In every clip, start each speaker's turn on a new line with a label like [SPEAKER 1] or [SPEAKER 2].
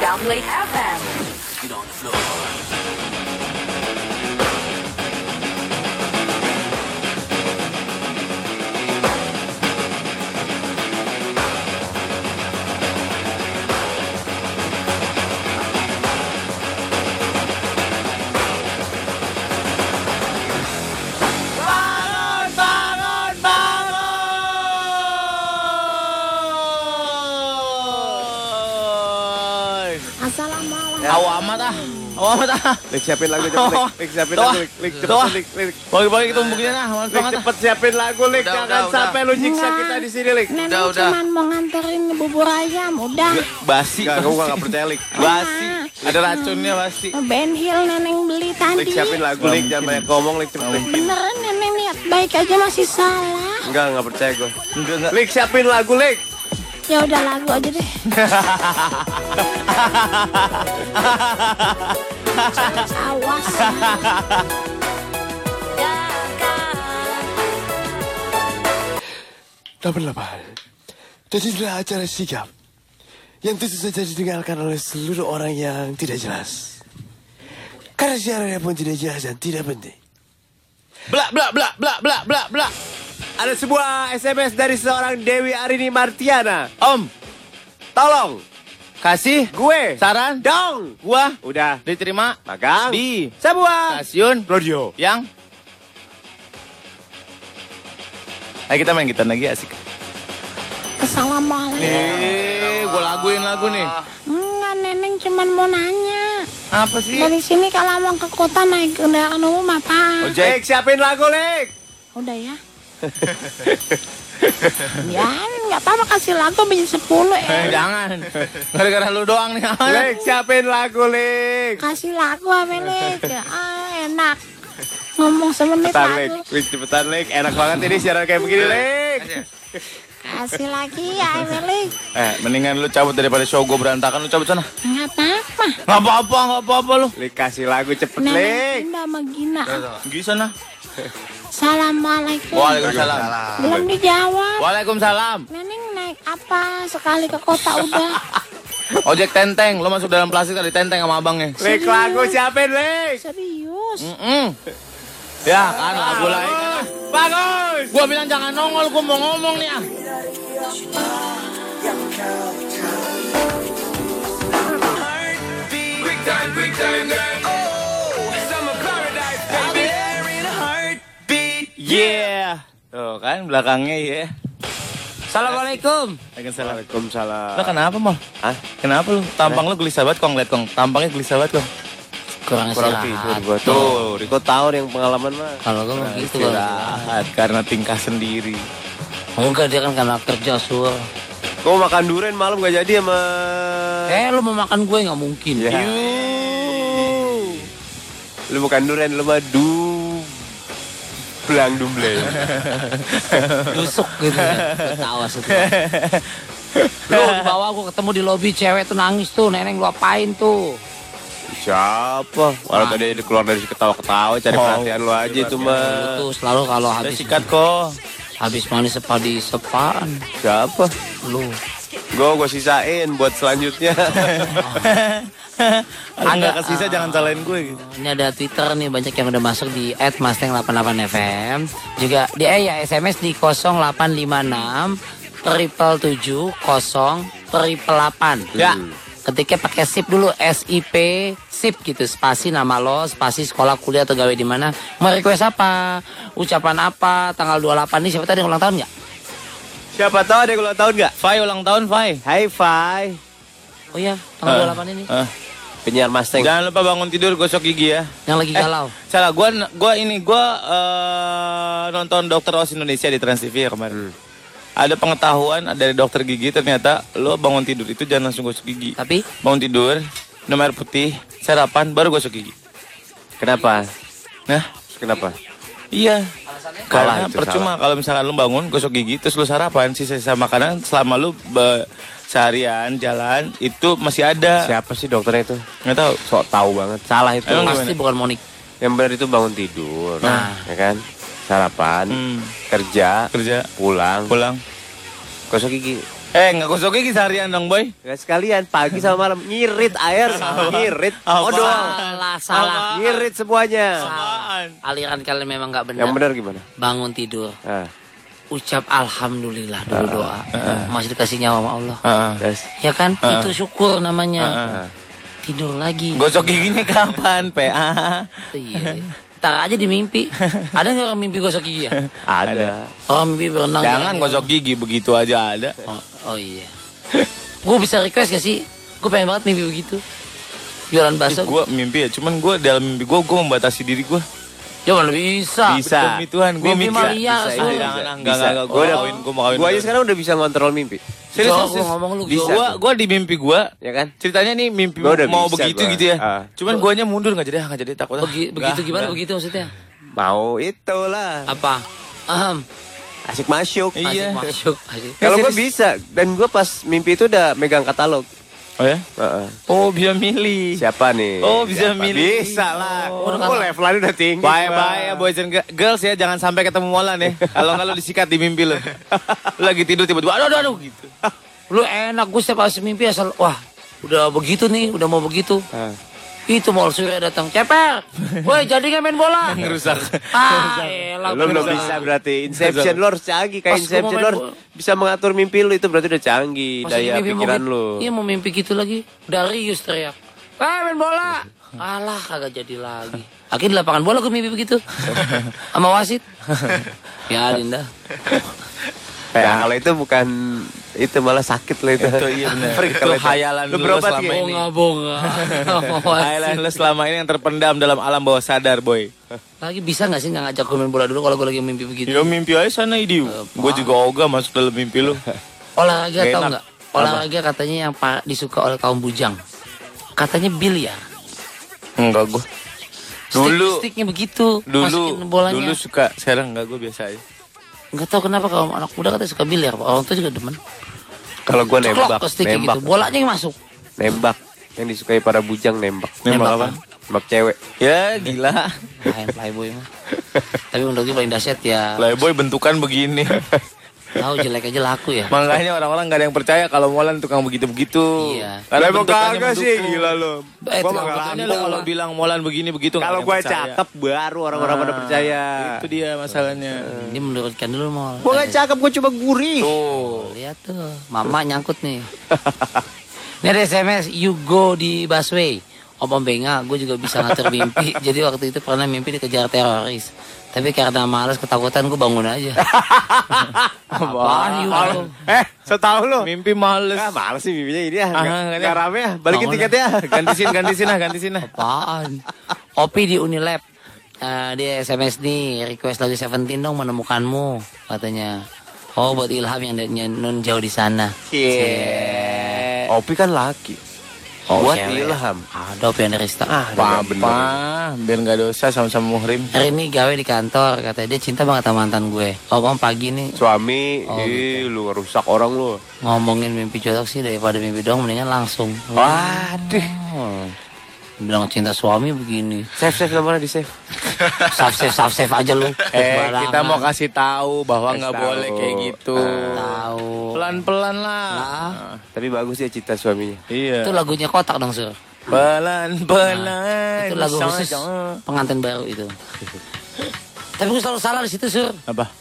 [SPEAKER 1] Down Lake FM.
[SPEAKER 2] Get on the floor. Bangun, bangun, bangun.
[SPEAKER 3] Assalamualaikum.
[SPEAKER 2] Tahu amat ah. Tahu amat ah.
[SPEAKER 4] Lik siapin lagu cepet, Lik. Lik siapin lagu, Lik. Lik cepet,
[SPEAKER 2] Doa.
[SPEAKER 4] Lik. Lik.
[SPEAKER 2] Bagi-bagi tumbukin ah. Males
[SPEAKER 4] Lik
[SPEAKER 2] banget ah.
[SPEAKER 4] cepet siapin lagu, Lik.
[SPEAKER 5] Udah,
[SPEAKER 4] Jangan
[SPEAKER 5] udah,
[SPEAKER 4] sampai lu nyiksa kita di sini, Lik.
[SPEAKER 3] Nenek
[SPEAKER 5] Udah, udah.
[SPEAKER 3] cuman mau nganterin bubur ayam, udah.
[SPEAKER 2] Basi.
[SPEAKER 4] Enggak, kamu enggak percaya, Lik.
[SPEAKER 2] Basi. Ada racunnya pasti.
[SPEAKER 3] Ben Hill neneng beli
[SPEAKER 4] Lik
[SPEAKER 3] tadi.
[SPEAKER 4] siapin lagu, Lik. Jangan banyak ngomong, Lik cepet, Lik.
[SPEAKER 3] Beneran neneng niat baik aja masih salah.
[SPEAKER 4] Enggak, enggak percaya gue.
[SPEAKER 2] Enggak enggak.
[SPEAKER 4] Lik siapin lagu, Lik.
[SPEAKER 3] Ya udah lagu aja deh. Awas.
[SPEAKER 6] Nomor 8 Terjadilah acara sigap Yang tentu saja didengarkan oleh seluruh orang yang tidak jelas Karena siarannya pun tidak jelas dan tidak penting
[SPEAKER 2] Blak blak blak blak blak blak blak.
[SPEAKER 4] Ada sebuah SMS dari seorang Dewi Arini Martiana.
[SPEAKER 2] Om,
[SPEAKER 4] Tolong,
[SPEAKER 2] kasih
[SPEAKER 4] gue.
[SPEAKER 2] saran
[SPEAKER 4] Dong.
[SPEAKER 2] gua
[SPEAKER 4] Udah.
[SPEAKER 2] diterima
[SPEAKER 4] Magang.
[SPEAKER 2] di
[SPEAKER 4] Sebuah.
[SPEAKER 2] stasiun
[SPEAKER 4] Radio.
[SPEAKER 2] yang Ayo kita main gitar lagi asik.
[SPEAKER 3] Assalamualaikum.
[SPEAKER 2] Eh, gua laguin lagu nih.
[SPEAKER 3] Enggak, neneng cuman mau nanya.
[SPEAKER 2] Apa sih?
[SPEAKER 3] Dari sini kalau mau ke kota naik kendaraan umum apa?
[SPEAKER 2] Ojek.
[SPEAKER 4] Lik siapin lagu, Lik.
[SPEAKER 3] Udah ya. ya, nggak apa-apa kasih lagu bisa 10 ya.
[SPEAKER 2] Eh, jangan. Gara-gara lu doang nih.
[SPEAKER 4] Lik siapin lagu, Lik.
[SPEAKER 3] kasih lagu apa Lik? Ah, enak ngomong semenit
[SPEAKER 4] Cepetan, Lik.
[SPEAKER 3] lagu
[SPEAKER 4] Lik cepetan, Lik. Enak banget ini siaran kayak begini, Lik.
[SPEAKER 3] kasih lagi ya Lik
[SPEAKER 2] Eh, mendingan lu cabut daripada show gua berantakan. Lu cabut sana.
[SPEAKER 3] nggak apa-apa
[SPEAKER 2] Nggak apa-apa, nggak apa-apa lu.
[SPEAKER 4] Lik kasih lagu cepet,
[SPEAKER 3] Nah,
[SPEAKER 4] Lik.
[SPEAKER 3] nenek Dinda sama Gina
[SPEAKER 2] Pergi sana.
[SPEAKER 3] Assalamualaikum
[SPEAKER 2] Waalaikumsalam.
[SPEAKER 3] belum dijawab
[SPEAKER 2] Waalaikumsalam.
[SPEAKER 3] Neneng naik apa sekali ke kota udah
[SPEAKER 2] Ojek tenteng, lu masuk dalam plastik tadi tenteng sama abangnya.
[SPEAKER 4] Lik lagu siapin, Lik. Hmm.
[SPEAKER 3] serius
[SPEAKER 2] Mm. Ya kan lagu lain. kan.
[SPEAKER 4] Bagus.
[SPEAKER 2] Gua bilang jangan nongol, gua mau ngomong nih ah. Yeah. Tuh kan belakangnya ya. Assalamualaikum. Waalaikumsalam. Lo
[SPEAKER 4] Waalaikumsalam.
[SPEAKER 2] kenapa mal?
[SPEAKER 4] Hah?
[SPEAKER 2] Kenapa lu? Tampang lu gelisah banget kong, liat kong. Tampangnya gelisah banget kong.
[SPEAKER 5] kurang
[SPEAKER 4] Kurang tidur
[SPEAKER 5] istirahat.
[SPEAKER 4] gua tuh. Riko tahu yang pengalaman mah.
[SPEAKER 5] Kalau gue mau gitu kalau
[SPEAKER 2] Istirahat karena tingkah sendiri.
[SPEAKER 5] enggak dia kan karena kerja sur.
[SPEAKER 4] Gua makan durian malam gak jadi sama.
[SPEAKER 5] Eh lu mau makan gue nggak mungkin.
[SPEAKER 4] Ya. Lu bukan durian, lu mah du belang dumble.
[SPEAKER 5] Dusuk gitu. ya. Ketawa sih. gua. Lu di bawah gue ketemu di lobi cewek tuh nangis tuh neneng lu apain tuh.
[SPEAKER 4] Siapa? Walau tadi dia keluar dari ketawa-ketawa cari perhatian lu aja itu
[SPEAKER 5] Lu
[SPEAKER 4] mah.
[SPEAKER 5] tuh selalu kalau
[SPEAKER 2] Saya
[SPEAKER 5] habis
[SPEAKER 2] sikat kok.
[SPEAKER 5] habis manis sepa di sepaan
[SPEAKER 4] Siapa?
[SPEAKER 5] lu.
[SPEAKER 4] Gua gua sisain buat selanjutnya.
[SPEAKER 2] Kalau nggak
[SPEAKER 5] Ada,
[SPEAKER 2] kesisa
[SPEAKER 5] ah.
[SPEAKER 2] jangan salahin gue gitu.
[SPEAKER 5] Ini ada Twitter nih banyak yang udah masuk di @mustang88fm juga di eh ya SMS di 0856 triple tujuh kosong triple delapan.
[SPEAKER 2] Ya.
[SPEAKER 5] Ketiknya pakai sip dulu SIP sip gitu spasi nama lo spasi sekolah kuliah atau gawe di mana mau request apa ucapan apa tanggal 28 nih siapa tadi yang ulang tahun nggak
[SPEAKER 4] Siapa tahu ada yang ulang tahun nggak?
[SPEAKER 2] Fai ulang tahun Fai.
[SPEAKER 4] Hai Fai,
[SPEAKER 5] oh iya tanggal
[SPEAKER 2] Eh,
[SPEAKER 5] 28 ini
[SPEAKER 2] eh.
[SPEAKER 4] penyiar Mustang.
[SPEAKER 2] Jangan lupa bangun tidur gosok gigi ya.
[SPEAKER 5] yang lagi galau
[SPEAKER 2] Salah gua gua ini gua eh, nonton Dokter Oz Indonesia di Trans TV ya kemarin. Ada pengetahuan dari dokter gigi ternyata lo bangun tidur itu jangan langsung gosok gigi.
[SPEAKER 5] tapi
[SPEAKER 2] Bangun tidur, minum air putih, sarapan baru gosok gigi.
[SPEAKER 4] Kenapa?
[SPEAKER 2] Nah,
[SPEAKER 4] Kenapa?
[SPEAKER 2] iya.
[SPEAKER 4] Salah
[SPEAKER 2] Karena
[SPEAKER 4] itu,
[SPEAKER 2] percuma kalau misalkan lu bangun gosok gigi terus lu sarapan sisa-sisa makanan selama lu be- seharian jalan itu masih ada.
[SPEAKER 4] Siapa sih dokternya itu?
[SPEAKER 2] Nggak tahu.
[SPEAKER 4] Sok tahu banget. Salah itu.
[SPEAKER 2] Emang
[SPEAKER 5] pasti bukan Monik
[SPEAKER 4] Yang benar itu bangun tidur, ya kan? Sarapan,
[SPEAKER 2] Nah. Hmm,
[SPEAKER 4] kerja,
[SPEAKER 2] kerja
[SPEAKER 4] pulang,
[SPEAKER 2] pulang
[SPEAKER 4] gosok gigi.
[SPEAKER 2] Eh, nggak gosok gigi seharian dong, Boy.
[SPEAKER 4] Gak sekalian, pagi sama malam. Ngirit air, sama ngirit
[SPEAKER 2] Apaan?
[SPEAKER 4] odol.
[SPEAKER 5] Salah, salah.
[SPEAKER 4] Ngirit semuanya.
[SPEAKER 2] Apaan?
[SPEAKER 5] Aliran kalian memang nggak benar.
[SPEAKER 4] Yang benar gimana?
[SPEAKER 5] Bangun tidur,
[SPEAKER 4] Ah,
[SPEAKER 5] ucap
[SPEAKER 2] Ah,
[SPEAKER 5] alhamdulillah dulu doa. Masih dikasih nyawa sama Allah.
[SPEAKER 2] Heeh.
[SPEAKER 4] terus.
[SPEAKER 5] Ya kan?
[SPEAKER 2] Ah,
[SPEAKER 5] Itu syukur namanya. Tidur lagi.
[SPEAKER 2] Gosok giginya kapan, Ah, PA?
[SPEAKER 5] Iya. Ntar aja di mimpi. Ada nggak orang mimpi gosok gigi ya?
[SPEAKER 4] Ada.
[SPEAKER 5] Orang mimpi berenang.
[SPEAKER 2] Jangan
[SPEAKER 5] jalan-jalan.
[SPEAKER 2] gosok gigi begitu aja ada.
[SPEAKER 5] Oh, oh iya. Gue bisa request gak sih? Gue pengen banget mimpi begitu. Jualan
[SPEAKER 2] Ih,
[SPEAKER 5] bakso.
[SPEAKER 2] Gua mimpi ya, cuman gua dalam mimpi gua gua membatasi diri gua.
[SPEAKER 5] Ya mana bisa.
[SPEAKER 2] Demi Tuhan, gua mikir.
[SPEAKER 5] Mimpi Maria,
[SPEAKER 2] Bisa,
[SPEAKER 5] Rasul.
[SPEAKER 2] iya, Jangan, enggak, enggak, enggak. Gua
[SPEAKER 4] Gua udah-
[SPEAKER 2] kawin, gua mau kawin.
[SPEAKER 4] Gua aja sekarang udah bisa ngontrol mimpi.
[SPEAKER 2] Serius,
[SPEAKER 5] Gua-
[SPEAKER 2] serius.
[SPEAKER 5] gua ngomong lu,
[SPEAKER 2] Bisa.
[SPEAKER 5] bisa.
[SPEAKER 2] Gua, gua di mimpi gua.
[SPEAKER 4] Ya kan?
[SPEAKER 2] Ceritanya nih mimpi
[SPEAKER 4] Gua udah
[SPEAKER 2] mau
[SPEAKER 4] bisa,
[SPEAKER 2] begitu
[SPEAKER 4] gua.
[SPEAKER 2] gitu ya.
[SPEAKER 4] Ah.
[SPEAKER 2] Cuman guanya mundur nggak jadi, ah, nggak jadi takut. ah.
[SPEAKER 5] Begi- begitu
[SPEAKER 2] Nggak,
[SPEAKER 5] gimana?
[SPEAKER 2] nggak.
[SPEAKER 5] Begitu maksudnya?
[SPEAKER 4] Mau itulah.
[SPEAKER 5] Apa? Ahem.
[SPEAKER 4] Asik masuk.
[SPEAKER 2] Iya.
[SPEAKER 5] Masuk, masuk. masuk.
[SPEAKER 4] Kalau gua
[SPEAKER 2] serius.
[SPEAKER 4] bisa dan gua pas mimpi itu udah megang katalog.
[SPEAKER 2] Oh ya?
[SPEAKER 4] Heeh.
[SPEAKER 2] Oh, bisa milih.
[SPEAKER 4] Siapa nih?
[SPEAKER 2] Oh, bisa
[SPEAKER 4] Siapa?
[SPEAKER 2] milih.
[SPEAKER 4] Bisa lah.
[SPEAKER 5] Oh, udah
[SPEAKER 4] Oh, levelan udah tinggi.
[SPEAKER 2] Bye
[SPEAKER 4] Bang.
[SPEAKER 2] bye ya boys and ge- girls ya jangan sampai ketemu Molan ya. Kalau nggak lo disikat di mimpi lo. Lo lagi tidur tiba-tiba aduh aduh aduh gitu.
[SPEAKER 5] Lu enak gue setiap habis mimpi asal wah udah begitu nih, udah mau begitu.
[SPEAKER 4] Eh,
[SPEAKER 5] Itu mau surya datang, ceper. Woi, jadi nggak main bola?
[SPEAKER 2] Ngerusak.
[SPEAKER 5] ah, elah,
[SPEAKER 4] Lu belum
[SPEAKER 5] gua
[SPEAKER 4] bisa berarti Inception lu harus canggih Kayak
[SPEAKER 5] Pas gua
[SPEAKER 4] Inception
[SPEAKER 5] mau
[SPEAKER 4] lu
[SPEAKER 5] main
[SPEAKER 4] harus bisa mengatur mimpi lu Itu berarti udah canggih
[SPEAKER 5] Pas
[SPEAKER 4] Daya
[SPEAKER 5] lagi mimpi mau
[SPEAKER 4] pikiran
[SPEAKER 5] gitu-
[SPEAKER 4] lu
[SPEAKER 5] Iya mau mimpi gitu lagi. Darius teriak. Eh main bola. Alah kagak jadi lagi. Akhirnya di lapangan bola gue mimpi begitu. Sama wasit. ya Linda.
[SPEAKER 4] Nah kalau itu bukan Itu malah sakit lu itu
[SPEAKER 2] Itu iya benar.
[SPEAKER 4] Freak
[SPEAKER 2] Itu
[SPEAKER 4] lu itu.
[SPEAKER 2] hayalan
[SPEAKER 4] Lu
[SPEAKER 2] lu
[SPEAKER 4] berobat
[SPEAKER 2] selama
[SPEAKER 4] gak?
[SPEAKER 2] ini.
[SPEAKER 5] Bonga-bonga. Sama
[SPEAKER 2] Hayalan
[SPEAKER 5] wasit.
[SPEAKER 2] lo selama ini yang terpendam dalam alam bawah sadar boy.
[SPEAKER 5] Lagi bisa gak sih gak ngajak gue main bola dulu kalau gue lagi mimpi begitu?
[SPEAKER 2] Yo mimpi aja sana idiu. Gue Eh, juga ogah masuk dalam mimpi lo.
[SPEAKER 5] Olahraga
[SPEAKER 2] Gak
[SPEAKER 5] tau
[SPEAKER 2] enak.
[SPEAKER 5] gak? Olahraga katanya yang pa- disuka oleh kaum bujang. Katanya biliar.
[SPEAKER 2] Enggak gue.
[SPEAKER 5] Stick-
[SPEAKER 2] Dulu-
[SPEAKER 5] Sticknya begitu.
[SPEAKER 2] Dulu
[SPEAKER 5] Masukin bolanya.
[SPEAKER 2] dulu suka sekarang enggak gue biasa aja.
[SPEAKER 5] Nggak tahu kenapa kalau anak muda katanya suka biliar, Pak. orang tua juga demen.
[SPEAKER 4] Kalau gua
[SPEAKER 5] Ceklok
[SPEAKER 4] nembak
[SPEAKER 5] ke sticknya
[SPEAKER 4] Nembak
[SPEAKER 5] gitu, bolanya yang masuk.
[SPEAKER 4] Nembak Yang disukai para bujang nembak
[SPEAKER 2] Nembak apa?
[SPEAKER 4] Nembak cewek
[SPEAKER 2] Ya gila.
[SPEAKER 5] Main playboy mah. Tapi menurut gue paling dahsyat ya,
[SPEAKER 2] Playboy bentukan begini.
[SPEAKER 5] tahu jelek aja laku ya.
[SPEAKER 2] Makanya orang-orang nggak ada yang percaya kalau Molan tukang begitu-begitu.
[SPEAKER 5] Iya.
[SPEAKER 2] Karena
[SPEAKER 4] Lah, emang
[SPEAKER 2] bentukannya
[SPEAKER 4] kagak sih
[SPEAKER 2] mendukung.
[SPEAKER 4] Gila lu
[SPEAKER 5] Eh,
[SPEAKER 4] Gua
[SPEAKER 5] tukang
[SPEAKER 4] mah
[SPEAKER 5] bekannya
[SPEAKER 2] Makanya
[SPEAKER 4] nggak
[SPEAKER 2] lo
[SPEAKER 5] Lampu.
[SPEAKER 2] kalau bilang Molan begini begitu
[SPEAKER 4] Kalau
[SPEAKER 2] nggak
[SPEAKER 4] gua
[SPEAKER 2] ada yang percaya.
[SPEAKER 4] cakep Baru orang-orang pada percaya
[SPEAKER 2] Itu dia masalahnya.
[SPEAKER 5] Ini menurutkan dulu mau.
[SPEAKER 4] Gua gak cakep Gua cuma gurih
[SPEAKER 2] Tuh.
[SPEAKER 5] Lihat tuh, mama nyangkut nih. Ini ada SMS, you go di busway. Om Om Benga, gue juga bisa ngatur mimpi. Jadi waktu itu pernah mimpi dikejar teroris. Tapi karena malas ketakutan gue bangun aja. Apaan you go?
[SPEAKER 4] Eh setahu lu
[SPEAKER 2] Mimpi males.
[SPEAKER 4] Ah males sih mimpinya ini ya
[SPEAKER 2] Ah,
[SPEAKER 4] Nggak-
[SPEAKER 2] nggak ada.
[SPEAKER 4] nggak rame ya Balikin
[SPEAKER 5] Bangun
[SPEAKER 4] tiketnya
[SPEAKER 2] ganti sin, ganti sin lah, ganti sin lah.
[SPEAKER 5] Apaan? Opi di Unilab. Eh, dia SMS nih, request lagu Seventeen dong menemukanmu katanya. Oh buat Ilham yang dari Nun jauh di sana.
[SPEAKER 4] Yeah. Opi kan laki. Buat
[SPEAKER 5] cewek.
[SPEAKER 4] Ilham. Ah,
[SPEAKER 5] Ada Opi yang dari Star.
[SPEAKER 2] Apa, biar nggak dosa sama-sama muhrim.
[SPEAKER 5] Hari ini gawe di kantor katanya dia cinta banget sama mantan gue. Om om pagi nih
[SPEAKER 4] Suami,
[SPEAKER 5] Oh,
[SPEAKER 4] ih, lu rusak orang lu.
[SPEAKER 5] ngomongin mimpi jorok sih daripada mimpi doang mendingan langsung.
[SPEAKER 4] Waduh.
[SPEAKER 5] Hmm. Bilang cinta suami begini.
[SPEAKER 4] Save save nomornya di save.
[SPEAKER 5] Saf save saf save aja lu.
[SPEAKER 2] Eh, kita mau
[SPEAKER 5] Sembarangan.
[SPEAKER 2] kasih tahu bahwa
[SPEAKER 4] Kasih
[SPEAKER 2] nggak
[SPEAKER 4] tahu.
[SPEAKER 2] boleh kayak gitu.
[SPEAKER 5] tahu.
[SPEAKER 2] Pelan-pelan lah.
[SPEAKER 5] Ah.
[SPEAKER 4] Tapi bagus ya cita suaminya.
[SPEAKER 2] Iya.
[SPEAKER 5] Itu lagunya kotak dong, Sur.
[SPEAKER 2] Pelan-pelan.
[SPEAKER 5] Nah, itu lagu
[SPEAKER 2] Sama-
[SPEAKER 5] khusus
[SPEAKER 2] sama.
[SPEAKER 5] pengantin baru itu. Tapi gue selalu salah di situ, Sur.
[SPEAKER 2] Apa?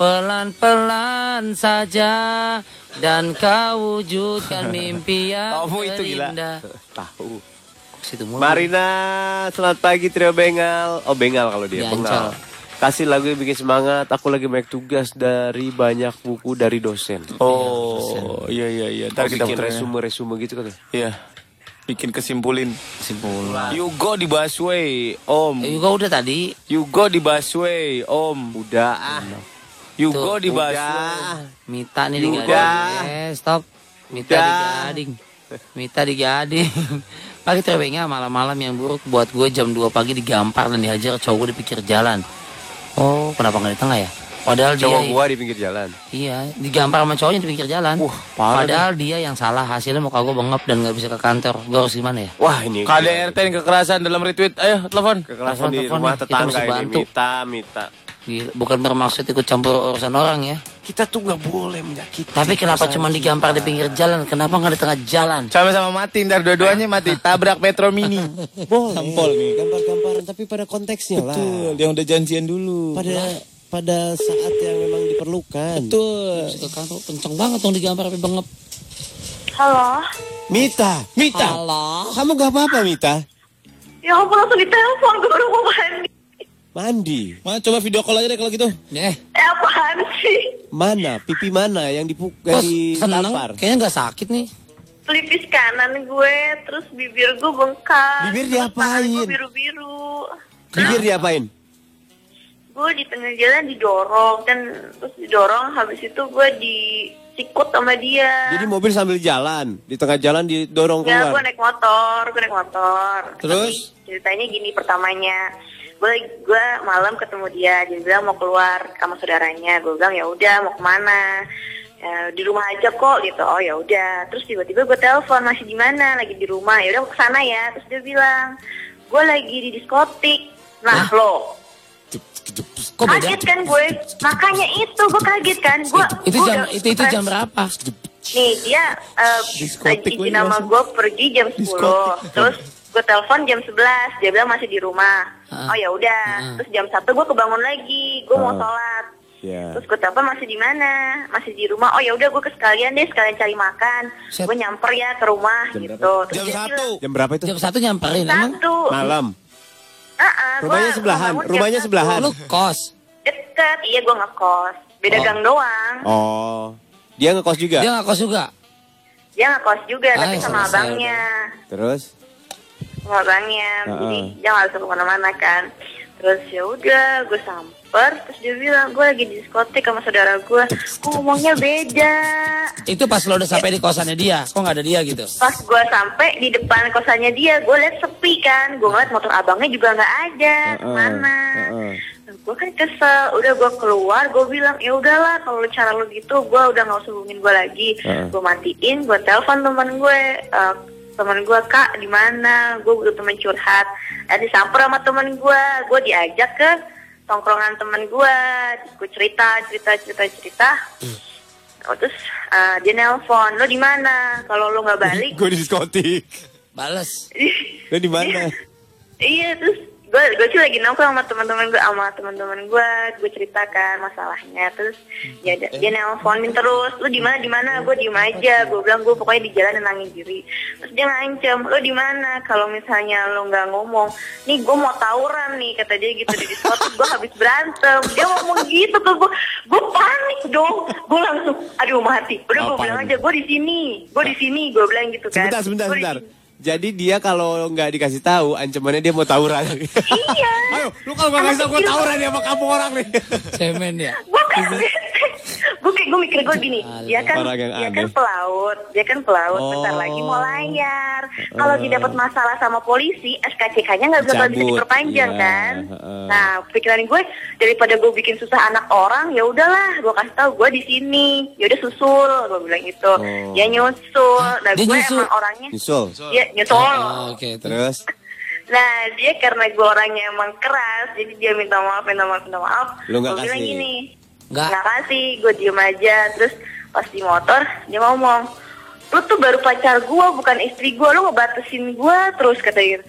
[SPEAKER 5] Pelan-pelan saja dan kau wujudkan mimpi yang
[SPEAKER 2] Kamu itu gila.
[SPEAKER 5] terindah.
[SPEAKER 4] Tahu.
[SPEAKER 5] Situ mulu.
[SPEAKER 4] Marina, selamat pagi Trio Bengal. Oh Bengal kalau dia,
[SPEAKER 5] Di
[SPEAKER 4] Bengal.
[SPEAKER 5] Ancol.
[SPEAKER 4] Kasih lagu yang bikin semangat. Aku lagi banyak tugas dari banyak buku dari dosen.
[SPEAKER 2] Oh, iya iya iya. Ntar
[SPEAKER 4] Aku
[SPEAKER 2] kita
[SPEAKER 4] bikin
[SPEAKER 2] puterin ya.
[SPEAKER 4] resume-resume gitu kan.
[SPEAKER 2] Iya. Bikin kesimpulin.
[SPEAKER 5] Kesimpulan.
[SPEAKER 2] You go di busway, Om.
[SPEAKER 5] Eh, Juga udah tadi.
[SPEAKER 2] You go di busway, Om.
[SPEAKER 4] Udah ah.
[SPEAKER 2] You
[SPEAKER 5] Tuh,
[SPEAKER 2] go di busway.
[SPEAKER 4] Udah.
[SPEAKER 5] Mita nih di
[SPEAKER 4] Udah.
[SPEAKER 5] Gading. Eh, stop. Mita
[SPEAKER 4] Udah.
[SPEAKER 5] di Gading. Mita di Gading. Pagi terbengah malam-malam yang buruk buat gue jam 2 pagi digampar dan dihajar cowok gue di pinggir jalan. Oh, kenapa nggak di tengah ya? Padahal
[SPEAKER 4] Cowok
[SPEAKER 5] dia
[SPEAKER 4] gua di pinggir jalan.
[SPEAKER 5] iya digampar sama cowoknya di pinggir jalan.
[SPEAKER 4] Wah, parah
[SPEAKER 5] Padahal dia yang salah hasilnya muka gue bengap dan nggak bisa ke kantor. Gue harus gimana ya?
[SPEAKER 4] Wah ini
[SPEAKER 2] KDRT dan kekerasan dalam retweet. Ayo, telepon.
[SPEAKER 4] kekerasan di
[SPEAKER 5] Telepon-telepon
[SPEAKER 4] rumah
[SPEAKER 5] nih, kita
[SPEAKER 4] tetangga
[SPEAKER 5] mesti
[SPEAKER 4] ini
[SPEAKER 5] bantu.
[SPEAKER 4] Mita Mita
[SPEAKER 5] Gila, Bukan bermaksud ikut campur urusan orang ya.
[SPEAKER 6] Kita tuh nggak boleh menyakiti.
[SPEAKER 5] Tapi
[SPEAKER 4] Iya,
[SPEAKER 5] kenapa
[SPEAKER 6] perasaan
[SPEAKER 5] cuma
[SPEAKER 6] kita.
[SPEAKER 5] digampar di pinggir jalan? Kenapa nggak di tengah jalan?
[SPEAKER 2] Sama-sama mati, ntar dua-duanya
[SPEAKER 4] Eh.
[SPEAKER 2] mati. Tabrak Metro Mini.
[SPEAKER 4] Boleh.
[SPEAKER 2] Sampol nih.
[SPEAKER 4] Gambar-gambaran tapi pada konteksnya lah.
[SPEAKER 2] Betul, yang udah janjian dulu.
[SPEAKER 4] Pada pada saat yang memang diperlukan.
[SPEAKER 2] Betul.
[SPEAKER 5] Ke kantor kan, oh, kenceng banget dong digampar sampai bengep.
[SPEAKER 1] Halo.
[SPEAKER 4] Mita,
[SPEAKER 2] Mita.
[SPEAKER 5] Allah.
[SPEAKER 4] kamu gak apa-apa Mita?
[SPEAKER 1] Ya ampun langsung ditelepon gue baru mau mandi.
[SPEAKER 4] Mandi.
[SPEAKER 2] Mana coba video call aja deh kalau gitu.
[SPEAKER 1] Eh
[SPEAKER 5] Eh,
[SPEAKER 1] apaan sih?
[SPEAKER 4] Mana? Pipi mana yang dipuk
[SPEAKER 5] kok
[SPEAKER 4] yang
[SPEAKER 5] seneng?
[SPEAKER 4] ditampar?
[SPEAKER 5] Kayaknya nggak sakit nih.
[SPEAKER 1] Pelipis kanan gue, terus bibir gue bengkak.
[SPEAKER 4] Bibir
[SPEAKER 1] terus
[SPEAKER 4] diapain?
[SPEAKER 1] tangan gue biru-biru.
[SPEAKER 4] Bibir diapain?
[SPEAKER 1] Gue di tengah jalan didorong kan terus didorong habis itu gue disikut sama dia.
[SPEAKER 4] Jadi mobil sambil jalan, di tengah jalan didorong
[SPEAKER 1] Ya, gue
[SPEAKER 4] keluar.
[SPEAKER 1] naik motor, gue naik motor.
[SPEAKER 2] Terus?
[SPEAKER 1] Tapi ceritanya gini pertamanya, gue gue malam ketemu dia, dia bilang mau keluar sama saudaranya, gue bilang ya udah mau kemana? Ya, di rumah aja kok gitu. Oh ya udah. Terus tiba-tiba gue telepon masih di mana? Lagi di rumah. Ya udah ke sana ya. Terus dia bilang, gue lagi di diskotik. Nah lo,
[SPEAKER 5] Kok beda?
[SPEAKER 1] kaget kan gue? Makanya itu gue kaget kan. Gue
[SPEAKER 5] Itu
[SPEAKER 1] gue
[SPEAKER 5] jam
[SPEAKER 1] udah
[SPEAKER 5] itu itu jam
[SPEAKER 1] stres.
[SPEAKER 5] berapa?
[SPEAKER 1] Nih dia eh, izin nama gue pergi jam 10 Terus gue telepon jam 11 Dia bilang masih di rumah
[SPEAKER 5] Ah.
[SPEAKER 1] Oh ya udah
[SPEAKER 5] Ah.
[SPEAKER 1] Terus jam 1 gue kebangun lagi Gue mau sholat
[SPEAKER 4] Ya.
[SPEAKER 1] Terus gue telepon masih di mana? Masih di rumah. Oh ya udah gue ke sekalian deh sekalian cari makan.
[SPEAKER 5] Set.
[SPEAKER 1] Gue nyamper ya ke rumah gitu. Terus
[SPEAKER 2] Jam
[SPEAKER 1] dia
[SPEAKER 2] satu.
[SPEAKER 1] bilang,
[SPEAKER 4] Jam berapa itu?
[SPEAKER 5] Jam satu nyamperin emang.
[SPEAKER 1] Satu.
[SPEAKER 4] Malam.
[SPEAKER 1] Ah, ah, gua
[SPEAKER 4] Rumahnya sebelahan,
[SPEAKER 1] bangun jam
[SPEAKER 4] rumahnya
[SPEAKER 1] satu.
[SPEAKER 4] sebelahan.
[SPEAKER 5] Lu kos.
[SPEAKER 1] Deket. Iya gue ngekos. Beda gang doang.
[SPEAKER 4] Oh. Dia ngekos juga.
[SPEAKER 5] Dia nggak kos juga.
[SPEAKER 1] Dia ngekos juga tapi
[SPEAKER 5] Ay,
[SPEAKER 1] sama
[SPEAKER 5] selesai
[SPEAKER 1] abangnya.
[SPEAKER 4] Terus?
[SPEAKER 1] orangnya
[SPEAKER 4] Heeh.
[SPEAKER 1] jadi dia nggak bisa kemana-mana kan terus ya udah gue samper terus dia bilang gue lagi di diskotik sama saudara gue Kok ngomongnya beda
[SPEAKER 5] Itu pas lo udah sampai di kosannya dia. Kok nggak ada dia gitu?
[SPEAKER 1] pas gue sampai di depan kosannya dia gue liat sepi kan gue ngeliat motor abangnya juga nggak ada kemana
[SPEAKER 4] Heeh.
[SPEAKER 1] gue kan kesel udah gue keluar gue bilang ya udahlah kalau cara lu gitu gue udah nggak usah hubungin gue lagi gue matiin gue telepon teman gue Eh, teman gue kak di mana gue butuh teman curhat eh disamper sama teman gue gue diajak ke tongkrongan teman gue gue cerita cerita cerita cerita Oh, terus eh, dia nelpon lo di mana kalau lo nggak balik
[SPEAKER 4] Gue di diskotik.
[SPEAKER 5] Bales.
[SPEAKER 4] Lu di mana?
[SPEAKER 1] Iya terus gue gue sih lagi nongkrong sama teman-teman gue sama teman-teman gue gue ceritakan masalahnya terus
[SPEAKER 4] Hmm,
[SPEAKER 1] ya dia,
[SPEAKER 4] eh.
[SPEAKER 1] dia nelponin terus lu di mana di mana gue diem aja gue bilang gue pokoknya di jalan nenangin diri terus dia ngancem lu di mana kalau misalnya lu nggak ngomong nih gue mau tawuran nih kata dia gitu di diskotik gue habis berantem dia ngomong gitu ke gue gue panik dong gue langsung aduh mau hati udah gue bilang aja gue di sini gue di sini gue bilang gitu kan
[SPEAKER 4] Sebentar, sebentar,
[SPEAKER 1] Gua di
[SPEAKER 4] sebentar.
[SPEAKER 1] sini.
[SPEAKER 4] Jadi dia kalau nggak dikasih tahu ancamannya dia mau tawuran.
[SPEAKER 1] iya
[SPEAKER 4] Ayo, lu kalau nggak ngasih tahu gue tawuran ya sama kamu orang nih.
[SPEAKER 5] Cemen ya.
[SPEAKER 1] gue kaget gue kayak gue mikir gue gini dia kan
[SPEAKER 4] Orang yang
[SPEAKER 1] dia
[SPEAKER 4] aneh.
[SPEAKER 1] kan pelaut dia kan pelaut bentar lagi mau layar kalau dia dapat masalah sama polisi SKCK-nya nggak bisa bisa
[SPEAKER 4] Dicabut.
[SPEAKER 1] diperpanjang
[SPEAKER 4] Iya,
[SPEAKER 1] kan
[SPEAKER 4] heeh.
[SPEAKER 1] nah pikiran gue daripada gue bikin susah anak orang ya udahlah gue kasih tahu gue di sini ya udah susul gue bilang gitu dia nyusul nah
[SPEAKER 5] Dia
[SPEAKER 1] gue
[SPEAKER 5] nyusul?
[SPEAKER 1] emang orangnya
[SPEAKER 4] Nyusul.
[SPEAKER 1] dia nyusul
[SPEAKER 5] Oh, Oke. terus.
[SPEAKER 4] Terus?
[SPEAKER 1] Nah dia karena gue orangnya emang keras Jadi dia minta maaf, minta maaf, minta maaf
[SPEAKER 4] Lu nggak
[SPEAKER 1] Gua bilang
[SPEAKER 4] kasih?
[SPEAKER 1] gini
[SPEAKER 5] Nggak.
[SPEAKER 1] Nggak kasih, gue diem aja Terus pas di motor dia ngomong Lu tuh baru pacar gue, bukan istri gue Lu ngebatasin gue terus kata dia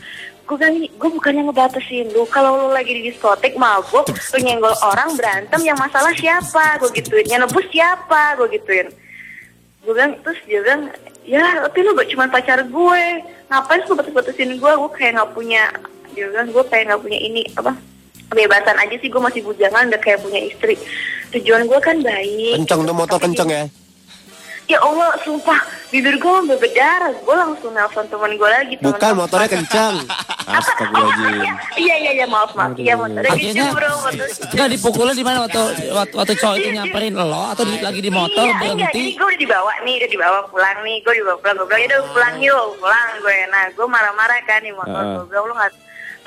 [SPEAKER 1] Gue bilang gini, gue bukannya ngebatasin lu Kalau lu lagi di diskotik mabuk Lu nyenggol orang berantem yang masalah siapa Gue gituin, yang nebus siapa Gue gituin gue bilang terus dia bilang ya tapi lu cuma pacar gue ngapain lu batas-batasin gue gue kayak nggak punya dia bilang gue kayak nggak punya ini apa kebebasan aja sih gue masih bujangan udah kayak punya istri tujuan gue kan baik
[SPEAKER 4] Kenceng tuh motor
[SPEAKER 1] Tapi-
[SPEAKER 4] kenceng ya.
[SPEAKER 1] ya allah sumpah bibir gue sampai berdarah gue langsung nelpon teman gue lagi teman
[SPEAKER 4] Bukan
[SPEAKER 1] gue-
[SPEAKER 4] motornya kencang.
[SPEAKER 1] apa oh, iya,
[SPEAKER 4] Astagfirullahaladzim.
[SPEAKER 1] iya iya iya maaf maaf iya motornya
[SPEAKER 5] Akhirnya
[SPEAKER 1] kenceng bro motornya
[SPEAKER 5] nggak dipukulnya di mana waktu waktu, waktu cowok itu nyamperin lo atau di- lagi di motor
[SPEAKER 1] iya, enggak, jadi
[SPEAKER 5] berhenti
[SPEAKER 1] gue udah dibawa nih, udah dibawa pulang nih, gue dibawa pulang, gue bilang, "Ya udah pulang yuk, pulang gue. Nah, gue marah-marah kan di motor, gue bilang, lu gak,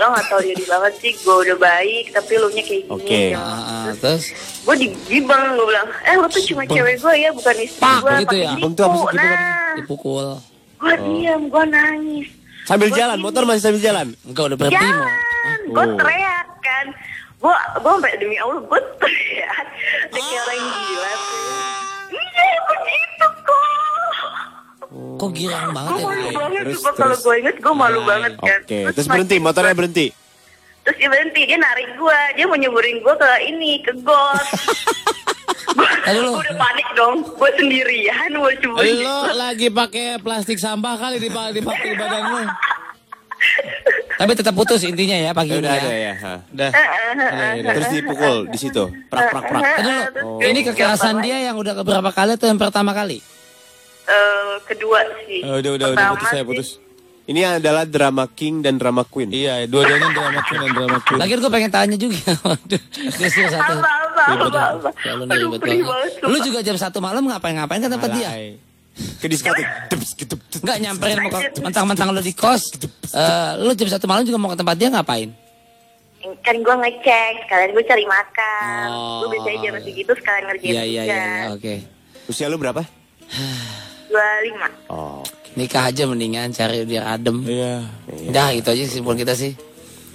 [SPEAKER 1] lo gak tau diri banget sih, gue udah baik, tapi lu nya kayak gini.
[SPEAKER 4] Oke.
[SPEAKER 1] Ya.
[SPEAKER 5] Ah, ah, terus
[SPEAKER 1] Gue digibeng, gue bilang, eh lu tuh cuma cewek gue ya, bukan istri
[SPEAKER 5] Pak,
[SPEAKER 1] gue.
[SPEAKER 5] begitu ya? Oh.
[SPEAKER 4] Dibeng tuh apa sih dibeng?
[SPEAKER 1] Nah,
[SPEAKER 5] dipukul
[SPEAKER 1] gue diem, gue nangis.
[SPEAKER 4] Sambil
[SPEAKER 1] Gua
[SPEAKER 4] jalan,
[SPEAKER 1] gini. Ya.
[SPEAKER 4] motor masih sambil jalan.
[SPEAKER 5] enggak udah berhenti
[SPEAKER 1] Jalan,
[SPEAKER 5] mau
[SPEAKER 1] gue teriak kan. gue gue sampai demi allah gue teriak Udah kayak orang gila tuh
[SPEAKER 5] Ah.
[SPEAKER 1] iya begitu kok
[SPEAKER 5] Kok girang banget
[SPEAKER 1] gue
[SPEAKER 5] ya?
[SPEAKER 1] malu
[SPEAKER 5] Boy?
[SPEAKER 1] banget
[SPEAKER 4] terus,
[SPEAKER 1] coba kalau
[SPEAKER 4] terus.
[SPEAKER 1] gue inget gue malu banget kan
[SPEAKER 4] Oke, terus berhenti, motornya berhenti.
[SPEAKER 1] terus dia berhenti dia narik gue dia mau nyuburin gue ke ini ke got
[SPEAKER 5] Aduh, lu.
[SPEAKER 1] gue udah panik dong gue sendirian gue cuburin
[SPEAKER 5] Lo lagi pakai plastik sampah kali di, di, di badanmu. Tapi tetap putus intinya ya pagi
[SPEAKER 4] Ya
[SPEAKER 5] ini
[SPEAKER 4] udah ada
[SPEAKER 5] ya.
[SPEAKER 4] ya. ha.
[SPEAKER 2] Dah.
[SPEAKER 1] Eh,
[SPEAKER 2] ya.
[SPEAKER 4] Terus dipukul di situ. Prak prak prak.
[SPEAKER 5] Aduh, lu,
[SPEAKER 4] ya.
[SPEAKER 5] ini kekerasan dia yang udah keberapa kali atau yang pertama kali?
[SPEAKER 1] Eh, kedua sih
[SPEAKER 2] Eh, udah, udah, udah,
[SPEAKER 1] Pertama
[SPEAKER 2] putus saya
[SPEAKER 1] sih.
[SPEAKER 2] putus.
[SPEAKER 4] Ini adalah drama king dan drama queen.
[SPEAKER 2] Iya, dua-duanya drama queen dan drama queen.
[SPEAKER 5] Lagian gue pengen tanya juga. Waduh, Dia sih satu.
[SPEAKER 1] Apa, apa,
[SPEAKER 5] Ribet
[SPEAKER 1] apa,
[SPEAKER 5] banget.
[SPEAKER 1] apa.
[SPEAKER 5] Ya, lu nih
[SPEAKER 1] Aduh,
[SPEAKER 5] ribet
[SPEAKER 1] perih
[SPEAKER 5] banget.
[SPEAKER 1] banget,
[SPEAKER 5] Lu
[SPEAKER 1] sumpah.
[SPEAKER 5] juga jam satu malam ngapain-ngapain ke tempat dia?
[SPEAKER 2] Alay.
[SPEAKER 4] Ke diskotik. Debs, gedeb, debs.
[SPEAKER 5] Enggak nyamperin mau ke- mentang-mentang lu di kos. Eh, lu jam satu malam juga mau ke tempat dia ngapain?
[SPEAKER 1] kan gue ngecek sekalian gue cari makan
[SPEAKER 5] Oh.
[SPEAKER 1] gue biasanya jam segitu sekalian ngerjain
[SPEAKER 5] Iya iya iya, iya, oke.
[SPEAKER 4] Usia lu berapa?
[SPEAKER 1] dua lima
[SPEAKER 5] Nikah aja mendingan cari biar adem.
[SPEAKER 2] Iya.
[SPEAKER 5] Udah gitu aja simpul kita sih.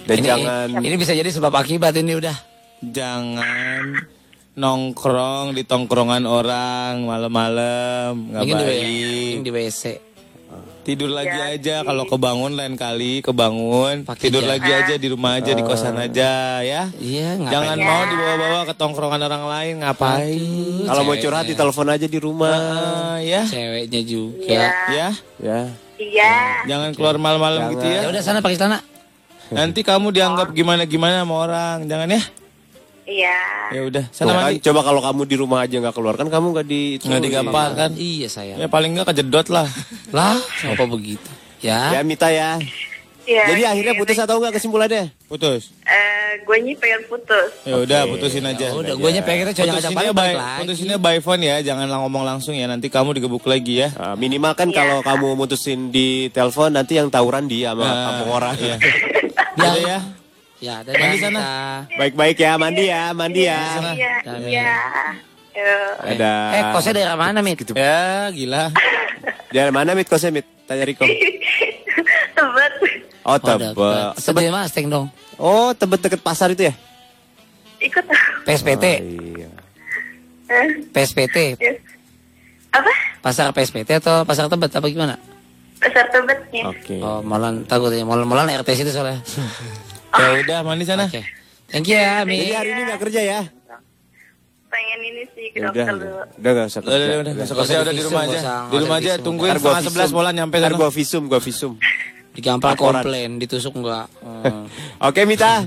[SPEAKER 4] Dan
[SPEAKER 5] ini,
[SPEAKER 4] jangan
[SPEAKER 5] ini bisa jadi sebab akibat ini udah.
[SPEAKER 2] Jangan nongkrong di tongkrongan orang malam-malam nggak
[SPEAKER 5] Mungkin di, W-
[SPEAKER 2] baik
[SPEAKER 5] mungkin di WC.
[SPEAKER 2] tidur lagi aja kalau kebangun lain kali kebangun
[SPEAKER 5] Pakai
[SPEAKER 2] tidur
[SPEAKER 5] jam.
[SPEAKER 2] lagi aja di rumah aja di kosan aja ya
[SPEAKER 5] Iya, ngapain?
[SPEAKER 2] jangan mau dibawa-bawa ke tongkrongan orang lain ngapain
[SPEAKER 4] kalau mau curhat di telepon aja di rumah.
[SPEAKER 2] Ah, ya
[SPEAKER 5] ceweknya juga.
[SPEAKER 2] ya
[SPEAKER 4] Ya.
[SPEAKER 1] iya
[SPEAKER 2] jangan keluar malam-malam gitu ya
[SPEAKER 5] Ya udah sana pakai celana.
[SPEAKER 2] nanti kamu dianggap gimana-gimana sama orang jangan ya
[SPEAKER 1] iya
[SPEAKER 2] ya udah sana
[SPEAKER 4] Tuh kan,
[SPEAKER 2] mandi
[SPEAKER 4] coba kalau kamu di rumah aja nggak keluar kan kamu nggak di
[SPEAKER 2] nggak digampar kan
[SPEAKER 5] Iya saya.
[SPEAKER 2] ya paling nggak kejedot lah
[SPEAKER 5] Lah, kenapa begitu?
[SPEAKER 4] Ya
[SPEAKER 5] Ya.
[SPEAKER 4] Mita ya.
[SPEAKER 1] iya eh,
[SPEAKER 4] Jadi akhirnya putus atau enggak kesimpulannya?
[SPEAKER 2] putus
[SPEAKER 1] gue nih pengen putus
[SPEAKER 2] ya udah putusin aja
[SPEAKER 5] udah, gue nya pengen kita coba ngajak
[SPEAKER 2] putusinnya
[SPEAKER 5] balik
[SPEAKER 2] by,
[SPEAKER 5] balik lagi.
[SPEAKER 2] putusinnya by phone ya jangan lang- ngomong langsung ya nanti kamu digebuk lagi ya
[SPEAKER 4] Ah, minimal kan
[SPEAKER 1] Iya.
[SPEAKER 4] kalau kamu mutusin di telepon nanti yang tawuran dia sama
[SPEAKER 2] Ah,
[SPEAKER 4] kampung orang.
[SPEAKER 2] iya.
[SPEAKER 5] Ya,
[SPEAKER 2] Udah ya
[SPEAKER 5] ya, dadah
[SPEAKER 2] Mandi sana.
[SPEAKER 5] kita.
[SPEAKER 4] Baik-baik ya, mandi ya, mandi ya.
[SPEAKER 1] iya
[SPEAKER 5] Amin.
[SPEAKER 1] iya Yuk.
[SPEAKER 4] Ada.
[SPEAKER 5] Eh, kosnya daerah mana, Mit?
[SPEAKER 2] ya gila
[SPEAKER 4] Dari mana Mit kosnya Mit? Tanya Riko.
[SPEAKER 1] tebet
[SPEAKER 4] Oh,
[SPEAKER 5] Oh, dapet.
[SPEAKER 4] tebet.
[SPEAKER 5] Sedih mas, teng dong.
[SPEAKER 4] Oh, tebet deket pasar itu ya?
[SPEAKER 1] ikut
[SPEAKER 5] PSPT,
[SPEAKER 4] Iya.
[SPEAKER 1] Eh,
[SPEAKER 5] PSPT,
[SPEAKER 1] ya. apa
[SPEAKER 5] pasar PSPT atau pasar Tebet apa gimana?
[SPEAKER 1] besar tebetnya
[SPEAKER 4] Oke.
[SPEAKER 5] Oh, malan takutnya malan malan RTS itu soalnya.
[SPEAKER 2] ya udah mandi sana
[SPEAKER 5] Oke. Thank you ya,
[SPEAKER 4] Jadi
[SPEAKER 5] Mi.
[SPEAKER 4] hari ini nggak kerja ya?
[SPEAKER 1] pengen ini sih ke
[SPEAKER 4] Ya
[SPEAKER 1] dokter
[SPEAKER 4] udah,
[SPEAKER 1] dulu
[SPEAKER 4] udah. Udah nggak usah
[SPEAKER 2] Udah, udah,
[SPEAKER 4] kerja.
[SPEAKER 2] udah,
[SPEAKER 4] Udah.
[SPEAKER 2] besok
[SPEAKER 5] Nggak usah
[SPEAKER 2] kerja udah di
[SPEAKER 5] divisum,
[SPEAKER 2] rumah aja.
[SPEAKER 5] nggak
[SPEAKER 2] Di
[SPEAKER 5] usah,
[SPEAKER 2] rumah
[SPEAKER 5] nggak
[SPEAKER 2] aja
[SPEAKER 5] usah divisum.
[SPEAKER 2] tungguin
[SPEAKER 4] Ntar gua
[SPEAKER 2] setengah sebelas
[SPEAKER 4] visum.
[SPEAKER 2] bola nyampe
[SPEAKER 4] Ntar
[SPEAKER 2] sana.
[SPEAKER 4] gua visum, gua visum.
[SPEAKER 5] Digampar
[SPEAKER 4] Laporan.
[SPEAKER 5] komplain, ditusuk enggak? Hmm.
[SPEAKER 4] Oke Mita,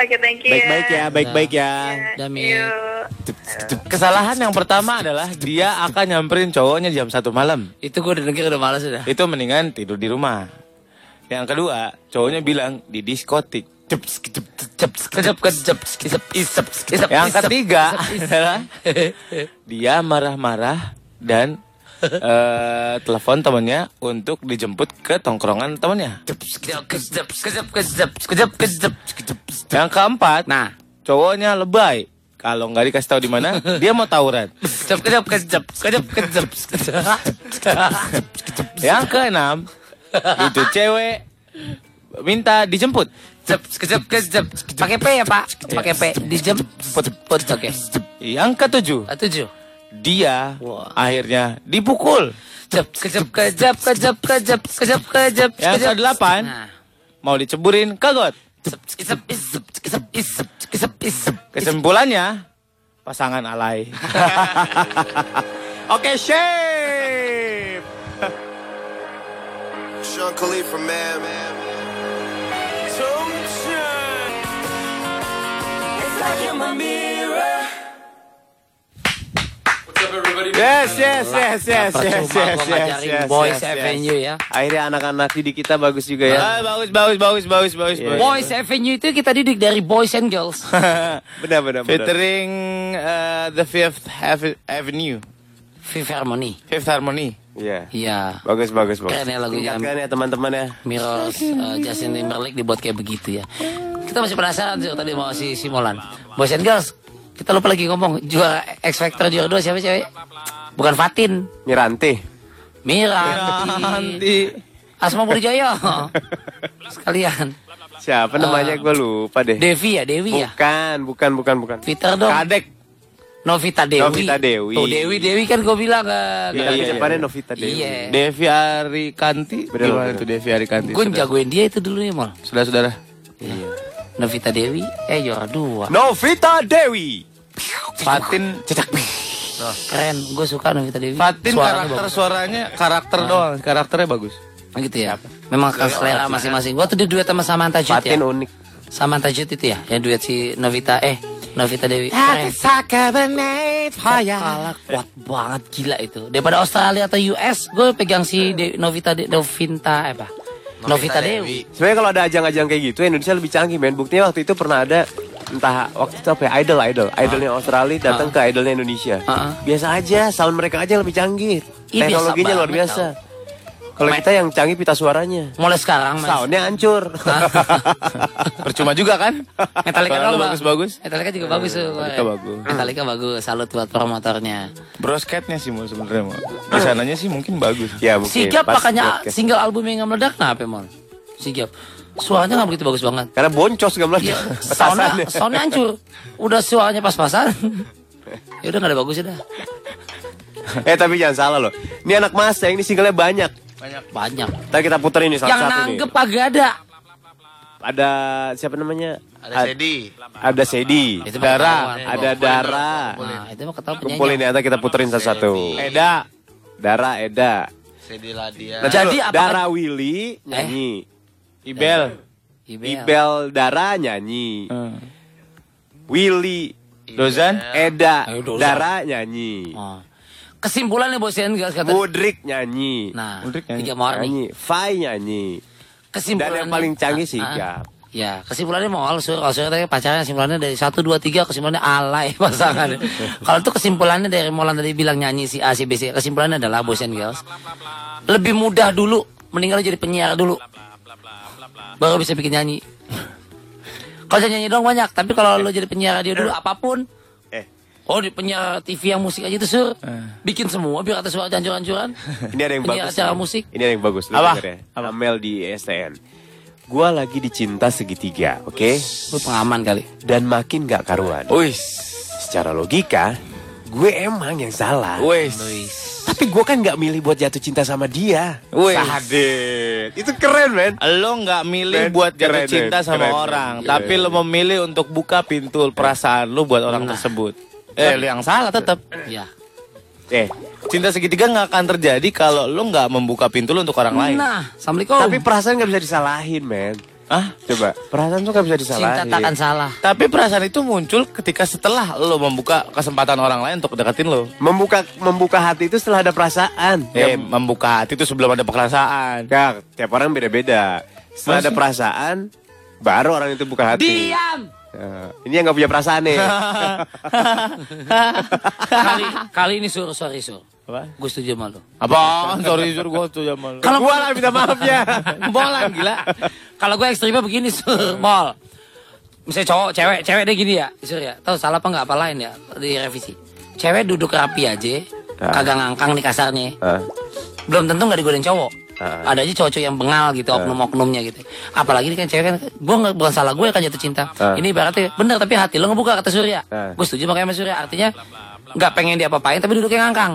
[SPEAKER 1] oke thank you
[SPEAKER 4] baik-baik ya, baik-baik ya.
[SPEAKER 5] Dah, Mi.
[SPEAKER 1] Yuk.
[SPEAKER 2] Kesalahan yang pertama adalah dia akan nyamperin cowoknya jam satu malam.
[SPEAKER 5] Itu gue udah denger udah males udah.
[SPEAKER 2] Itu mendingan tidur di rumah. Yang kedua, cowoknya bilang di diskotik. Jeps, kejep, jejep, kejep, kejep, kejep, isep, isep, Yang ketiga adalah dia marah-marah dan eh, telepon temannya untuk dijemput ke tongkrongan temannya.
[SPEAKER 5] Kejap, kejap, kejap, kejap, kejap, kejap, kejap.
[SPEAKER 2] Yang keempat,
[SPEAKER 5] Nah,
[SPEAKER 2] cowoknya lebay. Kalau nggak dikasih tahu di mana, dia mau tawuran.
[SPEAKER 5] kejap, kejap, kejap, kejap, kejap, kejap.
[SPEAKER 2] Yang keenam, itu cewek minta dijemput.
[SPEAKER 5] Jep, kejep, kejep. Pakai P ya, Pak? Pakai P. Dijemput. Oke.
[SPEAKER 2] Yang ketujuh,
[SPEAKER 5] Ah, Tujuh.
[SPEAKER 2] dia akhirnya dipukul.
[SPEAKER 5] Jep, kejep, kejep, kejep, kejep, kejep, kejep.
[SPEAKER 2] Yang
[SPEAKER 5] kejep.
[SPEAKER 2] kedelapan.
[SPEAKER 5] Nah.
[SPEAKER 2] Mau diceburin, kagot.
[SPEAKER 5] Jep, kejep, isep, kejep, isep, kejep, isep.
[SPEAKER 2] Kesimpulannya, pasangan alay. Oke, shape.
[SPEAKER 7] Sean Khalifa, man.
[SPEAKER 4] Yes, yes, yes, yes, yes, yes,
[SPEAKER 5] Percuma gua
[SPEAKER 4] yes,
[SPEAKER 5] ngajarin
[SPEAKER 4] yes, yes, Oh,
[SPEAKER 5] boys
[SPEAKER 4] yes.
[SPEAKER 5] avenue ya.
[SPEAKER 4] Akhirnya anak-anak didik kita bagus juga ya.
[SPEAKER 2] Ah, bagus, bagus, bagus, bagus, bagus.
[SPEAKER 4] iya.
[SPEAKER 2] bagus.
[SPEAKER 5] Boys avenue itu kita didik dari boys and girls.
[SPEAKER 4] Benar, benar, benar.
[SPEAKER 2] Featuring eh, The Fifth Ave- Avenue,
[SPEAKER 5] Fifth Harmony.
[SPEAKER 2] Fifth Harmony.
[SPEAKER 4] Iya.
[SPEAKER 5] Iya.
[SPEAKER 4] Bagus, bagus, bagus.
[SPEAKER 5] Keren ya lagunya.
[SPEAKER 4] Tingkatkan ya teman-teman ya.
[SPEAKER 5] Mirrors, uh, Justin Timberlake dibuat kayak begitu ya. Kita masih penasaran sih tadi mau si Simolan. Boys and girls, kita lupa lagi ngomong juara X Factor juara 2 siapa cewek? Bukan Fatin.
[SPEAKER 4] Miranti.
[SPEAKER 5] Miranti. Asma Puri Joyo. Sekalian.
[SPEAKER 4] Siapa namanya gue lupa deh.
[SPEAKER 5] Devi ya, Dewi ya.
[SPEAKER 4] Bukan, bukan, bukan, bukan.
[SPEAKER 5] Twitter dong.
[SPEAKER 4] Kadek.
[SPEAKER 5] Novita Dewi.
[SPEAKER 4] Novita Dewi.
[SPEAKER 5] Tuh Dewi Dewi kan gue bilang kan.
[SPEAKER 4] Iya, iya, depannya Novita Dewi.
[SPEAKER 5] Iya.
[SPEAKER 2] Devi Arikanti.
[SPEAKER 4] Bener,
[SPEAKER 2] Gimana
[SPEAKER 4] bener.
[SPEAKER 2] tuh Devi Arikanti?
[SPEAKER 5] Gue jagoin dia itu dulu ya mal.
[SPEAKER 2] Saudara-saudara.
[SPEAKER 5] Novita Dewi, eh juara dua.
[SPEAKER 4] Novita Dewi.
[SPEAKER 2] Fatin
[SPEAKER 5] Keren, gue suka Novita Dewi.
[SPEAKER 2] Fatin
[SPEAKER 5] Suaranya
[SPEAKER 2] karakter
[SPEAKER 5] bagus.
[SPEAKER 2] suaranya karakter doang, karakternya bagus.
[SPEAKER 5] gitu ya. Memang ke
[SPEAKER 2] ya.
[SPEAKER 5] selera masing-masing. Waktu dia duet sama Samantha Jut ya.
[SPEAKER 4] Fatin unik.
[SPEAKER 5] Samantha Jut itu ya, yang duet si Novita eh Novita Dewi. Keren. Vokalnya kuat banget gila itu. Daripada Australia atau US, gue pegang si De- Novita De- Novinta eh, apa? Novita, Dewi.
[SPEAKER 4] Sebenarnya kalau ada ajang-ajang kayak gitu Indonesia lebih canggih men. Buktinya waktu itu pernah ada entah waktu itu apa ya idol idol idolnya Australia datang ke idolnya Indonesia
[SPEAKER 5] Ah.
[SPEAKER 4] biasa aja sound mereka aja lebih canggih
[SPEAKER 5] Ih, biasa
[SPEAKER 4] teknologinya luar
[SPEAKER 5] banget,
[SPEAKER 4] biasa kalau kita yang canggih pita suaranya
[SPEAKER 5] Mulai sekarang mas.
[SPEAKER 4] soundnya hancur
[SPEAKER 2] Percuma juga kan?
[SPEAKER 5] Metallica
[SPEAKER 2] Suara lu
[SPEAKER 5] doang, Bang.
[SPEAKER 2] bagus-bagus.
[SPEAKER 5] Metallica juga bagus tuh.
[SPEAKER 2] Metallica bagus.
[SPEAKER 5] Metallica bagus. Salut buat promotornya.
[SPEAKER 2] Brosketnya sih mau sebenarnya mau. Di sananya sih mungkin bagus.
[SPEAKER 4] ya mungkin
[SPEAKER 5] Sigap
[SPEAKER 4] pas
[SPEAKER 5] makanya
[SPEAKER 4] podcast.
[SPEAKER 5] single albumnya nggak meledak kenapa mon? Sigap. Suaranya nggak begitu bagus banget.
[SPEAKER 4] karena boncos gak
[SPEAKER 5] Iya,
[SPEAKER 4] meledak
[SPEAKER 5] soundnya, soundnya hancur. Udah suaranya pas-pasan. ya udah nggak ada bagusnya dah.
[SPEAKER 4] eh tapi jangan salah loh ini anak masa ini singlenya banyak
[SPEAKER 5] Banyak.
[SPEAKER 4] Ntar kita putar ini salah
[SPEAKER 5] Yang
[SPEAKER 4] satu
[SPEAKER 5] nanggep
[SPEAKER 4] nih.
[SPEAKER 5] kagak ada.
[SPEAKER 4] Ada siapa namanya?
[SPEAKER 2] Ada
[SPEAKER 4] Ad-
[SPEAKER 2] Sedi.
[SPEAKER 4] Ada Sedi.
[SPEAKER 5] Itu mah
[SPEAKER 4] Dara.
[SPEAKER 5] ketahuan.
[SPEAKER 4] Ada Dara.
[SPEAKER 5] Nah, itu mah ketahuan
[SPEAKER 4] Kumpulin
[SPEAKER 5] penyanyi.
[SPEAKER 4] ya, ntar kita puterin satu-satu. Eda. Dara, Eda.
[SPEAKER 2] Sedi Ladia.
[SPEAKER 4] Nah, Jadi
[SPEAKER 5] Jadi apa- Eh?
[SPEAKER 4] Dara Willy nyanyi.
[SPEAKER 2] Ibel. Hmm.
[SPEAKER 5] Ibel.
[SPEAKER 4] Ibel Dara nyanyi. Willy.
[SPEAKER 2] Dozan.
[SPEAKER 4] Eda.
[SPEAKER 5] Ayo, dosa.
[SPEAKER 4] Dara nyanyi.
[SPEAKER 5] Oh. Kesimpulannya bosian nggak kata.
[SPEAKER 4] Mudrik nyanyi.
[SPEAKER 5] Nah,
[SPEAKER 2] Mudrik nyanyi.
[SPEAKER 5] tiga mawar nih.
[SPEAKER 4] Nyanyi. Fai nyanyi.
[SPEAKER 5] Kesimpulannya.
[SPEAKER 4] Dan yang paling canggih
[SPEAKER 5] Ah, ah.
[SPEAKER 4] sigap.
[SPEAKER 5] Ya, kesimpulannya mau Al Sur, Al Sur tadi pacarnya kesimpulannya dari 1 2 3 kesimpulannya alay pasangan. Kalau itu kesimpulannya dari Molan tadi bilang nyanyi si A si B si kesimpulannya adalah boys and girls. Lebih mudah dulu, mendingan lu jadi penyiar dulu. Baru bisa bikin nyanyi. Kalau jadi nyanyi dong banyak, tapi kalau lu jadi penyiar radio dulu apapun
[SPEAKER 4] Eh.
[SPEAKER 5] Oh, di penyiar TV yang musik aja itu sur. Bikin semua biar kata suara hancur-hancuran.
[SPEAKER 4] Ini ada yang
[SPEAKER 5] penyiar
[SPEAKER 4] bagus.
[SPEAKER 5] acara
[SPEAKER 4] nih.
[SPEAKER 5] musik.
[SPEAKER 4] Ini ada yang bagus. Lu
[SPEAKER 2] Apa?
[SPEAKER 4] denger ya. Amel di STN. Gua lagi dicinta segitiga, oke?
[SPEAKER 5] Lu pengaman kali.
[SPEAKER 4] Dan makin gak karuan.
[SPEAKER 2] Wis.
[SPEAKER 4] Secara logika, gue emang yang salah.
[SPEAKER 2] Wis.
[SPEAKER 4] Tapi gue kan gak milih buat jatuh cinta sama dia.
[SPEAKER 2] Wis.
[SPEAKER 4] Sahadet. Itu keren, men.
[SPEAKER 2] Lo nggak milih
[SPEAKER 4] Keren,
[SPEAKER 2] buat jatuh
[SPEAKER 4] keren,
[SPEAKER 2] cinta
[SPEAKER 4] keren,
[SPEAKER 2] sama
[SPEAKER 4] keren, Iya,
[SPEAKER 2] orang,
[SPEAKER 4] keren.
[SPEAKER 2] tapi lo memilih untuk buka pintu perasaan lo buat
[SPEAKER 4] Nah.
[SPEAKER 2] orang tersebut. Eh, lo yang salah tetap.
[SPEAKER 5] Ya.
[SPEAKER 4] Eh,
[SPEAKER 2] Cinta segitiga nggak akan terjadi kalau lo nggak membuka pintu lo untuk orang lain.
[SPEAKER 5] Nah, Assalamualaikum.
[SPEAKER 4] tapi perasaan gak bisa disalahin, men.
[SPEAKER 2] Ah,
[SPEAKER 4] Coba, perasaan tuh gak bisa
[SPEAKER 5] cinta
[SPEAKER 4] disalahin.
[SPEAKER 5] takkan salah.
[SPEAKER 2] tapi perasaan itu muncul ketika setelah lo membuka kesempatan orang lain untuk deketin lo.
[SPEAKER 4] Membuka membuka hati itu setelah ada perasaan.
[SPEAKER 2] Eh,
[SPEAKER 4] Ya,
[SPEAKER 2] membuka hati itu sebelum ada perasaan.
[SPEAKER 4] Kak, tiap orang beda-beda. Setelah ada perasaan, baru orang itu buka hati.
[SPEAKER 5] Diam.
[SPEAKER 4] Eh, ini yang gak punya perasaan nih.
[SPEAKER 5] kali kali ini sur sorry sur. Gue setuju sama lo.
[SPEAKER 2] Apaan? Sorry, Kan- sur gue tuh sama lo.
[SPEAKER 5] Kalau
[SPEAKER 4] Gua lah minta ya. maafnya.
[SPEAKER 5] Bolan gila. Kalau gue ekstrimnya begini sur mall. Misalnya cowok, cewek, cewek deh gini ya, sur ya. Tahu salah apa nggak apa lain ya direvisi. Cewek duduk rapi aja, kagak ngangkang nih kasarnya.
[SPEAKER 4] Ah.
[SPEAKER 5] Belum tentu nggak digodain cowok. Ada aja cowok-cowok yang bengal
[SPEAKER 4] Ah.
[SPEAKER 5] gitu, oknum-oknumnya gitu. Apalagi ini kan cewek kan, gue nggak bukan salah gue kan jatuh cinta. Ini ibaratnya bener tapi hati lo ngebuka kata Surya.
[SPEAKER 4] Ah.
[SPEAKER 5] Gue setuju makanya sama Surya. Artinya nggak pengen diapa-apain tapi duduknya ngangkang.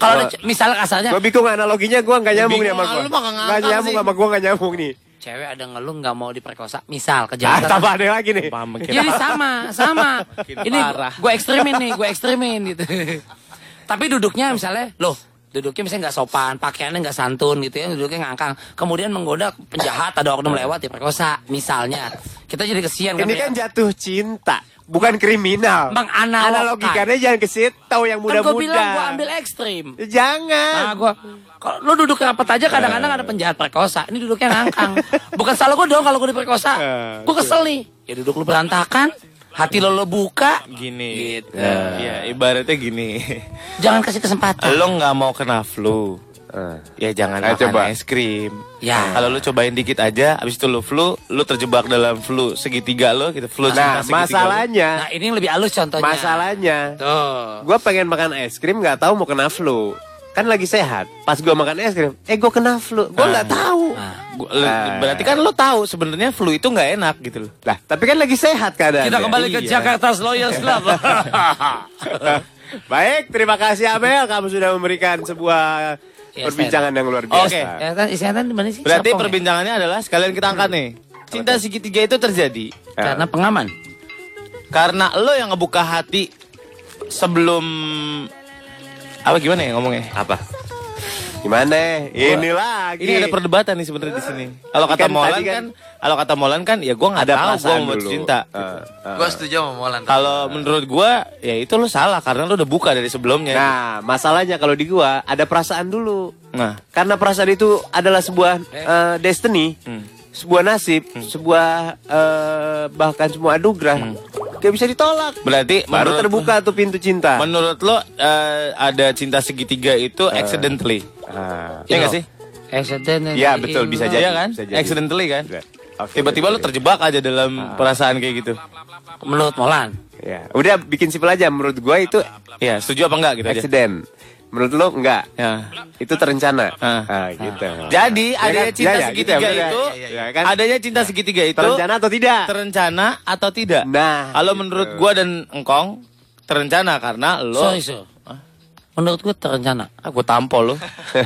[SPEAKER 5] Kalau ada ce- misalnya kasarnya
[SPEAKER 4] Gue bingung analoginya gue gak nyambung nih
[SPEAKER 2] Bingung, ah,
[SPEAKER 4] sama gue.
[SPEAKER 2] lu mah nggak ngangkat
[SPEAKER 4] nyambung
[SPEAKER 2] sih.
[SPEAKER 4] sama gue gak nyambung nih.
[SPEAKER 5] cewek ada ngeluh nggak mau diperkosa, misal
[SPEAKER 4] Ah,
[SPEAKER 5] kejahatan.
[SPEAKER 4] tambah ada lagi nih.
[SPEAKER 5] Jadi sama, sama. Ini gue ekstremin nih, gue ekstremin gitu. Tapi duduknya misalnya, loh, duduknya misalnya nggak sopan, pakaiannya nggak santun gitu ya, duduknya ngangkang. Kemudian menggoda penjahat, ada oknum lewat ya perkosa, misalnya. Kita jadi kesian
[SPEAKER 4] Nah.
[SPEAKER 5] ya?
[SPEAKER 4] Ini kan jatuh cinta, bukan kriminal.
[SPEAKER 5] Menganalogkan.
[SPEAKER 4] Analogikannya jangan ke situ yang
[SPEAKER 5] kan gue bilang gue
[SPEAKER 4] muda-muda.
[SPEAKER 5] ambil ekstrim. Nah,
[SPEAKER 4] Jangan.
[SPEAKER 5] gue kalau lu duduk rapat aja kadang-kadang ada penjahat perkosa. Ini duduknya ngangkang. Bukan salah gue dong kalau gue diperkosa.
[SPEAKER 4] Nah,
[SPEAKER 5] Gue
[SPEAKER 4] iya.
[SPEAKER 5] kesel nih. Ya duduk lu berantakan, hati lo lo buka.
[SPEAKER 2] Gini.
[SPEAKER 5] Gitu.
[SPEAKER 2] Iya, ibaratnya gini.
[SPEAKER 5] Jangan kasih kesempatan.
[SPEAKER 2] lo nggak mau kena flu. Ya jangan
[SPEAKER 4] Ayo
[SPEAKER 2] makan
[SPEAKER 4] coba.
[SPEAKER 2] es krim.
[SPEAKER 5] Ya.
[SPEAKER 2] Kalau lu cobain dikit aja, abis itu lu flu, lu terjebak dalam flu segitiga lo, gitu. Flu
[SPEAKER 4] Nah,
[SPEAKER 2] cinta segitiga
[SPEAKER 5] Nah,
[SPEAKER 4] masalahnya,
[SPEAKER 5] ini yang lebih halus contohnya.
[SPEAKER 4] masalahnya,
[SPEAKER 5] Tuh.
[SPEAKER 4] gue pengen makan es krim nggak tahu mau kena flu. kan lagi sehat. Pas gua makan es krim, eh gua kena flu. Gua nggak
[SPEAKER 5] Ah.
[SPEAKER 4] tahu.
[SPEAKER 2] Gua- le- Berarti kan lo tahu sebenarnya flu itu nggak enak gitu loh.
[SPEAKER 4] Lah, tapi kan lagi
[SPEAKER 2] Iya,
[SPEAKER 4] sehat Iya. keadaan.
[SPEAKER 5] Kita kembali ke Jakarta Lawyers Club.
[SPEAKER 4] Baik, terima kasih Abel kamu sudah memberikan sebuah
[SPEAKER 5] Yes,
[SPEAKER 4] perbincangan yang luar biasa.
[SPEAKER 2] Oke.
[SPEAKER 5] Kesehatan, kesehatan di mana sih?
[SPEAKER 2] Berarti
[SPEAKER 5] Serpong ya?
[SPEAKER 2] perbincangannya adalah sekalian kita angkat nih. Cinta segitiga itu terjadi
[SPEAKER 5] Karena pengaman.
[SPEAKER 2] karena lo yang ngebuka hati sebelum apa gimana ya ngomongnya?
[SPEAKER 4] Apa? Gimana? Ini lagi.
[SPEAKER 2] Ini ada perdebatan nih sebenarnya di sini. Kalau kata
[SPEAKER 4] Kan tadi
[SPEAKER 2] Molan
[SPEAKER 4] kan-
[SPEAKER 2] kan, kalau kata Molan kan ya gue nggak
[SPEAKER 4] Ada
[SPEAKER 2] tahu gue
[SPEAKER 4] perasaan
[SPEAKER 2] mau
[SPEAKER 4] dulu.
[SPEAKER 2] cinta.
[SPEAKER 4] Eh, eh.
[SPEAKER 5] Gue setuju sama Molan.
[SPEAKER 2] Kalau menurut gue ya itu lo salah karena lo udah buka dari sebelumnya.
[SPEAKER 4] Nah, masalahnya kalau di gua ada perasaan dulu.
[SPEAKER 2] Nah.
[SPEAKER 4] Karena perasaan itu adalah sebuah eh, destiny,
[SPEAKER 2] Hmm.
[SPEAKER 4] sebuah nasib, sebuah eh, bahkan semua anugerah. Gak bisa ditolak.
[SPEAKER 2] Berarti
[SPEAKER 4] Baru
[SPEAKER 2] Hmm. menurut-
[SPEAKER 4] terbuka tuh pintu cinta.
[SPEAKER 2] Menurut lo eh, ada cinta segitiga itu
[SPEAKER 4] Eh.
[SPEAKER 2] accidentally.
[SPEAKER 4] Ah.
[SPEAKER 2] Iya nggak sih?
[SPEAKER 5] Accident.
[SPEAKER 4] Iya, betul, bisa jadi.
[SPEAKER 2] Iya kan?
[SPEAKER 4] bisa jadi.
[SPEAKER 2] Accidentally kan?
[SPEAKER 4] Oke,
[SPEAKER 2] Tiba-tiba
[SPEAKER 4] oke,
[SPEAKER 2] lo
[SPEAKER 4] oke. Ah.
[SPEAKER 2] terjebak aja dalam perasaan kayak gitu.
[SPEAKER 5] Menurut Molan.
[SPEAKER 4] Ya, udah bikin simpel aja. Menurut gua itu
[SPEAKER 2] Ya, setuju apa enggak gitu aja.
[SPEAKER 4] accident. Menurut lo enggak?
[SPEAKER 2] Ya.
[SPEAKER 4] Itu terencana.
[SPEAKER 2] Ah.
[SPEAKER 4] Ah, gitu.
[SPEAKER 2] Jadi adanya
[SPEAKER 4] kan?
[SPEAKER 2] cinta
[SPEAKER 4] Ya, ya, gitu ya,
[SPEAKER 2] segitiga
[SPEAKER 4] bener ya.
[SPEAKER 2] itu,
[SPEAKER 4] Ya, ya, ya, kan?
[SPEAKER 2] adanya cinta segitiga itu
[SPEAKER 4] terencana atau tidak?
[SPEAKER 2] terencana atau tidak?
[SPEAKER 4] Nah,
[SPEAKER 2] kalau
[SPEAKER 4] gitu.
[SPEAKER 2] menurut gua dan engkong terencana karena lo
[SPEAKER 5] Sorry, so. Menurut gue terencana.
[SPEAKER 2] aku tampol lo.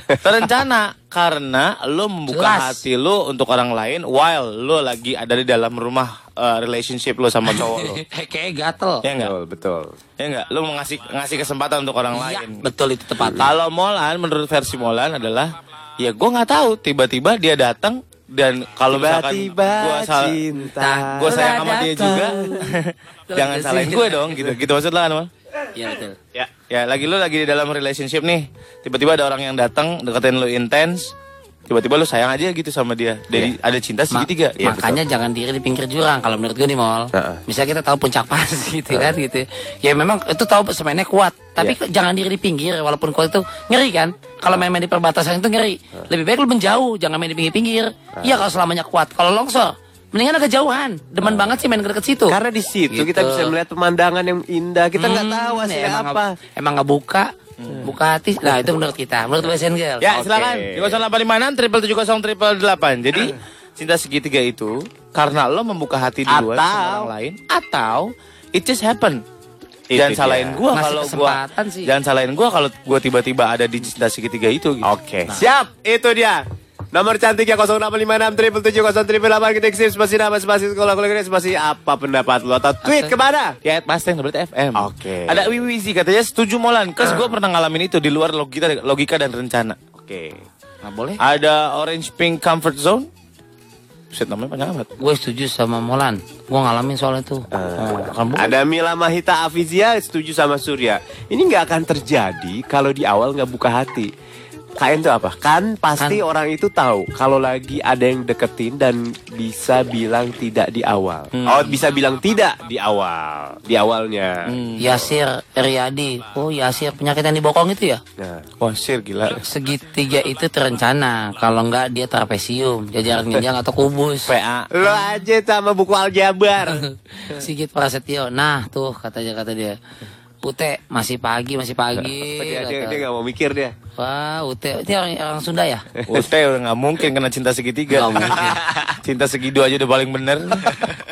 [SPEAKER 2] terencana karena lo membuka
[SPEAKER 5] Jelas.
[SPEAKER 2] hati lo untuk orang lain while lo lagi ada di dalam rumah eh, relationship lo sama cowok Oh, lo.
[SPEAKER 5] Kayak gatel.
[SPEAKER 2] ya enggak?
[SPEAKER 4] Betul, betul.
[SPEAKER 2] Ya enggak? Lo ngasih ngasih kesempatan untuk orang lain.
[SPEAKER 5] Iya.
[SPEAKER 2] Iya.
[SPEAKER 5] Betul itu tepat.
[SPEAKER 2] Kalau Molan menurut versi Molan adalah ya gue nggak tahu tiba-tiba dia datang dan kalau misalkan
[SPEAKER 4] Tiba-tiba
[SPEAKER 2] gue salah Nah,
[SPEAKER 4] cinta.
[SPEAKER 2] gue sayang sama dia juga jangan
[SPEAKER 5] Datang.
[SPEAKER 2] salahin gue dong gitu gitu maksud lo kan Mol?
[SPEAKER 5] Iya betul.
[SPEAKER 2] ya ya lagi lo lagi di dalam relationship nih tiba-tiba ada orang yang datang deketin lo intens tiba-tiba lo sayang aja gitu sama dia dari ada cinta
[SPEAKER 5] Iya. Ma-
[SPEAKER 2] segitiga Ya,
[SPEAKER 5] makanya jangan diri di pinggir jurang kalau menurut gue nih mall.
[SPEAKER 4] Iya, Heeh.
[SPEAKER 5] Misalnya kita tahu puncak pas gitu kan gitu. Ya memang itu tahu semennya kuat, tapi
[SPEAKER 4] Iya.
[SPEAKER 5] kok jangan diri di pinggir walaupun kuat itu ngeri kan. Kalau main-main di perbatasan itu ngeri. Lebih baik lu menjauh, jangan main di pinggir-pinggir. Iya kalau selamanya kuat. Kalau longsor, mendingan agak jauhan. Demen banget sih main ke deket situ.
[SPEAKER 4] Karena di situ
[SPEAKER 5] Gitu.
[SPEAKER 4] kita bisa melihat pemandangan yang indah. Kita nggak
[SPEAKER 5] Hmm,
[SPEAKER 4] tahu
[SPEAKER 5] ya,
[SPEAKER 4] hasilnya
[SPEAKER 5] emang
[SPEAKER 4] apa. Hmm.
[SPEAKER 5] nggak- Emang nggak buka, buka hati. Nah itu menurut kita, menurut Wesen Girl.
[SPEAKER 2] Ya, silakan. 0856 triple Jadi cinta segitiga itu karena lo membuka hati duluan sama orang lain atau it just happen.
[SPEAKER 4] Itu
[SPEAKER 2] jangan
[SPEAKER 4] dia.
[SPEAKER 2] salahin gua
[SPEAKER 5] Ngasih
[SPEAKER 2] kalau gua
[SPEAKER 5] kesempatan sih.
[SPEAKER 2] Jangan salahin gua kalau gua tiba-tiba ada di cinta segitiga itu gitu.
[SPEAKER 4] Oke.
[SPEAKER 5] Nah.
[SPEAKER 4] Siap, itu dia. Nomor cantiknya 0856 triple kita kirim spasi nama spasi sekolah kuliah spasi apa pendapat lo atau tweet kemana?
[SPEAKER 2] Ya, Mustang double FM.
[SPEAKER 4] Oke.
[SPEAKER 2] Ada Wiwizi katanya setuju Molan. Cause gua pernah ngalamin itu di luar logika logika dan rencana.
[SPEAKER 4] Oke.
[SPEAKER 5] Nah, boleh.
[SPEAKER 2] Ada Orange Pink Comfort Zone. Buset namanya panjang amat.
[SPEAKER 5] Gue setuju sama Molan. Gue ngalamin soal itu. Oh, kamu
[SPEAKER 4] Ada Mila Mahita Afizia setuju sama Surya. Ini nggak akan terjadi kalau di awal nggak buka hati. Kan itu apa? Kan pasti
[SPEAKER 5] Kan.
[SPEAKER 4] orang itu tahu kalau lagi ada yang deketin dan bisa bilang tidak di awal. Oh, bisa bilang tidak di awal, di awalnya.
[SPEAKER 5] Hmm. Yasir Riyadi. Oh, Yasir penyakit yang dibokong itu ya?
[SPEAKER 4] Nah,
[SPEAKER 2] Wah, sir gila.
[SPEAKER 5] Segitiga itu terencana. Kalau enggak dia trapesium, jajaran ginjal atau kubus.
[SPEAKER 2] PA.
[SPEAKER 4] lo aja sama buku aljabar.
[SPEAKER 5] Sigit Prasetyo. Nah, tuh katanya kata dia. Ute masih pagi, masih pagi.
[SPEAKER 4] dia, dia,
[SPEAKER 5] kata.
[SPEAKER 4] dia gak mau mikir dia.
[SPEAKER 5] Wah, Ute. Ini orang, orang Sunda ya?
[SPEAKER 2] Ute Oh, udah nggak mungkin kena cinta segitiga.
[SPEAKER 5] Nggak mungkin.
[SPEAKER 2] cinta segidu aja udah paling bener.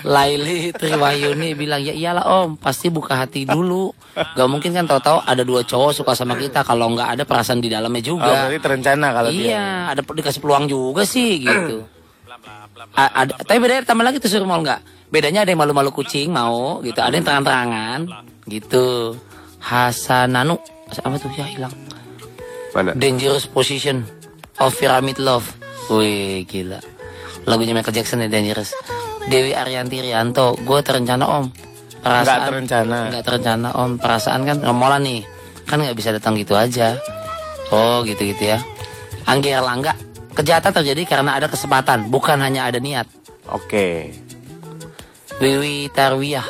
[SPEAKER 5] Laili Triwayuni bilang ya iyalah om pasti buka hati dulu Gak mungkin kan tahu-tahu ada dua cowok suka sama kita kalau nggak ada perasaan di dalamnya
[SPEAKER 2] Oh,
[SPEAKER 5] juga
[SPEAKER 2] berarti terencana kalau
[SPEAKER 5] iya,
[SPEAKER 2] dia.
[SPEAKER 5] ada dikasih peluang juga sih gitu. A- ada, eh, tapi bedanya tambah lagi tuh suruh mau nggak? Bedanya ada yang malu-malu kucing mau gitu, ada yang terang-terangan gitu. Hasananu apa tuh ya hilang.
[SPEAKER 4] Mana?
[SPEAKER 5] Dangerous Position of Pyramid Love. Wih gila. Lagunya Michael Jackson ya Dangerous. Dewi Arianti Rianto, gue terencana om. Perasaan
[SPEAKER 2] Nggak terencana.
[SPEAKER 5] Nggak terencana om. Perasaan kan ngomolan nih. Kan nggak bisa datang gitu aja. Oh gitu gitu ya. Anggi Erlangga, kejahatan terjadi karena ada kesempatan, bukan hanya ada niat.
[SPEAKER 4] Oke.
[SPEAKER 5] Wiwi Tarwiyah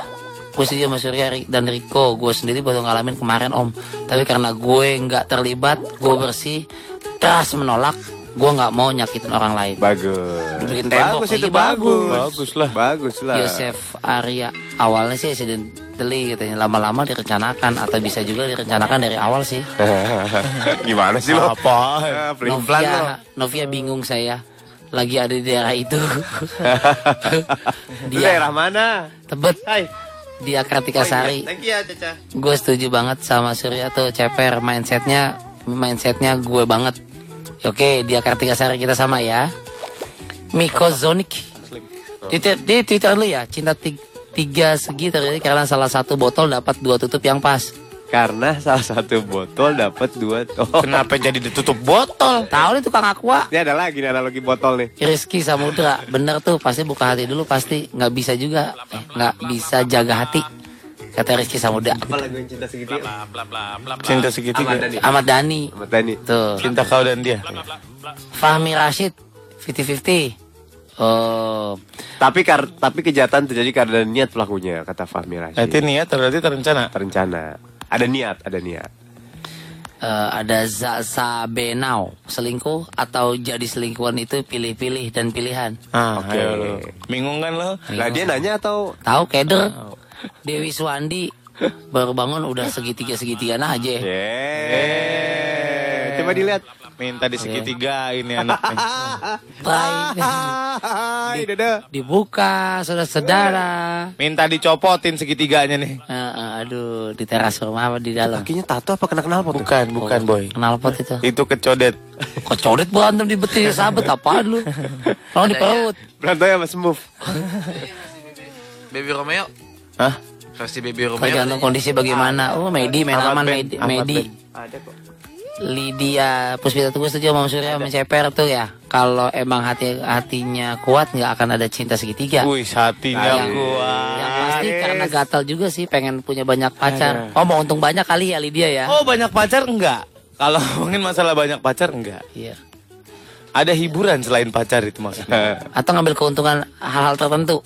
[SPEAKER 5] Gue setuju sama Surya Ri- dan Riko Gue sendiri baru ngalamin kemarin om Tapi karena gue nggak terlibat Gue bersih Keras menolak Gue nggak mau nyakitin orang lain.
[SPEAKER 8] Bagus.
[SPEAKER 5] Bikin tembok
[SPEAKER 8] Bagus itu
[SPEAKER 5] lagi, bagus.
[SPEAKER 8] Bagus lah. Bagus lah.
[SPEAKER 5] Yosef Arya awalnya sih accidentally katanya lama-lama direncanakan atau bisa juga direncanakan dari awal sih.
[SPEAKER 2] Iya,
[SPEAKER 8] Gimana sih lo? Apa?
[SPEAKER 5] Novia, Novia bingung saya lagi ada di daerah itu. Dia
[SPEAKER 9] Daerah mana?
[SPEAKER 5] tebet.
[SPEAKER 9] Hai.
[SPEAKER 5] Dia Kartika Sari.
[SPEAKER 9] Thank you ya, Caca.
[SPEAKER 5] Gue setuju banget sama Surya tuh ceper mindsetnya mindsetnya gue banget. Oke, dia Kartika Sari kita sama ya. Miko Zonik. Di, di Twitter lu ya, cinta ti- tiga segi terjadi karena salah satu botol dapat dua tutup yang pas.
[SPEAKER 9] Karena salah satu botol dapat dua. Oh,
[SPEAKER 2] Kenapa jadi ditutup botol?
[SPEAKER 5] Tahu nih tukang aqua.
[SPEAKER 9] ini ada lagi nih analogi botol nih.
[SPEAKER 5] Rizky Samudra, bener tuh pasti buka hati dulu pasti nggak bisa juga eh, nggak bisa jaga hati kata Rizky Samudra.
[SPEAKER 9] Apalagi yang cinta segitiga.
[SPEAKER 2] Cinta segitiga.
[SPEAKER 5] Ahmad Dhani
[SPEAKER 9] Sama Dani.
[SPEAKER 5] tuh.
[SPEAKER 2] Cinta kau dan dia.
[SPEAKER 5] Fahmi Rashid 50-50. Oh,
[SPEAKER 9] Tapi kar tapi kejahatan terjadi karena niat pelakunya kata Fahmi Rashid.
[SPEAKER 5] Eh,
[SPEAKER 2] Berarti niat berarti terencana.
[SPEAKER 9] Terencana. Ada niat, ada niat.
[SPEAKER 5] eh, ada Zaza Benau selingkuh atau jadi selingkuhan itu pilih-pilih dan pilihan.
[SPEAKER 2] Ah,
[SPEAKER 9] Oke.
[SPEAKER 2] ayo lo. Bingung kan lo?
[SPEAKER 5] Eh,
[SPEAKER 9] Lah dia nanya atau
[SPEAKER 5] Tahu keder Dewi Suwandi baru bangun udah segitiga segitiga
[SPEAKER 9] Iya.
[SPEAKER 5] aja.
[SPEAKER 9] Eh, coba dilihat.
[SPEAKER 2] Minta di segitiga ini anaknya.
[SPEAKER 5] Baik.
[SPEAKER 9] Hai, dadah.
[SPEAKER 5] Dibuka saudara-saudara.
[SPEAKER 2] Minta dicopotin segitiganya nih.
[SPEAKER 5] Eh, eh, aduh, di teras rumah apa di dalam?
[SPEAKER 9] Kakinya tato apa kena kenal pot?
[SPEAKER 2] Bukan, bukan
[SPEAKER 5] Oh.
[SPEAKER 2] boy.
[SPEAKER 5] Knalpot itu.
[SPEAKER 2] Itu kecodet.
[SPEAKER 5] Kok coret berantem di betis sabet apaan lu? Kalau di perut.
[SPEAKER 9] Berantai sama Smooth.
[SPEAKER 7] Baby Romeo.
[SPEAKER 2] Hah?
[SPEAKER 7] Versi Baby Romeo.
[SPEAKER 5] Tergantung kondisi bagaimana. Oh, Medi main aman
[SPEAKER 2] Ben,
[SPEAKER 5] Medi.
[SPEAKER 2] Ahmad
[SPEAKER 5] Medi. Lydia Puspita Tugas setuju sama Om Surya sama Ceper tuh ya. Kalau emang hati hatinya kuat nggak akan ada cinta segitiga.
[SPEAKER 2] Wih, hatinya
[SPEAKER 5] Yang-
[SPEAKER 2] gua.
[SPEAKER 5] Yang pasti karena gatal juga sih pengen punya banyak pacar. Oh mau untung banyak kali ya Lydia ya.
[SPEAKER 2] Oh, banyak pacar enggak? Kalau ngomongin masalah banyak pacar enggak?
[SPEAKER 5] Iya.
[SPEAKER 2] Ada hiburan selain pacar itu maksudnya.
[SPEAKER 5] Atau ngambil keuntungan hal-hal tertentu.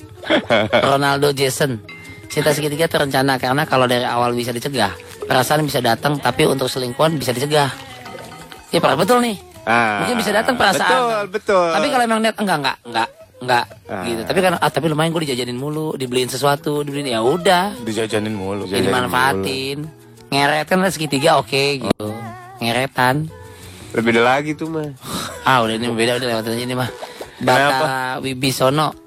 [SPEAKER 5] Ronaldo Jason. Cinta segitiga terencana karena kalau dari awal bisa dicegah, perasaan bisa datang tapi untuk selingkuhan bisa dicegah. Ya pernah betul nih.
[SPEAKER 9] Ah,
[SPEAKER 5] Mungkin bisa datang perasaan.
[SPEAKER 9] betul, betul.
[SPEAKER 5] Tapi kalau emang niat enggak enggak enggak enggak gitu. Tapi kan ah tapi lumayan gue dijajanin mulu, dibeliin sesuatu, dibeliin ya udah,
[SPEAKER 2] Dijajanin mulu.
[SPEAKER 5] ya dimanfaatin. Ngeret kan segitiga oke gitu. Ngeretan.
[SPEAKER 9] Lebih ada lagi tuh mah.
[SPEAKER 5] Ah udah ini beda udah lewatin aja ini mah. Bata Wibisono.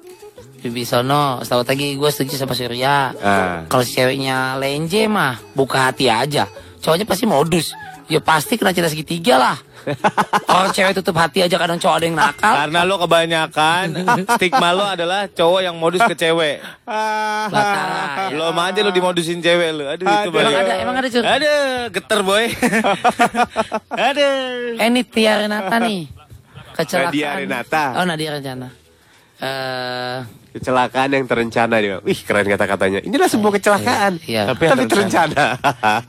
[SPEAKER 5] Wibisono, setahu tadi gue setuju sama Surya.
[SPEAKER 9] Ah.
[SPEAKER 5] Kalau si ceweknya lenje mah buka hati aja. Cowoknya pasti modus. Ya pasti kena cinta segitiga lah. Orang cewek tutup hati aja kadang cowok ada yang nakal.
[SPEAKER 2] Karena lo kebanyakan stigma lo adalah cowok yang modus ke cewek.
[SPEAKER 5] Batara. ya.
[SPEAKER 2] Lo mah aja lo dimodusin cewek lo. Aduh, itu
[SPEAKER 5] Emang
[SPEAKER 2] banyak.
[SPEAKER 5] ada, emang ada Cur.
[SPEAKER 2] Aduh, geter boy. Aduh.
[SPEAKER 5] Eh, Ini Tia Renata nih. Kecelakaan.
[SPEAKER 9] Nadia Renata.
[SPEAKER 5] Oh Nadia Renata. Eh,
[SPEAKER 9] Kecelakaan yang terencana dia. Wih, keren kata-katanya. Inilah sebuah kecelakaan.
[SPEAKER 5] iya.
[SPEAKER 9] Tapi, tapi terencana.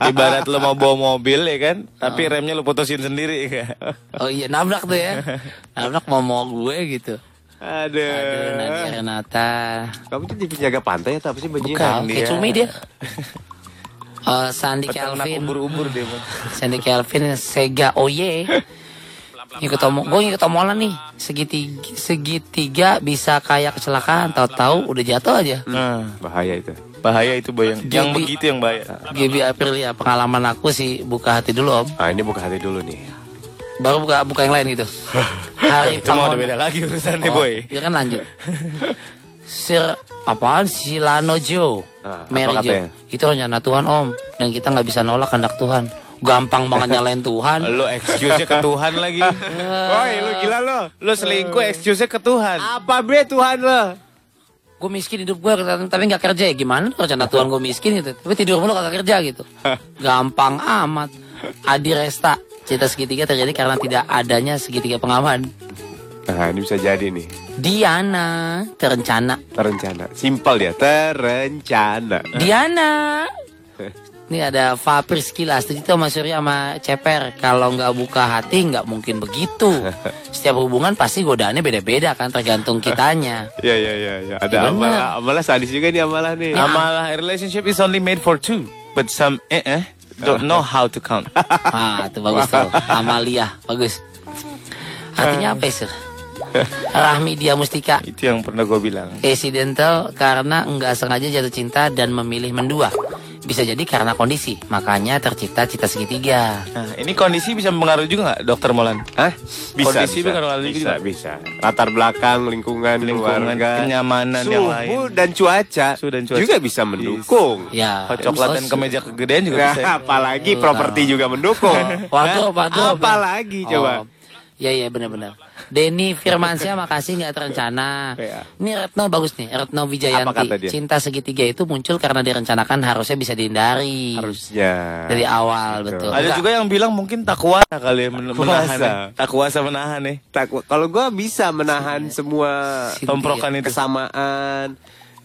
[SPEAKER 2] Ibarat lo mau bawa mobil ya kan, tapi remnya lo putusin sendiri. Ya. kan?
[SPEAKER 5] oh iya nabrak tuh ya. Nabrak mau mau gue gitu. Aduh,
[SPEAKER 9] Aduh.
[SPEAKER 5] Nadia Renata.
[SPEAKER 9] Kamu tuh di penjaga pantai atau apa sih
[SPEAKER 2] Iya
[SPEAKER 9] Iya. bajunya?
[SPEAKER 2] kan,
[SPEAKER 5] Bukan, kayak cumi dia. Eh, Sandi
[SPEAKER 2] Peternak
[SPEAKER 5] Kelvin.
[SPEAKER 2] ubur-ubur dia. Bang.
[SPEAKER 5] Sandy Kelvin Sega Oye ngikut omo gue ngikut omolan nih segitiga, segitiga bisa kayak kecelakaan tahu-tahu udah jatuh aja
[SPEAKER 2] Nah,
[SPEAKER 9] Bahaya itu.
[SPEAKER 2] bahaya itu boy yang, yang
[SPEAKER 5] Jadi-
[SPEAKER 2] begitu yang bahaya.
[SPEAKER 5] Gibi Aprilia ya, pengalaman aku sih buka hati dulu om
[SPEAKER 9] Ah, ini buka hati dulu nih.
[SPEAKER 5] baru buka buka yang lain gitu hari
[SPEAKER 2] Itu mah udah
[SPEAKER 5] Pangon-
[SPEAKER 2] beda lagi urusannya
[SPEAKER 5] Oh,
[SPEAKER 2] boy.
[SPEAKER 5] ya kan lanjut Sir apaan Silano Jo
[SPEAKER 9] Ah, apa
[SPEAKER 5] Mary Jo
[SPEAKER 9] katanya?
[SPEAKER 5] itu rencana Tuhan om dan kita nggak bisa nolak kehendak Tuhan gampang banget nyalain Tuhan
[SPEAKER 2] Lo excuse-nya ke Tuhan lagi.
[SPEAKER 5] Eh.
[SPEAKER 9] Woi, lu gila lo.
[SPEAKER 2] Lo selingkuh excuse-nya ke Tuhan.
[SPEAKER 9] Eh. Apa bre Tuhan lo?
[SPEAKER 5] gue miskin hidup gue tapi nggak kerja ya gimana tuh rencana Tuhan gue miskin gitu tapi tidur mulu kagak kerja gitu gampang amat Adi Resta cerita segitiga terjadi karena tidak adanya segitiga pengaman
[SPEAKER 9] Nah, ini bisa jadi nih.
[SPEAKER 5] Diana terencana
[SPEAKER 9] Terencana. Simpel dia, terencana.
[SPEAKER 2] Eh?
[SPEAKER 5] Diana ini ada Fapir sekilas itu sama Surya sama Ceper kalau nggak buka hati nggak mungkin begitu setiap hubungan pasti godaannya beda-beda kan tergantung kitanya
[SPEAKER 9] Ya ya ya ya.
[SPEAKER 5] Iya,
[SPEAKER 9] Ada amalah, amalah sadis juga nih amalah nih.
[SPEAKER 2] Amalah a relationship is only made for two, but some eh eh don't know how to count.
[SPEAKER 5] Ah, itu bagus tuh. Amalia, bagus. Artinya apa sih? Rahmi dia mustika.
[SPEAKER 2] Itu yang pernah gue bilang.
[SPEAKER 5] accidental karena nggak sengaja jatuh cinta dan memilih mendua. Bisa jadi karena kondisi, makanya tercipta cita segitiga.
[SPEAKER 2] Nah, ini kondisi bisa mempengaruhi juga nggak, Dokter Molan? Hah?
[SPEAKER 4] Bisa,
[SPEAKER 2] Kondisi
[SPEAKER 4] bisa,
[SPEAKER 2] mempengaruhi
[SPEAKER 4] bisa,
[SPEAKER 2] juga.
[SPEAKER 4] bisa. Latar belakang, lingkungan,
[SPEAKER 2] Lingkungan,
[SPEAKER 4] keluarga,
[SPEAKER 2] kenyamanan yang lain.
[SPEAKER 4] suhu dan cuaca, Iya,
[SPEAKER 2] Suhu dan cuaca.
[SPEAKER 4] juga bisa mendukung.
[SPEAKER 5] Ya,
[SPEAKER 2] Hot coklat dan kemeja kegedean juga bisa. ya?
[SPEAKER 4] Nah, apalagi properti juga mendukung.
[SPEAKER 5] Waduh, waduh.
[SPEAKER 4] Apalagi coba.
[SPEAKER 5] Ya ya benar-benar. Denny Firmansyah makasih nggak terencana.
[SPEAKER 4] Iya.
[SPEAKER 5] Ini Retno bagus nih,
[SPEAKER 4] Apa kata
[SPEAKER 5] Retno Wijayanti.
[SPEAKER 4] dia?
[SPEAKER 5] Cinta segitiga itu muncul karena direncanakan harusnya bisa dihindari.
[SPEAKER 4] Harusnya. Gitu.
[SPEAKER 5] Dari awal betul.
[SPEAKER 2] Ada
[SPEAKER 5] Enggak.
[SPEAKER 2] juga yang bilang mungkin takwa kali ya men- menahan.
[SPEAKER 4] Kuasa.
[SPEAKER 2] ya. Takwa sama menahan nih.
[SPEAKER 4] Takwa. Kalau gua bisa menahan semua
[SPEAKER 5] Segitiga.
[SPEAKER 2] Tomprokan itu.
[SPEAKER 4] Iya. kesamaan,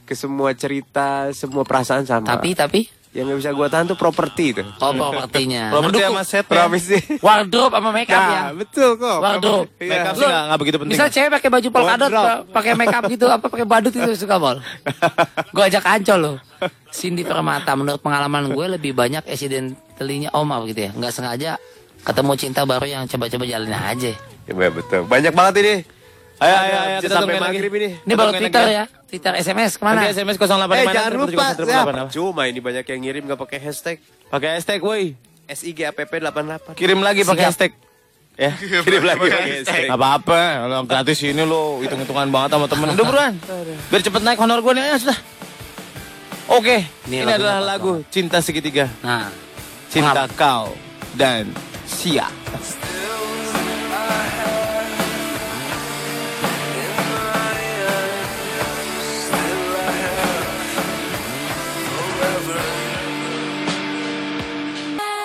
[SPEAKER 4] ke semua cerita, semua perasaan sama.
[SPEAKER 5] Tapi tapi
[SPEAKER 4] yang nggak bisa gua tahan tuh properti itu.
[SPEAKER 5] oh propertinya.
[SPEAKER 2] Properti sama
[SPEAKER 5] Mendukung.
[SPEAKER 2] set
[SPEAKER 4] Properti.
[SPEAKER 5] Wardrobe sama make up ya.
[SPEAKER 4] Nah, betul kok.
[SPEAKER 5] Wardrobe.
[SPEAKER 4] Iya.
[SPEAKER 2] Makeup sih nggak nggak begitu penting.
[SPEAKER 5] Misal cewek pakai baju polkadot,
[SPEAKER 4] Wardrobe.
[SPEAKER 5] pa- pakai make up gitu, apa pakai badut itu suka bol. Gue ajak ancol loh. Cindy Permata, menurut pengalaman gue lebih banyak accidentally-nya om apa gitu ya. Nggak sengaja ketemu cinta baru yang coba-coba jalin aja.
[SPEAKER 4] Iya, betul. Banyak banget ini.
[SPEAKER 2] Ayo ayo ayo kita
[SPEAKER 4] sampai
[SPEAKER 2] tungguin lagi.
[SPEAKER 4] maghrib ini.
[SPEAKER 5] Ini baru
[SPEAKER 2] Tungguin
[SPEAKER 5] Twitter
[SPEAKER 2] lagi.
[SPEAKER 5] ya. Twitter SMS
[SPEAKER 2] Nanti
[SPEAKER 5] kemana?
[SPEAKER 2] SMS 08
[SPEAKER 4] Eh
[SPEAKER 2] mana,
[SPEAKER 4] jangan
[SPEAKER 2] 138,
[SPEAKER 4] lupa ya,
[SPEAKER 2] apa?
[SPEAKER 4] Cuma ini banyak yang ngirim nggak pakai hashtag
[SPEAKER 2] Pakai hashtag woi.
[SPEAKER 4] SIGAPP88
[SPEAKER 2] Kirim lagi pakai
[SPEAKER 5] Sigap.
[SPEAKER 2] hashtag. Ya,
[SPEAKER 4] Kirim lagi pakai hashtag
[SPEAKER 2] Nggak apa-apa, lo gratis ini lo hitung-hitungan banget sama temen. Udah buruan, biar cepet naik honor gue nih, ayo, sudah. Oke, ini,
[SPEAKER 5] Ini lagu
[SPEAKER 2] adalah
[SPEAKER 5] apa,
[SPEAKER 2] lagu Cinta Segitiga,
[SPEAKER 5] Nah,
[SPEAKER 2] Cinta Kau dan Sia.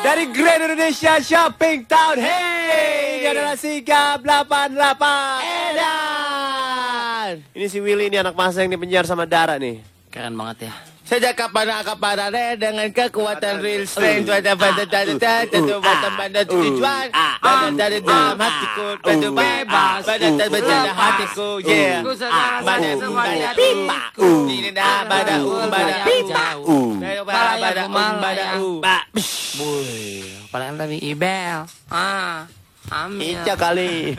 [SPEAKER 4] Dari Grand Indonesia Shopping Town Hey Ini adalah Sigap 88 Edan Ini si Willy ini anak masa yang dipenjara sama Dara nih
[SPEAKER 5] keren banget ya.
[SPEAKER 2] Sejak kapan kapan dengan kekuatan real strength pada
[SPEAKER 4] Ah,
[SPEAKER 2] pada dari tentu pada tujuan pada dari dalam hatiku pada
[SPEAKER 4] ah,
[SPEAKER 2] bebas pada terbejar hatiku yeah
[SPEAKER 5] Ah,
[SPEAKER 2] pada semuanya pipa ini dah pada u pada pipa pada pada u pada u
[SPEAKER 5] Apalagi tapi Ibel. Ah, Amil.
[SPEAKER 4] Icak kali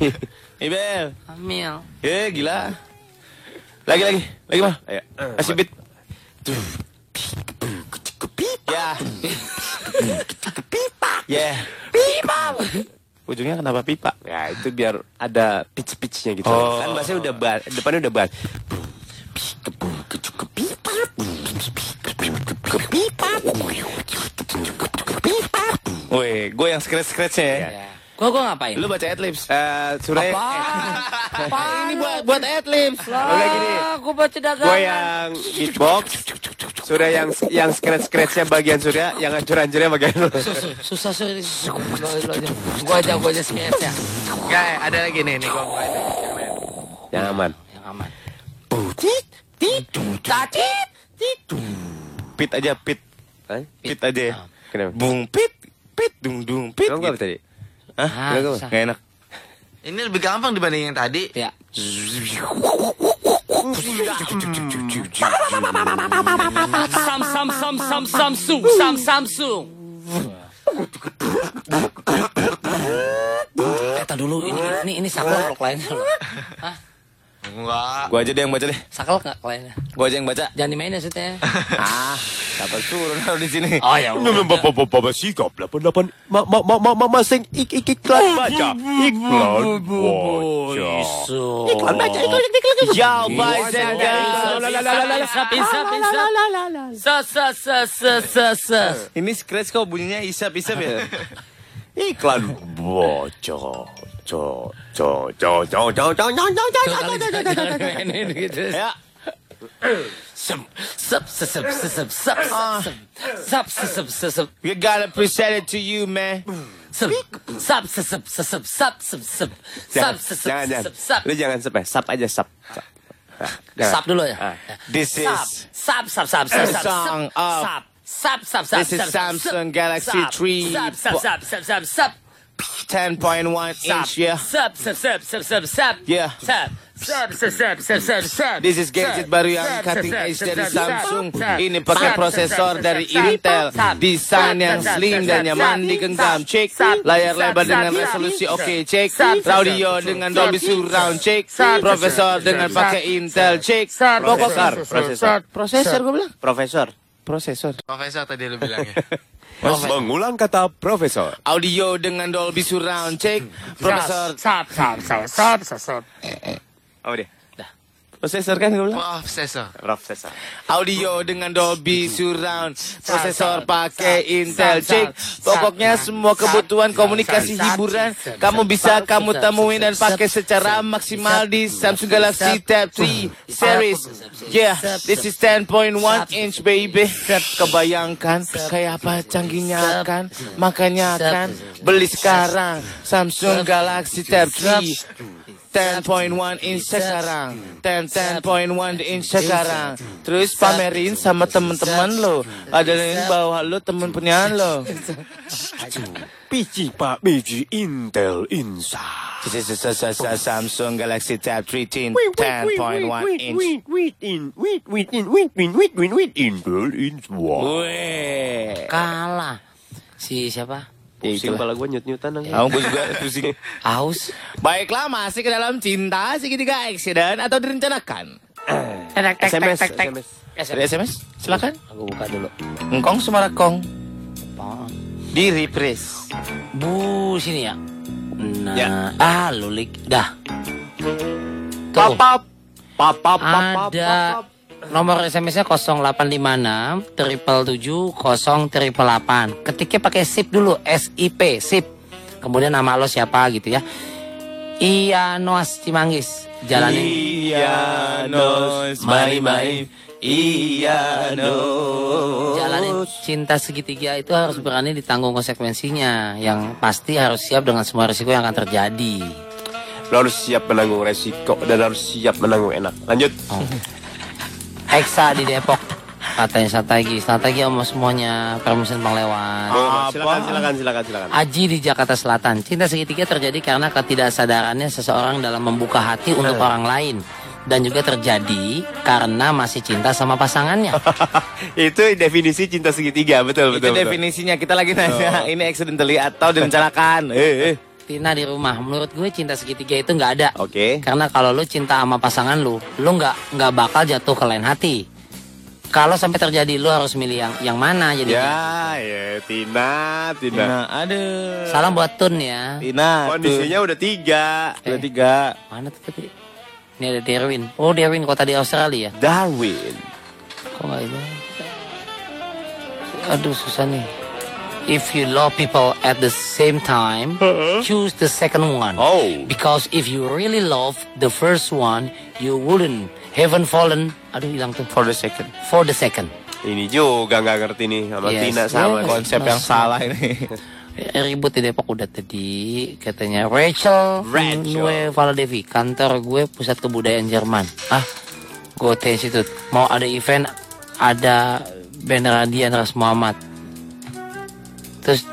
[SPEAKER 2] Ibel
[SPEAKER 5] Amil.
[SPEAKER 2] eh gila lagi lagi lagi mah
[SPEAKER 4] Ayo.
[SPEAKER 2] kasih beat ya ya pipa ujungnya kenapa pipa
[SPEAKER 4] Ya itu biar ada pitch-pitchnya gitu
[SPEAKER 2] Oh.
[SPEAKER 4] Kan bahasanya udah ban Depannya udah ban
[SPEAKER 2] Woi, gue yang scratch-scratchnya ya.
[SPEAKER 5] Gua gua ngapain?
[SPEAKER 2] Lu baca Adlibs.
[SPEAKER 4] Eh Surai
[SPEAKER 5] Apa? Ini buat
[SPEAKER 2] buat Adlibs.
[SPEAKER 4] Oke gini
[SPEAKER 5] gua ya. baca dagangan.
[SPEAKER 4] Gue yang beatbox Surya yang yang scratch-scratchnya bagian Surya Yang hancur-hancurnya bagian lu
[SPEAKER 5] susah susah gua aja gua aja skip ya Guys, ada lagi nih nih gua gua aja.
[SPEAKER 4] Yang aman
[SPEAKER 5] yang aman
[SPEAKER 4] Butit
[SPEAKER 5] tatit
[SPEAKER 2] Pit aja, pit.
[SPEAKER 4] Eh?
[SPEAKER 2] Pit aja ya.
[SPEAKER 4] Kenapa?
[SPEAKER 2] Bung pit, pit dung dung pit.
[SPEAKER 4] Kamu apa tadi?
[SPEAKER 2] Hah?
[SPEAKER 5] Ah,
[SPEAKER 2] Nggak, nggak,
[SPEAKER 5] susah.
[SPEAKER 2] nggak enak.
[SPEAKER 10] Ini lebih gampang dibanding yang tadi.
[SPEAKER 5] ya sam sam sam sam samsung sam samsung Eh, tar dulu ini ini ini saklek loh kliennya loh.
[SPEAKER 10] Enggak.
[SPEAKER 2] Gua aja deh yang baca deh.
[SPEAKER 5] Saklek nggak kliennya?
[SPEAKER 2] Gua aja yang baca.
[SPEAKER 5] Jangan dimainin maksudnya.
[SPEAKER 2] Ah, siapa suruh naruh di sini?
[SPEAKER 5] Oh ya. udah.
[SPEAKER 4] sikap 88 ma ma ma ma ma masing ik ik iklan baca iklan baca
[SPEAKER 5] Isu.
[SPEAKER 4] iklan baca iklan iklan iklan ya
[SPEAKER 2] Oh, iya.
[SPEAKER 5] Isap, isap, isap. Sa, sa, sa, sa, sa, sa.
[SPEAKER 2] Ini scratch kok bunyinya isap-isap ya?
[SPEAKER 4] iklan baca co co co co co co co co co co
[SPEAKER 5] Ya. Sep, sep, sep, sep, sep, sep, sep, sep, sep, sep, sep, sep,
[SPEAKER 2] We gotta present it to you, man.
[SPEAKER 5] sep, sep, sep, sep, sep, sep, sep, sep, sep,
[SPEAKER 4] jangan
[SPEAKER 5] sep,
[SPEAKER 4] jangan jangan
[SPEAKER 5] sep, sep, sep, sep.
[SPEAKER 2] Eh,
[SPEAKER 4] lu jangan sep ya. sap aja sap Sap. Jangan.
[SPEAKER 5] Sap dulu ya.
[SPEAKER 2] This is
[SPEAKER 5] Sap, sap, sap, sap, sap,
[SPEAKER 2] Song
[SPEAKER 5] sap,
[SPEAKER 2] of-
[SPEAKER 5] sap, sap, sap, sap,
[SPEAKER 2] This is
[SPEAKER 5] sap, sap,
[SPEAKER 2] Samsung
[SPEAKER 5] sap,
[SPEAKER 2] Galaxy
[SPEAKER 5] sap,
[SPEAKER 2] three
[SPEAKER 5] Sap, sap,
[SPEAKER 2] po-
[SPEAKER 5] sap, sap, sap, sap.
[SPEAKER 2] 10.1 inch, yeah.
[SPEAKER 5] Sub, sub, sub, sub, sub, sub.
[SPEAKER 2] Yeah.
[SPEAKER 5] Sub. Sub, sub, sub, sub, sub, sub.
[SPEAKER 2] This is gadget baru yang
[SPEAKER 5] Sub,
[SPEAKER 2] cutting
[SPEAKER 5] sub,
[SPEAKER 2] edge
[SPEAKER 5] sub,
[SPEAKER 2] dari
[SPEAKER 5] sub,
[SPEAKER 2] Samsung.
[SPEAKER 5] sub, sub.
[SPEAKER 2] Ini pakai
[SPEAKER 5] Sub,
[SPEAKER 2] prosesor
[SPEAKER 5] sub, sub,
[SPEAKER 2] dari
[SPEAKER 5] sub, sub,
[SPEAKER 2] Intel.
[SPEAKER 5] sub.
[SPEAKER 2] Desain
[SPEAKER 5] Sub,
[SPEAKER 2] yang
[SPEAKER 5] sub,
[SPEAKER 2] slim
[SPEAKER 5] sub,
[SPEAKER 2] dan
[SPEAKER 5] sub,
[SPEAKER 2] nyaman
[SPEAKER 5] sub,
[SPEAKER 2] digenggam.
[SPEAKER 5] sub,
[SPEAKER 2] Cek.
[SPEAKER 5] sub,
[SPEAKER 2] Layar
[SPEAKER 5] sub,
[SPEAKER 2] lebar
[SPEAKER 5] sub,
[SPEAKER 2] dengan
[SPEAKER 5] sub,
[SPEAKER 2] resolusi
[SPEAKER 5] sub,
[SPEAKER 2] oke.
[SPEAKER 5] sub,
[SPEAKER 2] Cek.
[SPEAKER 5] sub, sub,
[SPEAKER 2] Radio
[SPEAKER 5] sub,
[SPEAKER 2] dengan
[SPEAKER 5] sub,
[SPEAKER 2] Dolby
[SPEAKER 5] sub,
[SPEAKER 2] Surround.
[SPEAKER 5] sub,
[SPEAKER 2] Cek.
[SPEAKER 5] sub,
[SPEAKER 2] Profesor
[SPEAKER 5] sub,
[SPEAKER 2] dengan
[SPEAKER 5] sub,
[SPEAKER 2] pakai
[SPEAKER 5] sub,
[SPEAKER 2] Intel. Cek.
[SPEAKER 5] sub,
[SPEAKER 2] Profesor.
[SPEAKER 5] sub,
[SPEAKER 2] Prosesor.
[SPEAKER 5] sub, Prosesor gue bilang.
[SPEAKER 2] Profesor. Prosesor.
[SPEAKER 7] Profesor tadi lu bilang ya.
[SPEAKER 2] Mas
[SPEAKER 4] mengulang kata profesor.
[SPEAKER 2] Audio dengan Dolby Surround. Cek. Profesor.
[SPEAKER 5] Sub, sub, sub, sub, sub, sub.
[SPEAKER 2] Apa dia? Prosesor kan gue bilang?
[SPEAKER 7] Profesor.
[SPEAKER 2] Profesor. Audio dengan Dolby surround, prosesor pakai Intel Cek. Pokoknya semua kebutuhan komunikasi hiburan kamu bisa kamu temuin dan pakai secara maksimal di Samsung Galaxy Tab 3 series. Yeah, this is 10.1 inch baby. Kebayangkan kayak apa canggihnya kan? Makanya kan beli sekarang Samsung Galaxy Tab 3. 10.1 inch sekarang 10 10.1 inch sekarang terus pamerin sama temen-temen lo ada yang bawah lo temen punya lo
[SPEAKER 4] Pici Pak Biji Intel Insa.
[SPEAKER 2] Samsung Galaxy Tab 3
[SPEAKER 6] Wait, wait, wait, wait,
[SPEAKER 2] 10.1 inch
[SPEAKER 6] wait, wait, in, wait, wait, in, wait, wait, wait, wait, wait, Intel Insa.
[SPEAKER 2] Weh.
[SPEAKER 5] Kalah. Si
[SPEAKER 4] Iya,
[SPEAKER 5] siapa?
[SPEAKER 9] Pusing
[SPEAKER 2] Ya, itulah.
[SPEAKER 9] kepala gue nyut-nyutan lagi.
[SPEAKER 2] Ah, gua juga pusing.
[SPEAKER 5] Aus.
[SPEAKER 2] Baiklah, masih ke dalam cinta segitiga accident atau direncanakan.
[SPEAKER 5] Tek, tek,
[SPEAKER 9] SMS,
[SPEAKER 5] tek, tek.
[SPEAKER 9] SMS.
[SPEAKER 2] Dari SMS, silakan.
[SPEAKER 5] Aku buka dulu.
[SPEAKER 2] Engkong Sumarakong
[SPEAKER 5] Apaan?
[SPEAKER 2] di reprise.
[SPEAKER 5] Bu, sini ya. Nah,
[SPEAKER 2] Ya.
[SPEAKER 5] ah lulik. Dah. Tuh.
[SPEAKER 9] Papap. Papap, papap,
[SPEAKER 5] Ada nomor SMS-nya 0856 triple 7 0 triple 8. Ketiknya pakai SIP dulu, SIP, SIP. Kemudian nama lo siapa gitu ya. Iya Noas Cimanggis. Jalanin.
[SPEAKER 2] Iya, nos, mari, mari. Iya, nos.
[SPEAKER 5] Jalanin cinta segitiga itu harus berani ditanggung konsekuensinya. Yang pasti harus siap dengan semua risiko yang akan terjadi.
[SPEAKER 6] Lo harus siap menanggung resiko dan harus siap menanggung enak. Lanjut.
[SPEAKER 5] Eksa di Depok. Katanya strategi, strategi sama semuanya. Permission Panglewan.
[SPEAKER 9] Silakan, silakan, silakan, silakan.
[SPEAKER 5] Aji di Jakarta Selatan. Cinta segitiga terjadi karena ketidaksadarannya seseorang dalam membuka hati untuk orang lain dan juga terjadi karena masih cinta sama pasangannya.
[SPEAKER 9] Itu definisi cinta segitiga, betul,
[SPEAKER 2] Itu
[SPEAKER 9] betul. betul.
[SPEAKER 2] definisinya kita lagi nanya ini accidentally atau direncanakan. Eh, eh.
[SPEAKER 5] Tina di rumah, menurut gue cinta segitiga itu nggak ada.
[SPEAKER 9] Oke.
[SPEAKER 5] Karena kalau lu cinta sama pasangan lu, lu nggak nggak bakal jatuh ke lain hati. Kalau sampai terjadi, lu harus milih yang yang mana. Jadi
[SPEAKER 9] Ya, ya, Tina, Tina.
[SPEAKER 2] Nah, aduh.
[SPEAKER 5] salam buat Tun ya.
[SPEAKER 2] Tina,
[SPEAKER 9] Kondisinya udah tiga.
[SPEAKER 2] tuh. dua tiga.
[SPEAKER 5] Mana tuh tadi? Ini ada Derwin. Oh Derwin kota di Australia.
[SPEAKER 9] Darwin.
[SPEAKER 5] Kok nggak ini? Aduh susah nih. If you love people at the same time, choose the second one.
[SPEAKER 9] Oh.
[SPEAKER 5] Because if you really love the first one, you wouldn't haven't fallen. Aduh hilang tuh.
[SPEAKER 2] For the second.
[SPEAKER 5] For the second.
[SPEAKER 9] Ini juga nggak ngerti nih sama
[SPEAKER 5] Yes.
[SPEAKER 9] Tina sama.
[SPEAKER 5] Yes.
[SPEAKER 2] Konsep yang
[SPEAKER 5] Mas-
[SPEAKER 2] salah ini.
[SPEAKER 5] Eh, Ribut di Depok udah tadi katanya Rachel,
[SPEAKER 9] Rachel.
[SPEAKER 5] gue Valdevi kantor gue pusat kebudayaan Jerman ah Goethe Institute mau ada event ada band Radian Ras Muhammad terus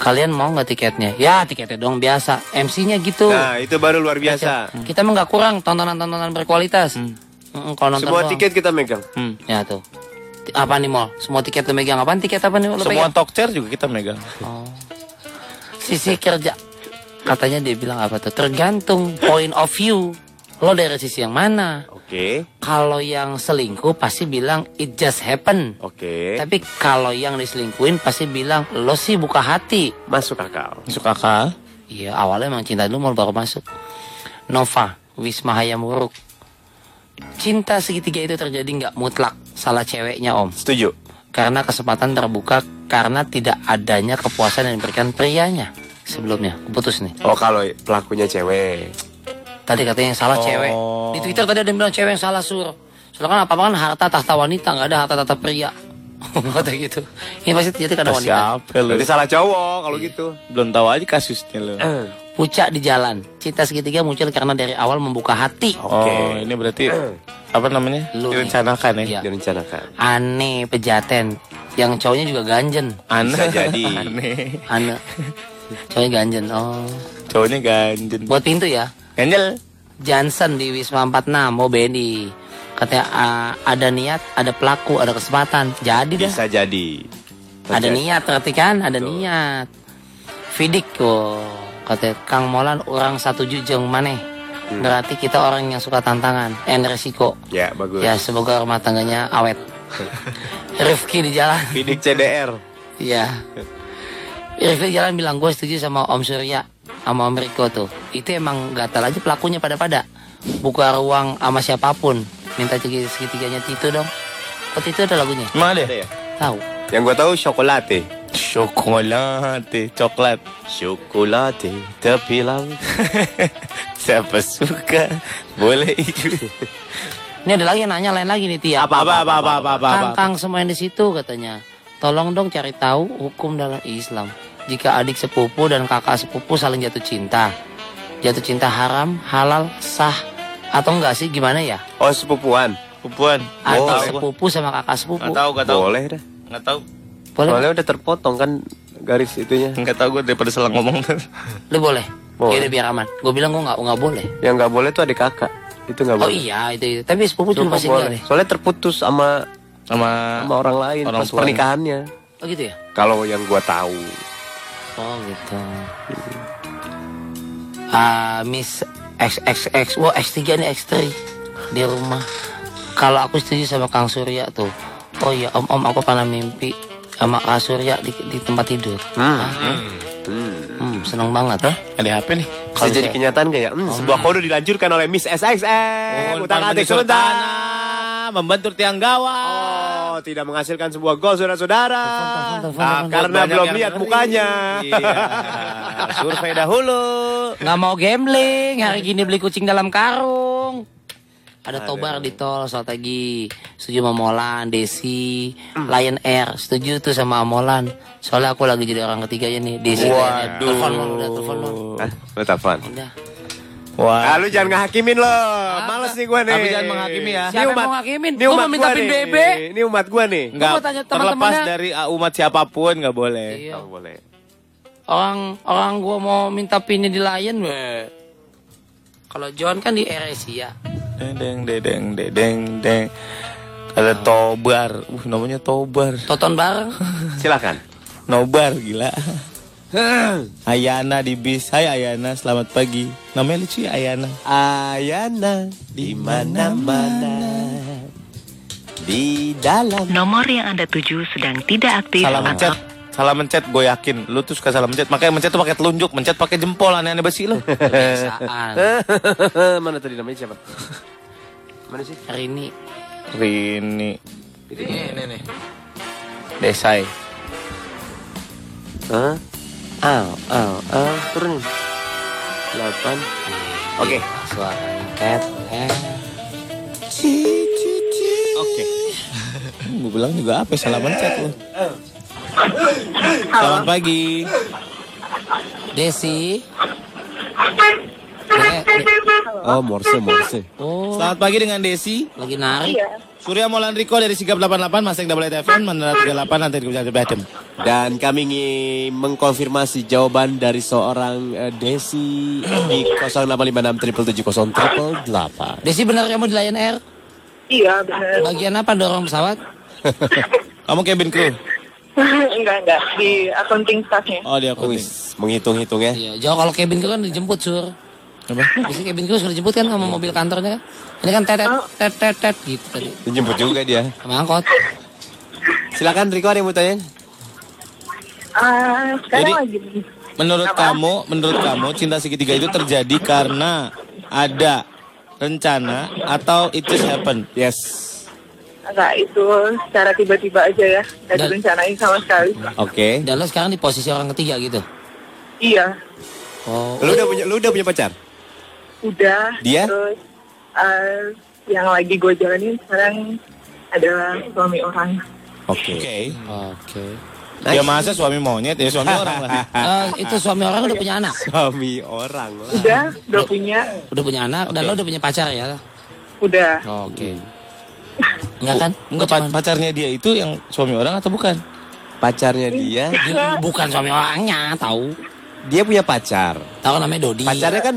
[SPEAKER 5] kalian mau nggak tiketnya ya tiketnya dong biasa MC-nya gitu
[SPEAKER 9] Nah, itu baru luar biasa.
[SPEAKER 5] Rachel, kita mah nggak kurang tontonan-tontonan berkualitas Mm, kalau
[SPEAKER 9] Hmm.
[SPEAKER 5] nonton
[SPEAKER 9] Semua
[SPEAKER 5] doang.
[SPEAKER 9] tiket kita megang.
[SPEAKER 5] ya tuh Ti- apa nih mall semua tiket lo megang apaan tiket apa nih lo
[SPEAKER 2] Semua
[SPEAKER 5] pegang?
[SPEAKER 2] talk chair juga kita megang.
[SPEAKER 5] sisi kerja katanya dia bilang apa tuh tergantung point of view lo dari sisi yang mana
[SPEAKER 9] Oke,
[SPEAKER 5] kalau yang selingkuh pasti bilang it just happen
[SPEAKER 9] oke.
[SPEAKER 5] tapi kalau yang diselingkuin pasti bilang lo sih buka hati
[SPEAKER 9] Masuk akal.
[SPEAKER 2] Masuk akal.
[SPEAKER 5] iya awalnya emang cinta dulu mau baru masuk Nova Wisma Hayamuruk cinta segitiga itu terjadi nggak mutlak salah ceweknya om
[SPEAKER 9] Setuju.
[SPEAKER 5] karena kesempatan terbuka karena tidak adanya kepuasan yang diberikan prianya sebelumnya putus nih
[SPEAKER 9] Oh, kalau pelakunya cewek.
[SPEAKER 5] Tadi katanya yang salah cewek. Di Twitter tadi ada yang bilang cewek yang salah sur. Soalnya kan apa-apa kan harta tahta wanita, nggak ada harta tahta pria. Kata gitu. Ini pasti jadi karena wanita.
[SPEAKER 2] Nah, Siapa lu?
[SPEAKER 9] Berarti salah cowok kalau gitu.
[SPEAKER 2] Belum tahu aja kasusnya lu.
[SPEAKER 5] Puncak di jalan. Cinta segitiga muncul karena dari awal membuka hati.
[SPEAKER 2] Oh, ini berarti apa namanya?
[SPEAKER 5] Lu nih.
[SPEAKER 2] Direncanakan ya.
[SPEAKER 5] Iya.
[SPEAKER 9] Direncanakan.
[SPEAKER 5] Aneh pejaten. Yang cowoknya juga ganjen.
[SPEAKER 2] Aneh.
[SPEAKER 9] Bisa jadi.
[SPEAKER 2] Aneh.
[SPEAKER 5] Aneh. Cowoknya ganjen. Oh.
[SPEAKER 2] Cowoknya ganjen.
[SPEAKER 5] Buat pintu ya?
[SPEAKER 2] Ganjel.
[SPEAKER 5] Johnson di Wisma 46 mau BNI. Katanya ah, ada niat, ada pelaku, ada kesempatan. Jadi dah.
[SPEAKER 2] Bisa jadi.
[SPEAKER 5] Ada niat berarti kan? Ada niat. Fidik kok. Katanya Kang Molan orang satu jujung maneh. Berarti kita orang yang suka tantangan and resiko.
[SPEAKER 2] Ya, bagus.
[SPEAKER 5] Ya, semoga rumah tangganya awet. Rifki di jalan.
[SPEAKER 2] Bidik CDR.
[SPEAKER 5] Iya. Rifki di jalan bilang gue setuju sama Om Surya sama Om Riko tuh. Itu emang gatal aja pelakunya pada-pada. Buka ruang sama siapapun. Minta segi- segitiganya Tito dong. Oh Tito ada lagunya?
[SPEAKER 2] Mana ada ya?
[SPEAKER 5] Tahu.
[SPEAKER 8] Yang gue tahu syokolate.
[SPEAKER 2] Syokolate, coklat.
[SPEAKER 8] Syokolate tapi lang.
[SPEAKER 2] Siapa suka boleh ikut.
[SPEAKER 5] Ini ada lagi yang nanya lain lagi nih Tia.
[SPEAKER 8] Apa apa apa apa apa apa.
[SPEAKER 5] Kang, Kang semua yang di situ katanya. Tolong dong cari tahu hukum dalam Islam. Jika adik sepupu dan kakak sepupu saling jatuh cinta. Jatuh cinta haram, halal, sah atau enggak sih gimana ya?
[SPEAKER 8] Oh sepupuan.
[SPEAKER 2] Pupuan.
[SPEAKER 5] Atau
[SPEAKER 2] Boleh.
[SPEAKER 5] sepupu sama kakak sepupu.
[SPEAKER 9] Oh,
[SPEAKER 2] Nggak tahu, nggak tahu.
[SPEAKER 8] Oh, Boleh dah.
[SPEAKER 2] Nggak tahu.
[SPEAKER 5] Boleh?
[SPEAKER 8] Soalnya udah terpotong kan garis itunya.
[SPEAKER 2] Nggak tahu gue daripada salah ngomong.
[SPEAKER 5] Lu boleh?
[SPEAKER 8] Boleh.
[SPEAKER 5] Yaudah biar aman. Gue bilang gue nggak nggak boleh.
[SPEAKER 8] Yang nggak boleh tuh adik kakak. Itu nggak
[SPEAKER 5] Oh
[SPEAKER 8] boleh.
[SPEAKER 5] iya itu, ya? itu. Tapi sepupu
[SPEAKER 8] Itu nggak
[SPEAKER 5] cuma pasti
[SPEAKER 8] boleh.
[SPEAKER 5] enggak deh.
[SPEAKER 8] Soalnya terputus sama
[SPEAKER 2] Sama
[SPEAKER 8] sama orang lain
[SPEAKER 2] Ah, Orang
[SPEAKER 8] pas
[SPEAKER 2] tuanya.
[SPEAKER 8] pernikahannya.
[SPEAKER 5] Oh gitu ya?
[SPEAKER 8] Kalau yang gua tahu.
[SPEAKER 5] Oh gitu. Ah, Miss XXX, wah X3 nih X3 di rumah. Kalau aku setuju sama Kang Surya tuh. Oh iya, Om Om aku pernah mimpi sama Kang Surya di, di tempat tidur. Ah, Hmm, seneng banget.
[SPEAKER 2] ada HP nih.
[SPEAKER 8] Bisa jadi kenyataan kayak hmm, sebuah kode dilanjutkan oleh Miss SXM.
[SPEAKER 2] nah. Oh,
[SPEAKER 8] Utang
[SPEAKER 2] depan
[SPEAKER 8] adik
[SPEAKER 2] menyusul
[SPEAKER 8] sebentar.
[SPEAKER 2] Membentur tiang gawang.
[SPEAKER 8] Oh, tidak menghasilkan sebuah gol saudara-saudara.
[SPEAKER 5] telepon,
[SPEAKER 8] Ah,
[SPEAKER 5] telepon.
[SPEAKER 8] karena
[SPEAKER 2] Banyak
[SPEAKER 8] belum
[SPEAKER 2] yang
[SPEAKER 8] lihat
[SPEAKER 2] ngeri.
[SPEAKER 8] mukanya.
[SPEAKER 2] Iya. Survei dahulu.
[SPEAKER 5] Nggak mau gambling, hari gini beli kucing dalam karung. Ada tobar di tol soal tadi. Setuju sama Molan, Desi, Lion Air. Setuju tuh sama Molan. Soalnya aku lagi jadi orang ketiga ya nih. Desi, Lion Air. Telepon Mon, udah telepon Mon.
[SPEAKER 8] Lu telepon.
[SPEAKER 5] Udah.
[SPEAKER 8] Ah,
[SPEAKER 2] Wah.
[SPEAKER 8] lu jangan ngehakimin lo. Males nih gue nih.
[SPEAKER 2] Tapi jangan menghakimi ya.
[SPEAKER 5] Siapa yang mau ngakimin? Gua mau minta pin BB.
[SPEAKER 8] Ini umat gue nih.
[SPEAKER 2] Nggak,
[SPEAKER 5] mau tanya teman-temannya.
[SPEAKER 2] terlepas dari uh, umat siapapun nggak boleh.
[SPEAKER 5] Iya.
[SPEAKER 8] boleh.
[SPEAKER 5] Orang orang gua mau minta pinnya di Lion. weh. Kalau John kan di Air Asia.
[SPEAKER 2] Dedeng, dedeng, dedeng, dedeng. Ada tobar. Uh, namanya tobar.
[SPEAKER 5] Tonton bareng.
[SPEAKER 8] Silakan.
[SPEAKER 2] Nobar gila. Ayana di bis. Hai Ayana, selamat pagi. Namanya lucu ya Ayana.
[SPEAKER 4] Ayana di mana-mana di dalam
[SPEAKER 11] Nomor yang Anda tuju sedang tidak aktif
[SPEAKER 2] Salah mencet. Salah mencet gue yakin. Lu tuh suka salah mencet. Makanya mencet tuh pakai telunjuk, mencet pakai jempol aneh-aneh basi lu.
[SPEAKER 5] Kebiasaan.
[SPEAKER 8] Mana tadi namanya siapa? Mana sih?
[SPEAKER 5] Rini.
[SPEAKER 2] Rini
[SPEAKER 7] Ini, ini, ini.
[SPEAKER 2] Desai.
[SPEAKER 8] Hah? Aw, aw, aw. Turun. Delapan. Oke.
[SPEAKER 5] Suara ket.
[SPEAKER 2] Oke. Gue bilang juga apa salah mencet lu. Selamat pagi.
[SPEAKER 5] Desi.
[SPEAKER 4] oh morse morse
[SPEAKER 5] Oh,
[SPEAKER 2] Selamat pagi dengan Desi.
[SPEAKER 5] lagi nari.
[SPEAKER 1] Iya.
[SPEAKER 2] Surya Molan Riko dari Sigap 88 Masing Double Eight FM Menara 38 nanti di Kebutuhan Batem.
[SPEAKER 4] dan kami ingin mengkonfirmasi jawaban dari seorang eh, Desi di 0856 triple
[SPEAKER 5] Desi benar kamu di Lion Air?
[SPEAKER 1] Iya benar.
[SPEAKER 5] Bagian apa dorong pesawat?
[SPEAKER 2] Kamu cabin crew.
[SPEAKER 1] enggak enggak di accounting staffnya.
[SPEAKER 2] Oh dia aku.
[SPEAKER 4] menghitung-hitung ya
[SPEAKER 5] Iya, jauh kalau cabin crew kan dijemput sur. Bisa cabin crew sudah dijemput kan sama mobil kantornya kan? Ini kan tetet tet tet tet gitu tadi.
[SPEAKER 4] dijemput juga dia
[SPEAKER 5] Sama angkot.
[SPEAKER 4] silakan Riko ada yang mau tanya
[SPEAKER 1] Ah, sekarang lagi
[SPEAKER 2] Menurut kamu, menurut kamu cinta segitiga itu terjadi karena ada rencana atau it just happen?
[SPEAKER 4] yes
[SPEAKER 1] enggak itu secara tiba-tiba aja ya. Enggak
[SPEAKER 5] Dan-
[SPEAKER 1] direncanain sama sekali.
[SPEAKER 4] oke
[SPEAKER 5] Dan lo sekarang di posisi orang ketiga gitu.
[SPEAKER 1] Iya,
[SPEAKER 5] Oh,
[SPEAKER 4] lu udah punya lu udah punya pacar
[SPEAKER 1] udah.
[SPEAKER 4] Dia?
[SPEAKER 1] Terus ah, yang lagi gue jalanin sekarang adalah suami orang.
[SPEAKER 4] oke
[SPEAKER 2] Oke.
[SPEAKER 5] oke.
[SPEAKER 2] Ya masa suami monyet ya suami orang lah.
[SPEAKER 5] Eh, itu suami orang udah punya anak.
[SPEAKER 4] suami orang lah
[SPEAKER 1] Udah, udah punya,
[SPEAKER 5] Udah punya anak dan lo udah punya pacar ya.
[SPEAKER 1] udah.
[SPEAKER 5] Oke. Enggak kan?
[SPEAKER 2] Enggak
[SPEAKER 5] Enggak
[SPEAKER 2] pa-
[SPEAKER 5] cuman
[SPEAKER 2] pacarnya dia itu yang suami orang atau bukan?
[SPEAKER 4] pacarnya dia
[SPEAKER 5] bukan suami orangnya, tahu.
[SPEAKER 4] dia punya pacar.
[SPEAKER 5] Tahu namanya Dodi.
[SPEAKER 4] Pacarnya kan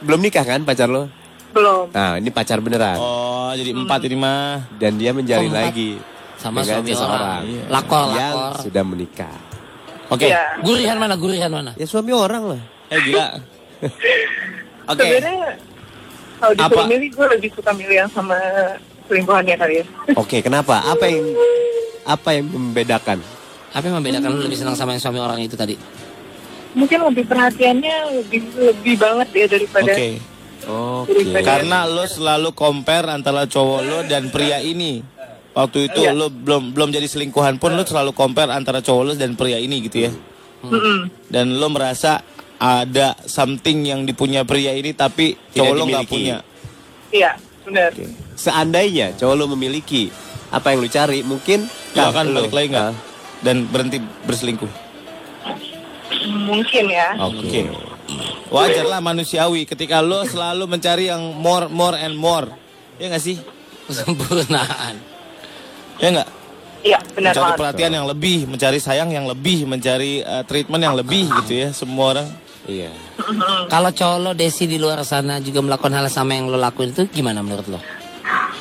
[SPEAKER 4] belum nikah kan pacar lo?
[SPEAKER 1] Belum.
[SPEAKER 4] Nah, ini pacar beneran.
[SPEAKER 2] Oh, jadi empat ini mah.
[SPEAKER 4] Dan dia menjalin
[SPEAKER 5] Oh, empat.
[SPEAKER 4] lagi
[SPEAKER 5] Sama
[SPEAKER 4] dengan
[SPEAKER 5] suami
[SPEAKER 4] seseorang
[SPEAKER 5] orang. Iya. Lakor,
[SPEAKER 4] yang
[SPEAKER 5] lakor.
[SPEAKER 4] sudah menikah.
[SPEAKER 2] Oke.
[SPEAKER 1] Iya.
[SPEAKER 5] Gurihan mana, gurihan mana?
[SPEAKER 4] Ya suami orang lah.
[SPEAKER 2] Eh gila. Oke.
[SPEAKER 1] Sebenarnya kalau disuruh
[SPEAKER 2] Apa?
[SPEAKER 1] milih gue lebih suka milih yang sama selingkuhannya kali ya.
[SPEAKER 4] Oke, kenapa? Apa yang apa yang membedakan?
[SPEAKER 5] Apa yang membedakan lu lebih senang sama yang suami orang itu tadi?
[SPEAKER 1] Mungkin lebih perhatiannya lebih lebih banget ya daripada
[SPEAKER 2] Oke.
[SPEAKER 1] daripada
[SPEAKER 2] Karena lo selalu compare antara cowok lo dan pria ini. Waktu itu
[SPEAKER 4] Iya.
[SPEAKER 2] lo belum belum jadi selingkuhan pun lo selalu compare antara cowok lo dan pria ini gitu ya. Dan lo merasa ada something yang dipunya pria ini tapi cowok lo nggak
[SPEAKER 4] dimiliki.
[SPEAKER 2] punya.
[SPEAKER 1] iya benar.
[SPEAKER 4] Seandainya cowok lo memiliki apa yang lo cari, mungkin
[SPEAKER 2] Nggak akan
[SPEAKER 4] lo-
[SPEAKER 2] Iya kan, balik lagi nggak? Dan berhenti berselingkuh.
[SPEAKER 1] Mungkin ya.
[SPEAKER 2] Oke. Wajar lah manusiawi ketika lo selalu mencari yang more more and more. Ya nggak sih?
[SPEAKER 5] Kesempurnaan.
[SPEAKER 2] Ya nggak?
[SPEAKER 1] Iya benar
[SPEAKER 2] mencari
[SPEAKER 1] banget.
[SPEAKER 2] perhatian yang lebih, mencari sayang yang lebih, mencari eh, treatment yang lebih gitu ya semua orang.
[SPEAKER 4] Iya.
[SPEAKER 5] Kalau cowok lo Desi di luar sana juga melakukan hal sama yang lo lakuin itu gimana menurut lo?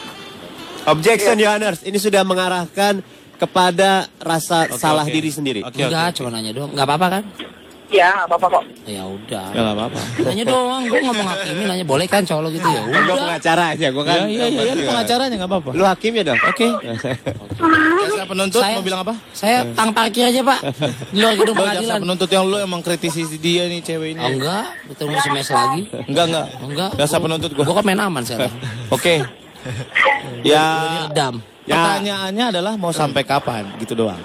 [SPEAKER 2] Iya.
[SPEAKER 4] Objection, Your Honors. Ini sudah mengarahkan kepada rasa salah diri sendiri.
[SPEAKER 2] Oke,
[SPEAKER 5] Enggak, cuma nanya doang. Enggak apa-apa kan?
[SPEAKER 1] Ya nggak apa-apa kok.
[SPEAKER 5] Ya udah.
[SPEAKER 2] Gak apa-apa.
[SPEAKER 5] Nanya doang, gue nggak mau ngakimin, nanya boleh kan cowok lo gitu ya
[SPEAKER 4] Gue
[SPEAKER 5] udah.
[SPEAKER 4] pengacara aja, gue kan.
[SPEAKER 2] Iya, iya, iya, pengacaranya gak apa-apa.
[SPEAKER 4] Lu hakim ya dong? Oke.
[SPEAKER 2] Siapa penuntut
[SPEAKER 5] Saya-
[SPEAKER 2] mau bilang apa?
[SPEAKER 5] Saya tang parkir aja pak, di luar gedung
[SPEAKER 2] Lo jaksa
[SPEAKER 5] pengadilan.
[SPEAKER 2] penuntut yang lo emang kritisi dia nih cewek ini.
[SPEAKER 5] Oh, enggak, betul mau semes lagi.
[SPEAKER 2] Enggak, enggak.
[SPEAKER 5] Oh, enggak.
[SPEAKER 2] Jaksa penuntut
[SPEAKER 5] Gue
[SPEAKER 2] gua.
[SPEAKER 5] kan main aman sekarang.
[SPEAKER 2] Oke.
[SPEAKER 5] Ini
[SPEAKER 2] Ya,
[SPEAKER 5] Redam.
[SPEAKER 2] pertanyaannya adalah mau sampai kapan gitu doang.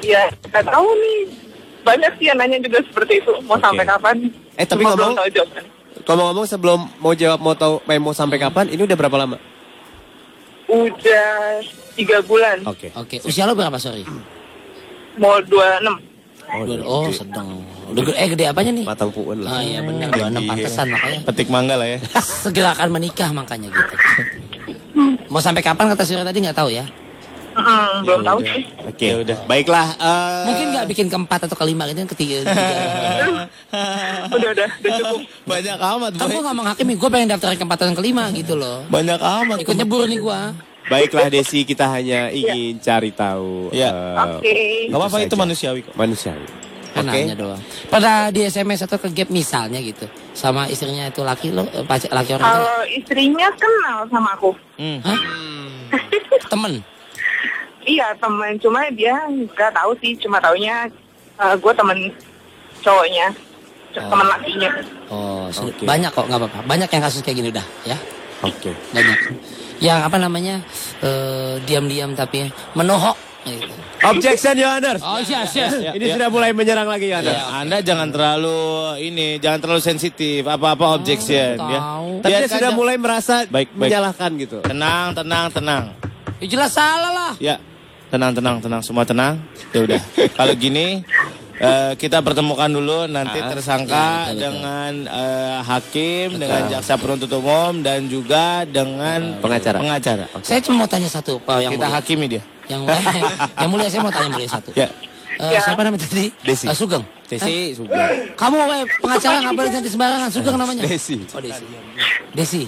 [SPEAKER 1] Ya nggak tahu nih. Banyak sih yang nanya juga seperti itu. Mau sampai kapan?
[SPEAKER 4] Eh, tapi
[SPEAKER 1] Cuma belum
[SPEAKER 4] ngomong-
[SPEAKER 1] tahu jawaban.
[SPEAKER 2] iya.
[SPEAKER 4] Ngomong-ngomong sebelum mau jawab mau tahu eh, mau sampai kapan, ini udah berapa lama?
[SPEAKER 1] Udah tiga bulan.
[SPEAKER 4] Oke.
[SPEAKER 5] Oke, usia lo berapa sorry?
[SPEAKER 1] Mau dua enam.
[SPEAKER 5] Dua- Oh, sedang. Udah gede, eh gede apanya nih?
[SPEAKER 4] Matang puun lah.
[SPEAKER 5] Ah iya benar, 26 pantesan makanya.
[SPEAKER 2] Petik mangga lah ya.
[SPEAKER 5] Segerakan menikah makanya gitu. Mau sampai kapan kata Surya tadi nggak tahu ya?
[SPEAKER 1] Mm, belum tahu sih.
[SPEAKER 4] Oke. Ya udah. Baiklah. eh,
[SPEAKER 5] Mungkin nggak bikin keempat atau kelima gitu, ketiga. ketiga.
[SPEAKER 1] Udah udah udah
[SPEAKER 2] Eh,
[SPEAKER 1] cukup.
[SPEAKER 2] Banyak amat,
[SPEAKER 5] Kan
[SPEAKER 2] Boy.
[SPEAKER 5] gue nggak menghakimi, gue pengen daftar yang keempat dan kelima gitu loh.
[SPEAKER 2] Banyak amat.
[SPEAKER 5] Ikut nyebur nih gue.
[SPEAKER 4] baiklah Desi, kita hanya ingin cari tahu
[SPEAKER 2] Iya.
[SPEAKER 4] eh,
[SPEAKER 1] Oke.
[SPEAKER 2] Gak apa-apa
[SPEAKER 4] Itu
[SPEAKER 2] itu
[SPEAKER 4] saja.
[SPEAKER 2] manusiawi kok.
[SPEAKER 4] manusiawi.
[SPEAKER 5] Kan nanya doang. Pada di SMS atau ke gap misalnya gitu. Sama istrinya itu laki lo, eh, pacar laki orang itu.
[SPEAKER 1] Kalau istrinya kenal sama aku.
[SPEAKER 4] Hmm.
[SPEAKER 5] Hah? Temen.
[SPEAKER 1] Iya temen, cuma dia nggak tahu sih, cuma taunya eh, gue temen cowoknya, c- temen lakinya.
[SPEAKER 5] Oh, sudah. banyak kok nggak apa-apa. Banyak yang kasus kayak gini udah, ya.
[SPEAKER 4] Oke.
[SPEAKER 5] Banyak. Yang apa namanya? eh, diam-diam tapi menohok gitu.
[SPEAKER 4] Objection, Your Honors.
[SPEAKER 5] Oh, yes, yes.
[SPEAKER 4] ini sudah mulai menyerang lagi, Your Honors.
[SPEAKER 2] Ya, Anda jangan terlalu ini, jangan terlalu sensitif, apa-apa objection ya.
[SPEAKER 5] Ah, tahu.
[SPEAKER 4] Tapi dia
[SPEAKER 2] Biarkan
[SPEAKER 4] sudah
[SPEAKER 2] aja.
[SPEAKER 4] mulai merasa
[SPEAKER 2] Baik, baik.
[SPEAKER 4] menyalahkan gitu.
[SPEAKER 2] tenang, tenang, tenang.
[SPEAKER 5] Ya, jelas salah lah.
[SPEAKER 2] Ya, tenang, tenang, tenang, semua tenang. Ya udah. Kalau gini eh, kita pertemukan dulu nanti tersangka
[SPEAKER 5] betul, betul.
[SPEAKER 2] dengan eh, hakim, dengan jaksa penuntut umum dan juga dengan Ah,
[SPEAKER 4] Pengacara.
[SPEAKER 2] Pengacara.
[SPEAKER 5] Saya cuma mau tanya satu, Pak yang
[SPEAKER 2] Kita
[SPEAKER 5] mulia.
[SPEAKER 2] hakimi dia.
[SPEAKER 5] Yang mulia, yang mulia saya mau tanya mulia satu.
[SPEAKER 2] Ya.
[SPEAKER 5] Eh, Siapa namanya tadi?
[SPEAKER 2] Desi.
[SPEAKER 5] Eh, Sugeng.
[SPEAKER 2] Desi, Sugeng.
[SPEAKER 5] Kamu eh, pengacara nggak boleh jadi sembarangan, Sugeng namanya.
[SPEAKER 4] Desi.
[SPEAKER 5] Oh, Desi. Desi,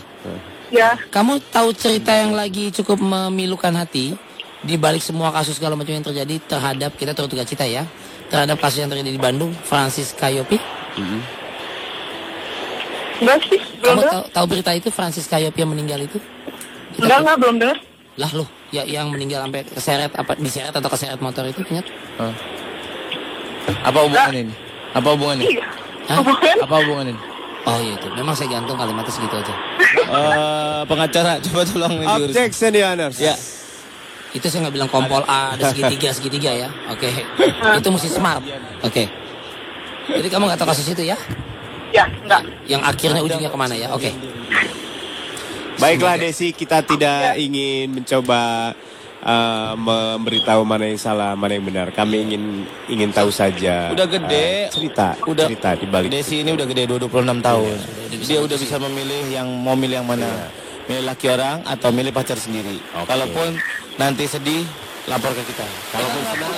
[SPEAKER 1] Ya,
[SPEAKER 5] kamu tahu cerita yang lagi cukup memilukan hati di balik semua kasus segala macam yang terjadi terhadap kita turut duka cita ya terhadap kasus yang terjadi di Bandung Francis Kayopi
[SPEAKER 1] enggak sih, belum
[SPEAKER 5] kamu
[SPEAKER 1] dengar.
[SPEAKER 5] tahu, tahu berita itu Francis Kayopi yang meninggal itu Kita-
[SPEAKER 1] Enggak, enggak, belum dengar.
[SPEAKER 5] lah loh ya yang meninggal sampai keseret apa diseret atau keseret motor itu ingat
[SPEAKER 2] Apa hubungannya ini? Apa hubungannya?
[SPEAKER 1] Iya.
[SPEAKER 5] Hah?
[SPEAKER 1] Hubungan?
[SPEAKER 2] Apa hubungannya? ini?
[SPEAKER 5] oh iya itu memang saya gantung kalimatnya segitu aja
[SPEAKER 2] Eh, pengacara coba tolong ini diurus.
[SPEAKER 4] Objection, Your Honors.
[SPEAKER 2] Ya,
[SPEAKER 5] itu saya nggak bilang kompol A ada segitiga segitiga ya oke itu mesti smart oke jadi kamu nggak tahu kasus itu ya
[SPEAKER 1] Ya, enggak.
[SPEAKER 5] yang akhirnya ujungnya kemana ya oke
[SPEAKER 4] Baiklah Desi, kita tidak ingin mencoba eh, memberitahu mana yang salah, mana yang benar. Kami ingin ingin tahu saja.
[SPEAKER 2] Udah gede,
[SPEAKER 4] eh, cerita,
[SPEAKER 2] udah
[SPEAKER 4] cerita di balik.
[SPEAKER 2] Desi ini udah gede dua- 26
[SPEAKER 12] Iya,
[SPEAKER 2] tahun. Dia udah bisa memilih yang mau milih yang mana. Milih laki orang atau milih pacar sendiri. Kalaupun nanti sedih
[SPEAKER 5] lapor ke kita. Kalau saudara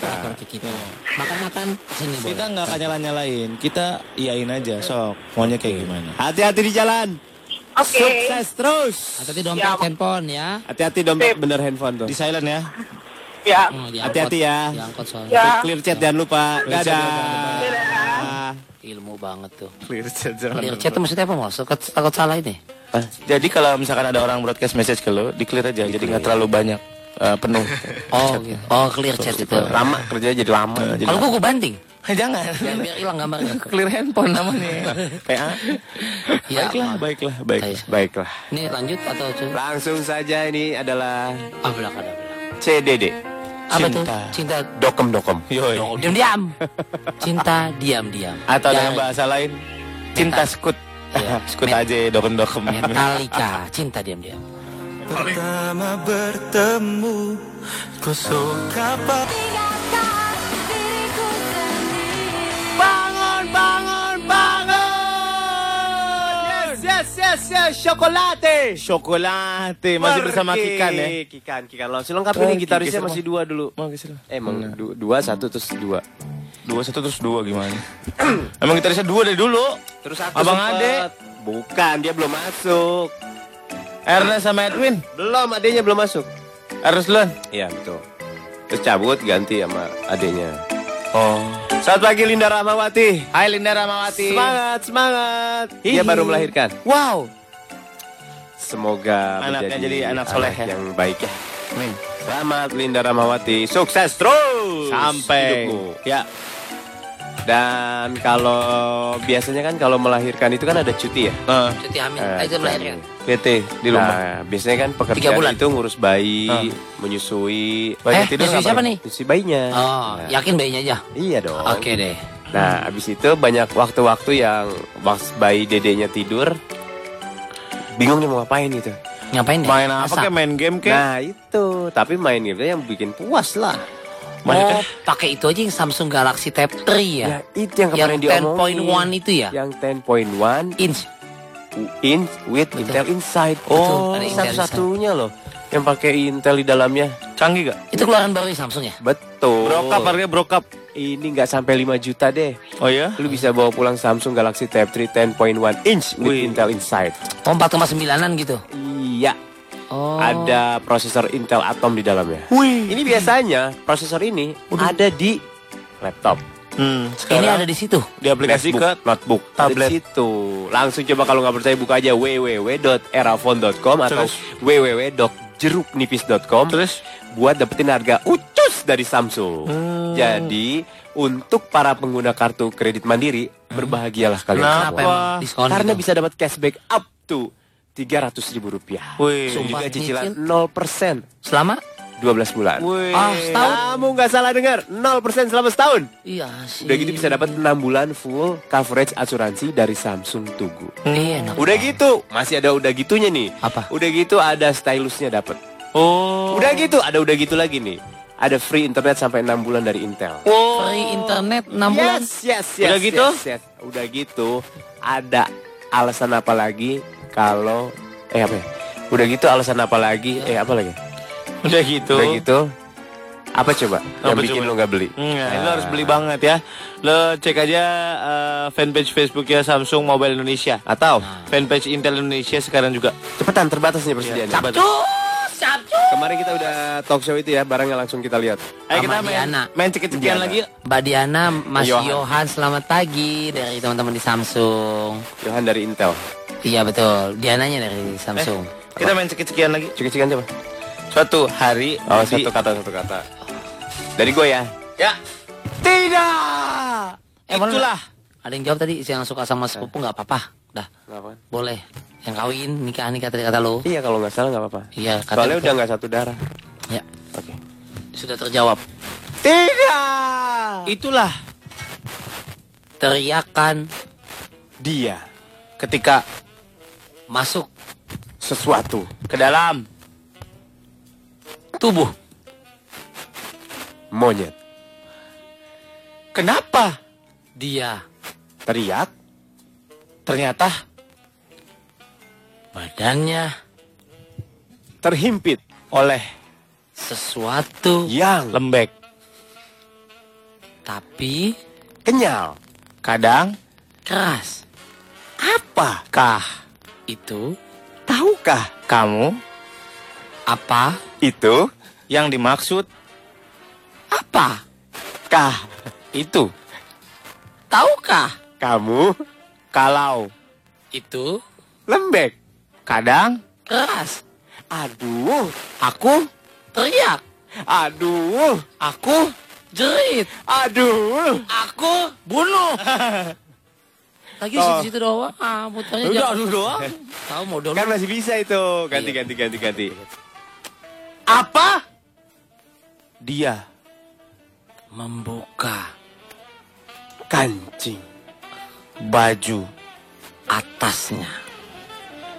[SPEAKER 5] lapor ke kita. Makanya kan sini
[SPEAKER 2] Kita nggak akan nyala-nyalain. Kita iain aja sok. Maunya kayak gimana.
[SPEAKER 12] Iya. Hati-hati di jalan.
[SPEAKER 1] Oke.
[SPEAKER 12] Sukses terus.
[SPEAKER 5] Hati-hati dompet,
[SPEAKER 1] Siap.
[SPEAKER 5] handphone ya.
[SPEAKER 12] Hati-hati dompet bener handphone tuh.
[SPEAKER 2] Di silent ya.
[SPEAKER 5] Iya.
[SPEAKER 1] Ya.
[SPEAKER 5] Hmm, diangkut.
[SPEAKER 12] Hati-hati ya.
[SPEAKER 5] Diangkut soalnya.
[SPEAKER 1] Ya.
[SPEAKER 12] Clear chat jangan lupa. Dadah.
[SPEAKER 5] Ilmu banget tuh.
[SPEAKER 12] Ah,
[SPEAKER 5] Clear chat. Clear chat tuh maksudnya apa, Mas? Takut, takut salah ini.
[SPEAKER 2] Ah, Jadi kalau misalkan ada orang broadcast message ke lo, di clear aja. Jadi nggak terlalu banyak eh, penuh.
[SPEAKER 5] Oh, gitu. Oh, clear chat itu.
[SPEAKER 2] Lama kerja jadi lama.
[SPEAKER 4] Nah,
[SPEAKER 2] Jadi
[SPEAKER 5] Kalau gua gua banting.
[SPEAKER 2] jangan.
[SPEAKER 5] Jangan biar hilang gambarnya.
[SPEAKER 2] clear handphone namanya. PA.
[SPEAKER 5] Ya,
[SPEAKER 2] baiklah,
[SPEAKER 5] maaf.
[SPEAKER 2] baiklah, baik,
[SPEAKER 5] Baik.
[SPEAKER 2] baiklah.
[SPEAKER 5] Ini lanjut atau coba?
[SPEAKER 13] Langsung saja ini adalah
[SPEAKER 5] Ah, belak ada belak.
[SPEAKER 13] CDD.
[SPEAKER 5] Apa tuh?
[SPEAKER 2] Cinta.
[SPEAKER 5] Cinta
[SPEAKER 13] Dokem dokem.
[SPEAKER 2] Yoi.
[SPEAKER 5] Oh, diam-diam. Cinta diam-diam.
[SPEAKER 2] Atau
[SPEAKER 5] Jangan-
[SPEAKER 2] dengan bahasa lain, cinta skut.
[SPEAKER 5] Iya.
[SPEAKER 2] skut aja dokem dokem.
[SPEAKER 5] Metallica, cinta diam-diam.
[SPEAKER 14] Pertama bertemu Ku suka
[SPEAKER 4] Bangun, bangun, bangun. Yes, yes, yes, yes. Chocolate.
[SPEAKER 2] Chocolate masih bersama
[SPEAKER 4] Pergi.
[SPEAKER 2] Kikan ya.
[SPEAKER 4] Kikan, Kikan Launch. Lengkap ini
[SPEAKER 2] Pergi, Nah.
[SPEAKER 4] gitarisnya
[SPEAKER 2] geser,
[SPEAKER 4] masih dua dulu. Eh,
[SPEAKER 2] Mau geser lah.
[SPEAKER 4] Emang du- dua, satu terus dua.
[SPEAKER 2] Dua satu terus dua gimana? Emang gitarisnya dua dari dulu.
[SPEAKER 4] Terus aku
[SPEAKER 2] Abang
[SPEAKER 4] sempet-
[SPEAKER 2] Ade,
[SPEAKER 4] Bukan, dia belum masuk.
[SPEAKER 2] Ernest sama Edwin,
[SPEAKER 4] Belum, adenya belum masuk.
[SPEAKER 2] Ernest duluan.
[SPEAKER 4] Iya, betul. Terus cabut ganti sama adenya.
[SPEAKER 2] Oh.
[SPEAKER 4] Selamat pagi Linda Rahmawati.
[SPEAKER 2] Hai Linda Ramawati.
[SPEAKER 4] Semangat, semangat. Dia
[SPEAKER 2] Hihi.
[SPEAKER 4] baru melahirkan.
[SPEAKER 2] Wow.
[SPEAKER 4] Semoga
[SPEAKER 2] Anaknya
[SPEAKER 4] menjadi
[SPEAKER 2] jadi anak soleh ya.
[SPEAKER 4] yang baik ya. Selamat Linda Ramawati, sukses terus
[SPEAKER 2] Sampai.
[SPEAKER 4] hidupmu.
[SPEAKER 2] Ya.
[SPEAKER 4] Dan kalau biasanya kan kalau melahirkan itu kan ada cuti ya.
[SPEAKER 2] Eh,
[SPEAKER 5] Cuti hamil,
[SPEAKER 4] Eh,
[SPEAKER 5] aja melahirkan.
[SPEAKER 2] PT di rumah.
[SPEAKER 4] Nah, biasanya kan
[SPEAKER 5] Tiga
[SPEAKER 4] pekerjaan
[SPEAKER 5] bulan.
[SPEAKER 4] itu ngurus bayi,
[SPEAKER 2] Ah.
[SPEAKER 4] menyusui.
[SPEAKER 5] Eh,
[SPEAKER 2] tidur
[SPEAKER 5] nyusui
[SPEAKER 2] nggak,
[SPEAKER 5] siapa
[SPEAKER 2] Bang?
[SPEAKER 5] nih?
[SPEAKER 4] Menyusui bayinya.
[SPEAKER 5] Oh,
[SPEAKER 4] Nah,
[SPEAKER 5] yakin bayinya aja.
[SPEAKER 4] Iya dong.
[SPEAKER 5] Oke deh.
[SPEAKER 4] Nah, abis itu banyak waktu-waktu yang pas bayi dedenya tidur, bingung nih mau ngapain gitu.
[SPEAKER 5] Ngapain deh?
[SPEAKER 2] Main apa
[SPEAKER 5] Masak.
[SPEAKER 2] kek? Main game kek?
[SPEAKER 4] Nah itu, tapi main itu yang bikin puas lah.
[SPEAKER 5] Oh, pakai itu aja yang Samsung Galaxy Tab 3 ya.
[SPEAKER 4] Ya, itu yang kemarin
[SPEAKER 5] Yang
[SPEAKER 4] diomongin.
[SPEAKER 5] 10.1 itu ya?
[SPEAKER 4] Yang 10.1
[SPEAKER 5] Inch.
[SPEAKER 4] in with Intel Inside.
[SPEAKER 5] Betul,
[SPEAKER 4] Oh,
[SPEAKER 5] ada Intel
[SPEAKER 4] satu-satunya loh yang pakai Intel di dalamnya.
[SPEAKER 2] Canggih gak?
[SPEAKER 5] Itu keluaran baru ya Samsung ya?
[SPEAKER 4] Betul.
[SPEAKER 2] Brokap harganya brokap.
[SPEAKER 4] Ini nggak sampai 5 juta deh.
[SPEAKER 2] Oh ya?
[SPEAKER 4] Lu bisa bawa pulang Samsung Galaxy Tab 3 10.1 inch with
[SPEAKER 2] Wih.
[SPEAKER 4] Intel Inside.
[SPEAKER 5] Oh, 4,9an gitu.
[SPEAKER 4] Iya,
[SPEAKER 5] Oh.
[SPEAKER 4] ada prosesor Intel Atom di dalamnya. Ini biasanya prosesor ini ada di laptop.
[SPEAKER 2] Hmm.
[SPEAKER 5] Ini ada di situ.
[SPEAKER 2] di aplikasi ke
[SPEAKER 4] Facebook, notebook,
[SPEAKER 2] tablet.
[SPEAKER 4] Ada di situ. Langsung coba kalau nggak percaya buka aja www.erafon.com atau
[SPEAKER 2] Terus?
[SPEAKER 4] www.jeruknipis.com
[SPEAKER 2] Terus?
[SPEAKER 4] buat dapetin harga ucus dari Samsung.
[SPEAKER 5] Oh.
[SPEAKER 4] Jadi untuk para pengguna kartu kredit Mandiri berbahagialah kalian.
[SPEAKER 5] Kenapa
[SPEAKER 4] semua.
[SPEAKER 5] emang diskon
[SPEAKER 4] Karena
[SPEAKER 5] gitu?
[SPEAKER 4] bisa dapat cashback up to 300 ribu rupiah.
[SPEAKER 2] Wih.
[SPEAKER 4] Juga
[SPEAKER 5] Sumpah,
[SPEAKER 4] cicilan
[SPEAKER 5] nyicil.
[SPEAKER 4] 0%
[SPEAKER 5] Selama?
[SPEAKER 4] 12 bulan.
[SPEAKER 2] Wih.
[SPEAKER 5] Ah, setahun.
[SPEAKER 4] Kamu nggak salah dengar, 0% selama setahun.
[SPEAKER 5] Iya sih.
[SPEAKER 4] Udah gitu bisa dapat 6 bulan full coverage asuransi dari Samsung Tugu.
[SPEAKER 5] Iya, enak.
[SPEAKER 4] Udah gitu, masih ada udah gitunya nih.
[SPEAKER 5] Apa?
[SPEAKER 4] Udah gitu ada stylusnya dapat.
[SPEAKER 2] Oh.
[SPEAKER 4] Udah gitu, ada udah gitu lagi nih. Ada free internet sampai 6 bulan dari Intel.
[SPEAKER 5] Free internet 6 bulan.
[SPEAKER 4] Yes, yes, yes.
[SPEAKER 2] Udah gitu?
[SPEAKER 4] yes, yes. Udah gitu, ada alasan apa lagi kalau eh apa ya? Udah gitu alasan apa lagi? Eh apa lagi?
[SPEAKER 2] Udah gitu.
[SPEAKER 4] Udah gitu apa coba Hmm. yang
[SPEAKER 2] Apa
[SPEAKER 4] bikin
[SPEAKER 2] coba?
[SPEAKER 4] lo nggak beli?
[SPEAKER 2] Enggak, Hmm, lo harus beli banget ya. Lo cek aja eh, fanpage Facebook ya Samsung Mobile Indonesia atau fanpage Intel Indonesia sekarang juga.
[SPEAKER 4] Cepetan Iya, terbatas nih persediaan.
[SPEAKER 2] Coba tuh.
[SPEAKER 5] Capcus, capcus.
[SPEAKER 4] Kemarin kita udah talk show itu ya, barangnya langsung kita lihat.
[SPEAKER 2] Ayo kita
[SPEAKER 5] Sama
[SPEAKER 2] main,
[SPEAKER 5] Diana.
[SPEAKER 2] main cekik-cekian lagi Eh, yuk.
[SPEAKER 5] Mbak Diana, Mas
[SPEAKER 4] Yohan.
[SPEAKER 5] Yohan. selamat pagi dari teman-teman di Samsung.
[SPEAKER 4] Johan dari Intel.
[SPEAKER 5] Iya betul, Diananya dari Samsung.
[SPEAKER 2] Kita main cekik-cekian lagi.
[SPEAKER 4] Cek-cekan coba.
[SPEAKER 2] Suatu hari
[SPEAKER 4] Oh,
[SPEAKER 2] nanti-
[SPEAKER 4] satu kata satu kata. Dari gue ya.
[SPEAKER 2] Ya.
[SPEAKER 4] Tidak.
[SPEAKER 5] Eh, boleh
[SPEAKER 2] Itulah.
[SPEAKER 5] nggak? Ada yang jawab tadi yang suka sama sepupu nggak apa-apa. Dah, boleh. Yang kawin nikah nikah tadi kata lo.
[SPEAKER 4] Iya kalau nggak salah nggak apa-apa.
[SPEAKER 5] Iya, kata
[SPEAKER 4] Soalnya
[SPEAKER 5] lo.
[SPEAKER 4] udah nggak satu darah.
[SPEAKER 5] Ya,
[SPEAKER 4] Oke.
[SPEAKER 5] sudah terjawab.
[SPEAKER 4] Tidak.
[SPEAKER 2] Itulah
[SPEAKER 5] Teriakan
[SPEAKER 4] Dia
[SPEAKER 2] ketika
[SPEAKER 5] masuk
[SPEAKER 4] sesuatu.
[SPEAKER 2] ke dalam
[SPEAKER 5] tubuh.
[SPEAKER 4] Monyet.
[SPEAKER 2] kenapa
[SPEAKER 5] Dia
[SPEAKER 4] Teriak.
[SPEAKER 2] ternyata
[SPEAKER 5] badannya
[SPEAKER 4] Terhimpit
[SPEAKER 2] oleh
[SPEAKER 5] sesuatu
[SPEAKER 2] yang lembek
[SPEAKER 5] tapi
[SPEAKER 2] kenyal kadang
[SPEAKER 5] keras.
[SPEAKER 2] apakah
[SPEAKER 5] Itu
[SPEAKER 2] tahukah kamu
[SPEAKER 5] apa?
[SPEAKER 2] itu yang dimaksud
[SPEAKER 5] Apa?
[SPEAKER 2] kah itu
[SPEAKER 5] Tahukah?
[SPEAKER 2] kamu kalau
[SPEAKER 5] Itu
[SPEAKER 2] lembek kadang
[SPEAKER 5] keras.
[SPEAKER 2] aduh aku
[SPEAKER 5] Teriak.
[SPEAKER 2] aduh
[SPEAKER 5] Aku jerit.
[SPEAKER 2] aduh
[SPEAKER 5] Aku bunuh. Lagi situ-situ doang. Ah,
[SPEAKER 2] udah
[SPEAKER 5] muternya jauh.
[SPEAKER 2] aduh doang
[SPEAKER 5] Tahu mau dulu.
[SPEAKER 4] Kan masih bisa itu. Ganti,
[SPEAKER 2] Iya.
[SPEAKER 4] ganti, ganti, ganti.
[SPEAKER 2] apa dia
[SPEAKER 5] Membuka
[SPEAKER 2] kancing baju
[SPEAKER 5] atasnya.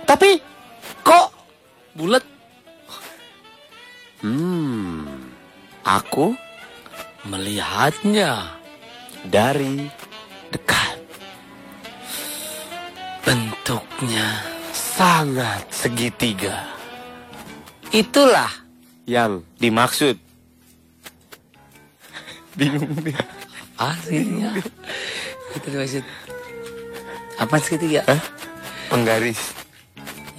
[SPEAKER 2] tapi kok
[SPEAKER 5] Bulat
[SPEAKER 2] Hmm, aku
[SPEAKER 5] melihatnya.
[SPEAKER 2] dari dekat
[SPEAKER 5] Bentuknya.
[SPEAKER 2] sangat segitiga
[SPEAKER 5] Itulah
[SPEAKER 2] yang dimaksud bingung dia
[SPEAKER 5] hasilnya. Itu dimaksud. Apa segitiga?
[SPEAKER 2] penggaris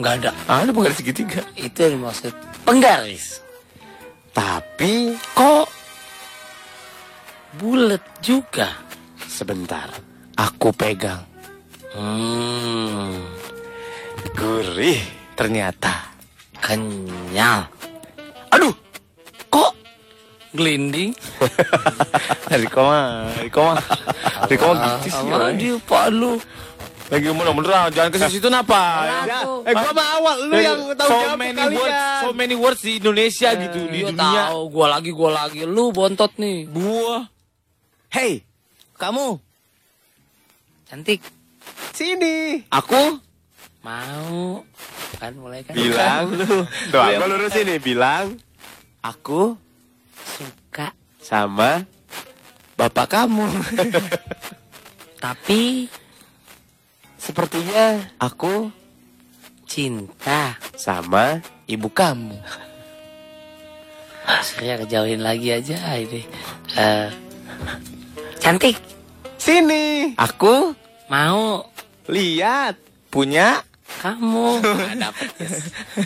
[SPEAKER 5] Enggak ada.
[SPEAKER 2] ah ada penggaris segitiga
[SPEAKER 5] Itu yang dimaksud penggaris.
[SPEAKER 2] tapi
[SPEAKER 5] Kok bulat juga?
[SPEAKER 2] sebentar aku pegang
[SPEAKER 5] Hmm,
[SPEAKER 2] gurih ternyata
[SPEAKER 5] kenyal.
[SPEAKER 2] aduh
[SPEAKER 5] Kok gelinding?
[SPEAKER 2] Riko mah Riko mah Riko
[SPEAKER 4] Ah,
[SPEAKER 2] mah gitu sih
[SPEAKER 5] Apa
[SPEAKER 2] orang.
[SPEAKER 5] dia pak lu?
[SPEAKER 2] lagi ngomong beneran jangan ke situ napa Ya.
[SPEAKER 5] Aku.
[SPEAKER 4] Eh, gua mah awal. Lu yang tahu
[SPEAKER 2] so
[SPEAKER 4] jawab Eh,
[SPEAKER 2] many
[SPEAKER 4] kalian.
[SPEAKER 2] words so many words di Indonesia gitu di
[SPEAKER 5] Dia
[SPEAKER 2] dunia
[SPEAKER 5] tahu gua lagi gua lagi lu bontot nih.
[SPEAKER 2] gua hey
[SPEAKER 5] Kamu cantik.
[SPEAKER 4] Sini.
[SPEAKER 2] aku
[SPEAKER 5] Mau kan mulai
[SPEAKER 2] Iya.
[SPEAKER 4] Bilang.
[SPEAKER 5] kan?
[SPEAKER 4] Tuh, gua lurus ini. Bilang
[SPEAKER 2] aku
[SPEAKER 5] Suka
[SPEAKER 4] sama
[SPEAKER 2] bapak kamu
[SPEAKER 5] tapi
[SPEAKER 2] sepertinya aku
[SPEAKER 5] cinta.
[SPEAKER 4] sama
[SPEAKER 2] ibu kamu
[SPEAKER 5] Saya kejauhin lagi aja ini. Eh, cantik.
[SPEAKER 4] sini.
[SPEAKER 2] aku
[SPEAKER 5] Mau
[SPEAKER 4] Lihat.
[SPEAKER 2] punya
[SPEAKER 5] kamu? Nah, dapet. Yes.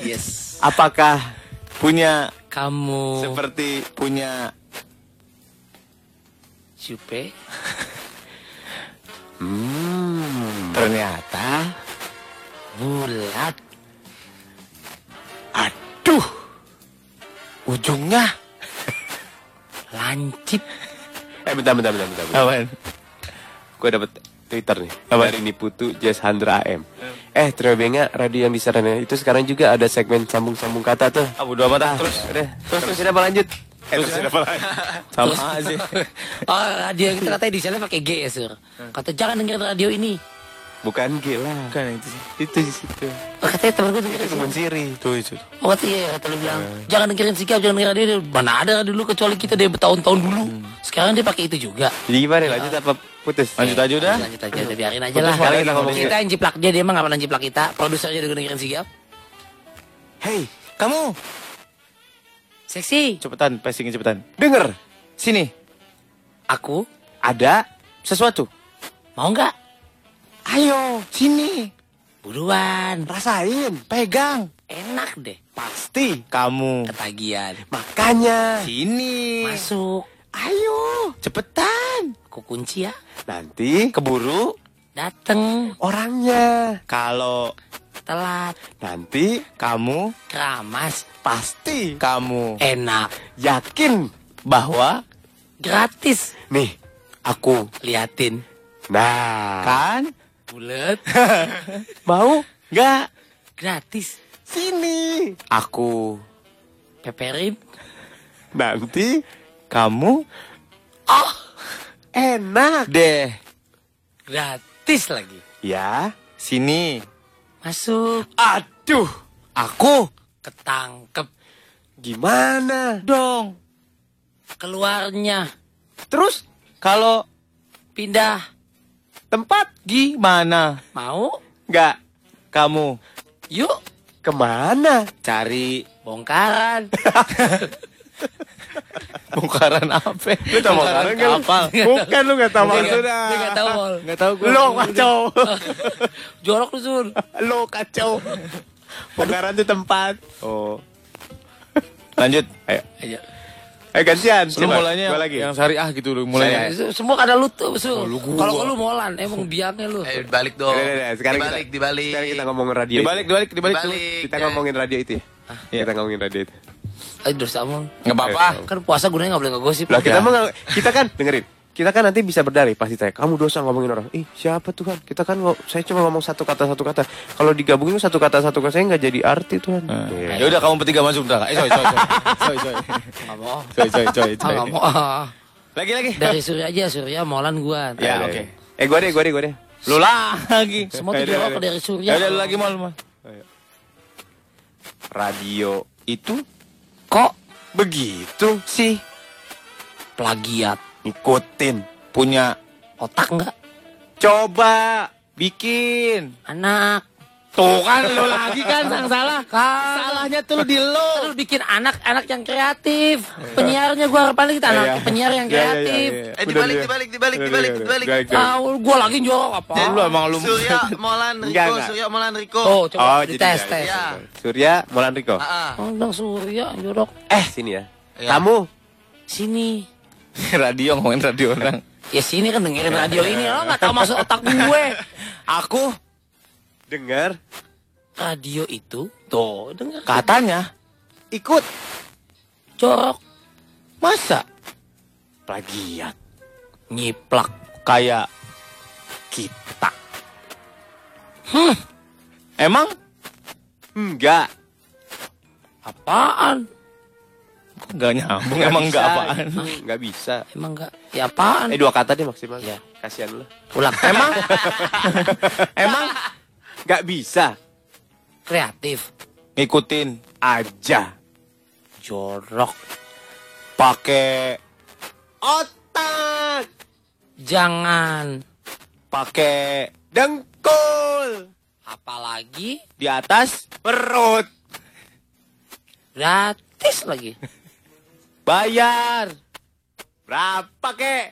[SPEAKER 5] Yes.
[SPEAKER 2] apakah punya
[SPEAKER 4] Oh.
[SPEAKER 5] Kamu
[SPEAKER 2] seperti punya
[SPEAKER 5] Jupe
[SPEAKER 2] ternyata
[SPEAKER 5] bulat
[SPEAKER 2] aduh ujungnya
[SPEAKER 5] lancip
[SPEAKER 4] Eh, bentar, bentar, bentar, bentar. bentar.
[SPEAKER 2] Apaan?
[SPEAKER 4] Gue dapet Twitter nih Dari Niputu Jazz Handra AM Eh Trio Benga Radio yang bisa Rene. Itu sekarang juga ada segmen sambung-sambung kata tuh
[SPEAKER 2] ah bodo amat ah. terus
[SPEAKER 4] Udah Terus terus apa lanjut Eh terus apa lanjut
[SPEAKER 2] sama aja
[SPEAKER 5] Oh radio kita katanya di sana pakai G ya sur Kata jangan dengerin radio ini
[SPEAKER 4] Bukan gila
[SPEAKER 2] kan itu sih
[SPEAKER 4] Itu di situ
[SPEAKER 5] oh, Katanya temen gue dengerin
[SPEAKER 4] Temen siri
[SPEAKER 2] tuh itu
[SPEAKER 5] Oh kata iya kata lu bilang Jangan dengerin sikap jangan dengerin radio Mana ada radio dulu kecuali kita dari bertahun-tahun dulu Sekarang dia pakai itu juga
[SPEAKER 4] Jadi gimana lanjut apa putus
[SPEAKER 2] lanjut aja udah
[SPEAKER 5] Lanjut aja udah biarin aja lah
[SPEAKER 4] malah kita ngomongin.
[SPEAKER 5] Kita yang jiplak dia dia emang gak pernah jiplak kita Produsernya udah dengerin sikap
[SPEAKER 2] hey kamu
[SPEAKER 5] Seksi
[SPEAKER 2] cepetan passingnya cepetan
[SPEAKER 4] Denger
[SPEAKER 2] sini
[SPEAKER 5] Aku
[SPEAKER 2] ada sesuatu
[SPEAKER 5] mau nggak?
[SPEAKER 2] ayo sini
[SPEAKER 5] Buruan
[SPEAKER 2] rasain pegang
[SPEAKER 5] Enak deh
[SPEAKER 2] pasti kamu
[SPEAKER 5] Ketagihan
[SPEAKER 4] Makanya
[SPEAKER 2] sini
[SPEAKER 5] Masuk
[SPEAKER 2] ayo cepetan
[SPEAKER 5] Aku kunci ya
[SPEAKER 4] Nanti
[SPEAKER 2] keburu
[SPEAKER 5] Dateng
[SPEAKER 4] Orangnya
[SPEAKER 2] kalau
[SPEAKER 5] telat
[SPEAKER 4] Nanti
[SPEAKER 2] kamu
[SPEAKER 5] keramas
[SPEAKER 2] pasti kamu
[SPEAKER 5] enak
[SPEAKER 4] Yakin
[SPEAKER 2] bahwa
[SPEAKER 5] gratis
[SPEAKER 4] Nih
[SPEAKER 2] aku
[SPEAKER 5] liatin
[SPEAKER 4] Nah
[SPEAKER 2] kan
[SPEAKER 5] bulat
[SPEAKER 4] Mau
[SPEAKER 2] nggak
[SPEAKER 5] gratis
[SPEAKER 4] Sini
[SPEAKER 2] aku
[SPEAKER 5] peperin
[SPEAKER 4] Nanti
[SPEAKER 2] kamu
[SPEAKER 4] Enak
[SPEAKER 2] deh
[SPEAKER 5] gratis lagi
[SPEAKER 4] Ya
[SPEAKER 2] sini
[SPEAKER 5] masuk
[SPEAKER 4] Aduh
[SPEAKER 2] aku
[SPEAKER 5] ketangkep
[SPEAKER 4] Gimana
[SPEAKER 2] dong
[SPEAKER 5] keluarnya
[SPEAKER 2] terus kalau
[SPEAKER 5] pindah
[SPEAKER 2] tempat gimana
[SPEAKER 5] mau
[SPEAKER 2] nggak kamu
[SPEAKER 5] yuk
[SPEAKER 4] Kemana?
[SPEAKER 2] cari
[SPEAKER 5] bongkaran
[SPEAKER 2] Bongkaran apa?
[SPEAKER 4] Lu tau bongkaran nggak lu?
[SPEAKER 5] kapal.
[SPEAKER 4] Bukan, lu nggak tahu
[SPEAKER 5] Dia nggak-
[SPEAKER 4] maksudnya.
[SPEAKER 5] Dia nggak tahu. Mol.
[SPEAKER 2] Nggak tahu gue.
[SPEAKER 4] Lo kacau.
[SPEAKER 5] Jorok lu sur.
[SPEAKER 4] Lo kacau. Bongkaran tuh tempat.
[SPEAKER 2] Oh. Lanjut. Ayo.
[SPEAKER 5] Aja.
[SPEAKER 4] Eh gantian.
[SPEAKER 2] Lu
[SPEAKER 4] coba.
[SPEAKER 2] mulainya
[SPEAKER 4] Gua lagi.
[SPEAKER 2] yang syariah gitu lu mulainya.
[SPEAKER 5] Itu Semua kada lu tuh
[SPEAKER 2] Oh,
[SPEAKER 5] sur.
[SPEAKER 2] lu gua.
[SPEAKER 5] Kalau lu molan, emang biangnya lu.
[SPEAKER 15] Eh, balik dong.
[SPEAKER 4] Udah, udah, udah. Sekarang
[SPEAKER 15] dibalik,
[SPEAKER 4] kita,
[SPEAKER 15] dibalik.
[SPEAKER 4] Sekarang kita ngomongin radio.
[SPEAKER 2] Dibalik, dibalik, dibalik.
[SPEAKER 15] Dibalik.
[SPEAKER 4] Kita
[SPEAKER 15] Eh,
[SPEAKER 4] ngomongin radio itu ya. Kita ngomongin radio itu.
[SPEAKER 5] Aduh dosa mol.
[SPEAKER 2] Enggak apa-apa.
[SPEAKER 5] Kan puasa gunanya nggak boleh ngegosip.
[SPEAKER 4] Lah kita
[SPEAKER 5] Ya.
[SPEAKER 4] mah nggak- kita kan dengerin. Kita kan nanti bisa berdalih pasti saya. Kamu dosa ngomongin orang. Ih, siapa Tuhan? Kita kan ngo- saya cuma ngomong satu kata satu kata. Kalau digabungin satu kata satu kata saya nggak jadi arti Tuhan. Iya.
[SPEAKER 2] Ya udah kamu bertiga masuk dah. Eh, coy, coy, coy. Coy, coy.
[SPEAKER 5] Nggak mau.
[SPEAKER 2] Coy, coy, coy,
[SPEAKER 5] Ah,
[SPEAKER 2] coy.
[SPEAKER 5] nggak mau. Ah.
[SPEAKER 2] Lagi lagi.
[SPEAKER 5] Dari Surya aja, Surya molan gua.
[SPEAKER 2] Ya,
[SPEAKER 4] Ayo,
[SPEAKER 2] oke.
[SPEAKER 4] ayo. Eh, gue deh, gue deh, gue deh.
[SPEAKER 2] Lu lagi.
[SPEAKER 5] Semua tuh
[SPEAKER 4] Ayo,
[SPEAKER 5] jorok
[SPEAKER 4] ayo.
[SPEAKER 5] dari Surya.
[SPEAKER 2] Ya Eh, udah lu lagi mal. Mal.
[SPEAKER 4] Oh, ya. Radio itu
[SPEAKER 5] Kok
[SPEAKER 4] begitu sih
[SPEAKER 5] plagiat?
[SPEAKER 4] ngikutin.
[SPEAKER 2] Punya
[SPEAKER 5] Otak nggak?
[SPEAKER 4] Coba
[SPEAKER 2] bikin.
[SPEAKER 5] Anak.
[SPEAKER 2] Tuh kan lu lagi kan sang salah.
[SPEAKER 5] Salahnya tuh lu di lo. kan. Iya. Lu bikin anak-anak yang kreatif. Penyiarnya gua harapannya kita anak penyiar yang kreatif.
[SPEAKER 15] Eh, dibalik, dibalik, dibalik, dibalik, dibalik.
[SPEAKER 5] Ah, gua lagi jorok apa?
[SPEAKER 2] Lu emang lu
[SPEAKER 15] Surya Molan
[SPEAKER 4] Enggak,
[SPEAKER 15] Riko,
[SPEAKER 4] enggak.
[SPEAKER 15] Surya Molan Riko.
[SPEAKER 5] Oh, iya. coba
[SPEAKER 4] Oh, jadi
[SPEAKER 5] dites,
[SPEAKER 4] ya,
[SPEAKER 5] tes.
[SPEAKER 15] ya.
[SPEAKER 4] Surya Molan Riko.
[SPEAKER 15] Ah, ah.
[SPEAKER 5] Oh, bilang Surya jorok.
[SPEAKER 4] Eh, sini ya.
[SPEAKER 15] Iya.
[SPEAKER 4] Kamu
[SPEAKER 5] Sini.
[SPEAKER 2] radio ngomongin radio orang.
[SPEAKER 5] Ya sini kan dengerin radio ini. Lo nggak tahu maksud otak gue. Ah,
[SPEAKER 2] Aku
[SPEAKER 4] dengar
[SPEAKER 5] Radio itu tuh denger
[SPEAKER 2] katanya
[SPEAKER 4] ikut
[SPEAKER 5] jorok
[SPEAKER 2] masa
[SPEAKER 4] plagiat.
[SPEAKER 5] nyiplak.
[SPEAKER 2] kayak kita. Hmm. Emang
[SPEAKER 4] Enggak.
[SPEAKER 5] Apaan?
[SPEAKER 2] enggak nyambung, emang
[SPEAKER 4] Nggak
[SPEAKER 2] enggak
[SPEAKER 4] bisa.
[SPEAKER 2] apaan.
[SPEAKER 4] Enggak bisa.
[SPEAKER 5] Emang nggak? Ya apaan?
[SPEAKER 4] Eh dua kata deh maksimal.
[SPEAKER 5] Iya.
[SPEAKER 4] Kasihan lu.
[SPEAKER 5] Ulang. Emang
[SPEAKER 4] Emang nggak bisa
[SPEAKER 5] kreatif.
[SPEAKER 2] Ngikutin
[SPEAKER 4] aja
[SPEAKER 5] Jorok.
[SPEAKER 2] pakai
[SPEAKER 4] otak
[SPEAKER 5] Jangan.
[SPEAKER 2] pakai
[SPEAKER 4] dengkul
[SPEAKER 5] Apalagi
[SPEAKER 2] di atas
[SPEAKER 4] perut
[SPEAKER 5] gratis lagi.
[SPEAKER 4] bayar berapa kek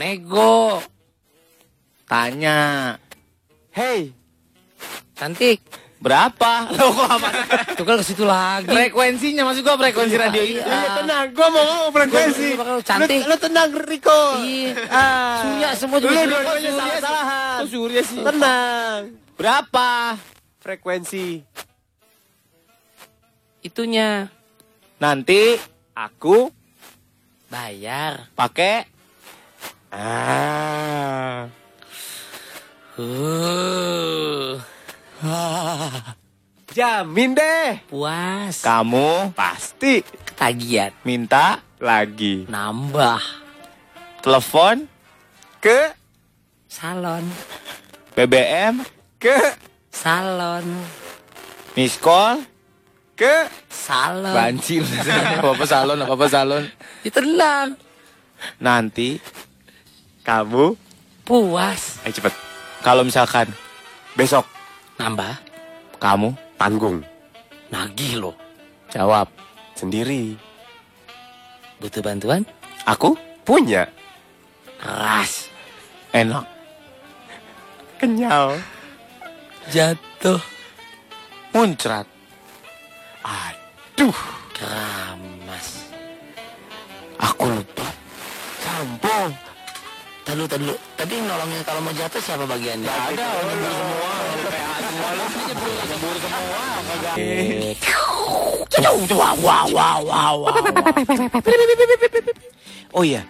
[SPEAKER 5] Nego.
[SPEAKER 2] tanya
[SPEAKER 4] hey
[SPEAKER 5] Cantik.
[SPEAKER 2] berapa? Loh, kok apa?
[SPEAKER 5] Tuh kan ke situ lagi.
[SPEAKER 2] Frekuensinya maksud gua frekuensi
[SPEAKER 5] Iya,
[SPEAKER 2] radio
[SPEAKER 5] iya.
[SPEAKER 2] itu.
[SPEAKER 4] Iya tenang, gua mau ngomong frekuensi.
[SPEAKER 5] Lu- lu cantik.
[SPEAKER 4] Lu, lu tenang Riko.
[SPEAKER 5] Iya.
[SPEAKER 4] Ah.
[SPEAKER 5] Surya semua
[SPEAKER 4] Lu
[SPEAKER 5] juga jorok.
[SPEAKER 4] dua-duanya salah-salahan.
[SPEAKER 2] Kok Surya sih?
[SPEAKER 4] Tenang.
[SPEAKER 2] Berapa?
[SPEAKER 4] Frekuensi
[SPEAKER 5] Itunya
[SPEAKER 2] Nanti
[SPEAKER 4] aku
[SPEAKER 5] bayar.
[SPEAKER 2] pakai ah,
[SPEAKER 5] Uh,
[SPEAKER 4] jamin deh.
[SPEAKER 5] puas.
[SPEAKER 2] kamu
[SPEAKER 4] Pasti
[SPEAKER 5] Ketagihan.
[SPEAKER 2] minta
[SPEAKER 4] lagi
[SPEAKER 5] Nambah.
[SPEAKER 2] telepon
[SPEAKER 4] ke
[SPEAKER 5] Salon.
[SPEAKER 2] BBM
[SPEAKER 4] ke
[SPEAKER 5] Salon.
[SPEAKER 2] miss call
[SPEAKER 4] ke
[SPEAKER 5] Salon.
[SPEAKER 2] banci apa apa salon apa apa salon
[SPEAKER 5] Ditenang.
[SPEAKER 2] nanti
[SPEAKER 4] kamu
[SPEAKER 5] Puas.
[SPEAKER 4] eh cepet
[SPEAKER 2] kalau misalkan
[SPEAKER 4] besok
[SPEAKER 5] Nambah.
[SPEAKER 2] kamu
[SPEAKER 4] panggung
[SPEAKER 5] Nagih loh.
[SPEAKER 2] jawab
[SPEAKER 4] sendiri
[SPEAKER 5] Butuh bantuan.
[SPEAKER 2] aku
[SPEAKER 4] punya
[SPEAKER 5] Keras.
[SPEAKER 2] enak
[SPEAKER 4] kenyal
[SPEAKER 5] Jatuh.
[SPEAKER 2] muncrat
[SPEAKER 4] aduh
[SPEAKER 5] Keramas.
[SPEAKER 4] aku lupa
[SPEAKER 5] Kampung. Tadi tadi tadi nolongin kalau mau jatuh siapa bagiannya? ada, nyebur semua, semua. Wow, wow, wow, wow.
[SPEAKER 4] oh iya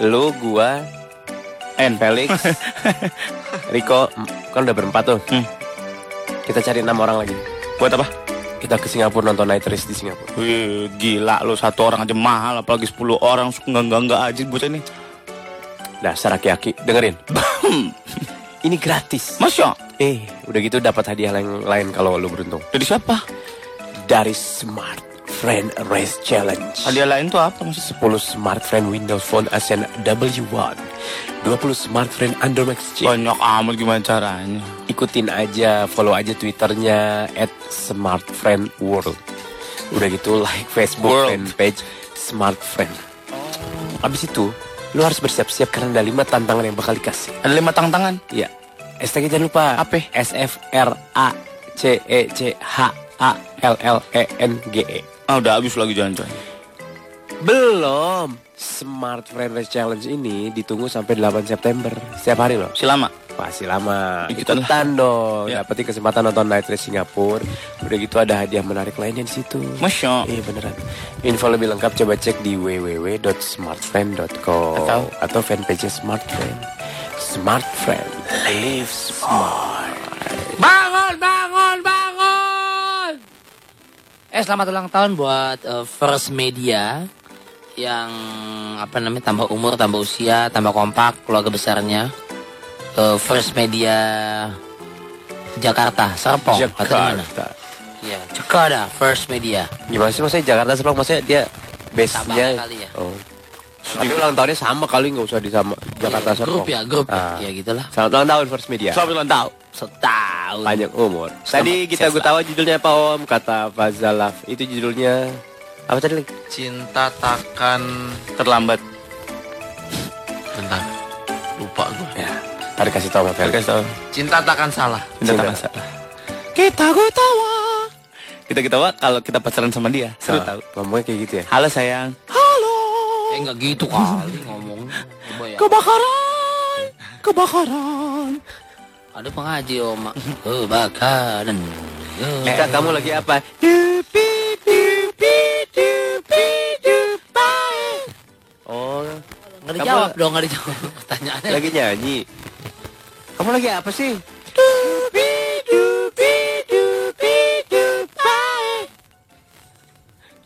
[SPEAKER 4] lu gua and Felix Riko mm, kan udah berempat tuh
[SPEAKER 2] Hmm.
[SPEAKER 4] kita cari enam orang lagi buat apa kita ke Singapura nonton night race di Singapura
[SPEAKER 2] Wih, gila lo satu orang aja mahal apalagi 10 orang nggak nggak nggak aja bocah ini
[SPEAKER 4] dasar aki-aki dengerin ini gratis
[SPEAKER 2] masya
[SPEAKER 4] eh udah gitu dapat hadiah lain lain kalau lu beruntung
[SPEAKER 2] dari siapa
[SPEAKER 4] dari Smart Friend Race Challenge.
[SPEAKER 2] hadiah lain tuh apa maksudnya
[SPEAKER 4] 10 Smart Friend Windows Phone Ascend W1. 20 Smart Friend Android Max Oh, Chip.
[SPEAKER 2] banyak amat gimana caranya
[SPEAKER 4] Ikutin aja, follow aja Twitternya at Smart Friend World. Udah gitu like Facebook
[SPEAKER 7] World.
[SPEAKER 4] fanpage Smart Friend. Abis itu lu harus bersiap-siap karena ada lima tantangan yang bakal dikasih.
[SPEAKER 5] Ada lima tantangan.
[SPEAKER 4] Iya. Hashtag jangan lupa.
[SPEAKER 5] Apa?
[SPEAKER 4] S F R A C E C H A L L E N G E.
[SPEAKER 2] Ah, udah habis lagi jalan-jalan.
[SPEAKER 4] Belum. Smart Friend Challenge ini ditunggu sampai 8 September. Setiap hari loh.
[SPEAKER 2] Silama.
[SPEAKER 4] Pasti lama.
[SPEAKER 2] Dikit lah.
[SPEAKER 4] Ikutan dong.
[SPEAKER 2] Ya.
[SPEAKER 4] Dapetin kesempatan nonton Night Race Singapura. Udah gitu ada hadiah menarik lainnya di situ.
[SPEAKER 2] Masya.
[SPEAKER 4] Iya beneran. Info lebih lengkap coba cek di www.smartfriend.com atau, atau fanpage Smartfriend. Smart Friend. Live smart.
[SPEAKER 5] Bangun, bangun, bangun. Eh selamat ulang tahun buat eh, First Media yang apa namanya tambah umur, tambah usia, tambah kompak keluarga besarnya. Eh, First Media Jakarta, Serpong. atau gimana?
[SPEAKER 4] Jakarta.
[SPEAKER 5] Iya, Jakarta First Media.
[SPEAKER 4] Gimana sih maksudnya Jakarta Serpong maksudnya dia base-nya
[SPEAKER 5] Sabang kali ya.
[SPEAKER 4] Oh. Tapi ulang tahunnya sama kali nggak usah disama Jakarta
[SPEAKER 5] Iya, grup
[SPEAKER 4] Serpong.
[SPEAKER 5] ya, grup.
[SPEAKER 4] Ah.
[SPEAKER 5] Ya gitulah.
[SPEAKER 4] Selamat ulang tahun First Media.
[SPEAKER 2] Selamat ulang tahun.
[SPEAKER 5] Setahun.
[SPEAKER 4] Panjang umur. Tadi kita gue tahu judulnya apa Om kata Fazalaf. Itu judulnya apa tadi? Link?
[SPEAKER 7] Cinta takkan
[SPEAKER 2] Terlambat.
[SPEAKER 7] Bentar Lupa gue
[SPEAKER 4] Ya. Tadi kasih tahu Pak Felix.
[SPEAKER 2] Kasih tahu.
[SPEAKER 7] Cinta takkan salah
[SPEAKER 2] Cinta tak masa. Kita gue tawa. Kita ketawa kalau kita pacaran sama dia. Seru
[SPEAKER 4] Ah,
[SPEAKER 2] tahu.
[SPEAKER 4] Ngomongnya kayak gitu ya.
[SPEAKER 2] Halo sayang.
[SPEAKER 5] Eh enggak gitu kali ngomong. Coba ya.
[SPEAKER 2] Kebakaran. Kebakaran.
[SPEAKER 5] Ada pengaji om. Kebakaran.
[SPEAKER 4] Kita Eh, kamu lagi apa? Oh,
[SPEAKER 5] Nggak dijawab dong, nggak dijawab. Pertanyaannya
[SPEAKER 4] lagi nyanyi. Kamu lagi apa sih?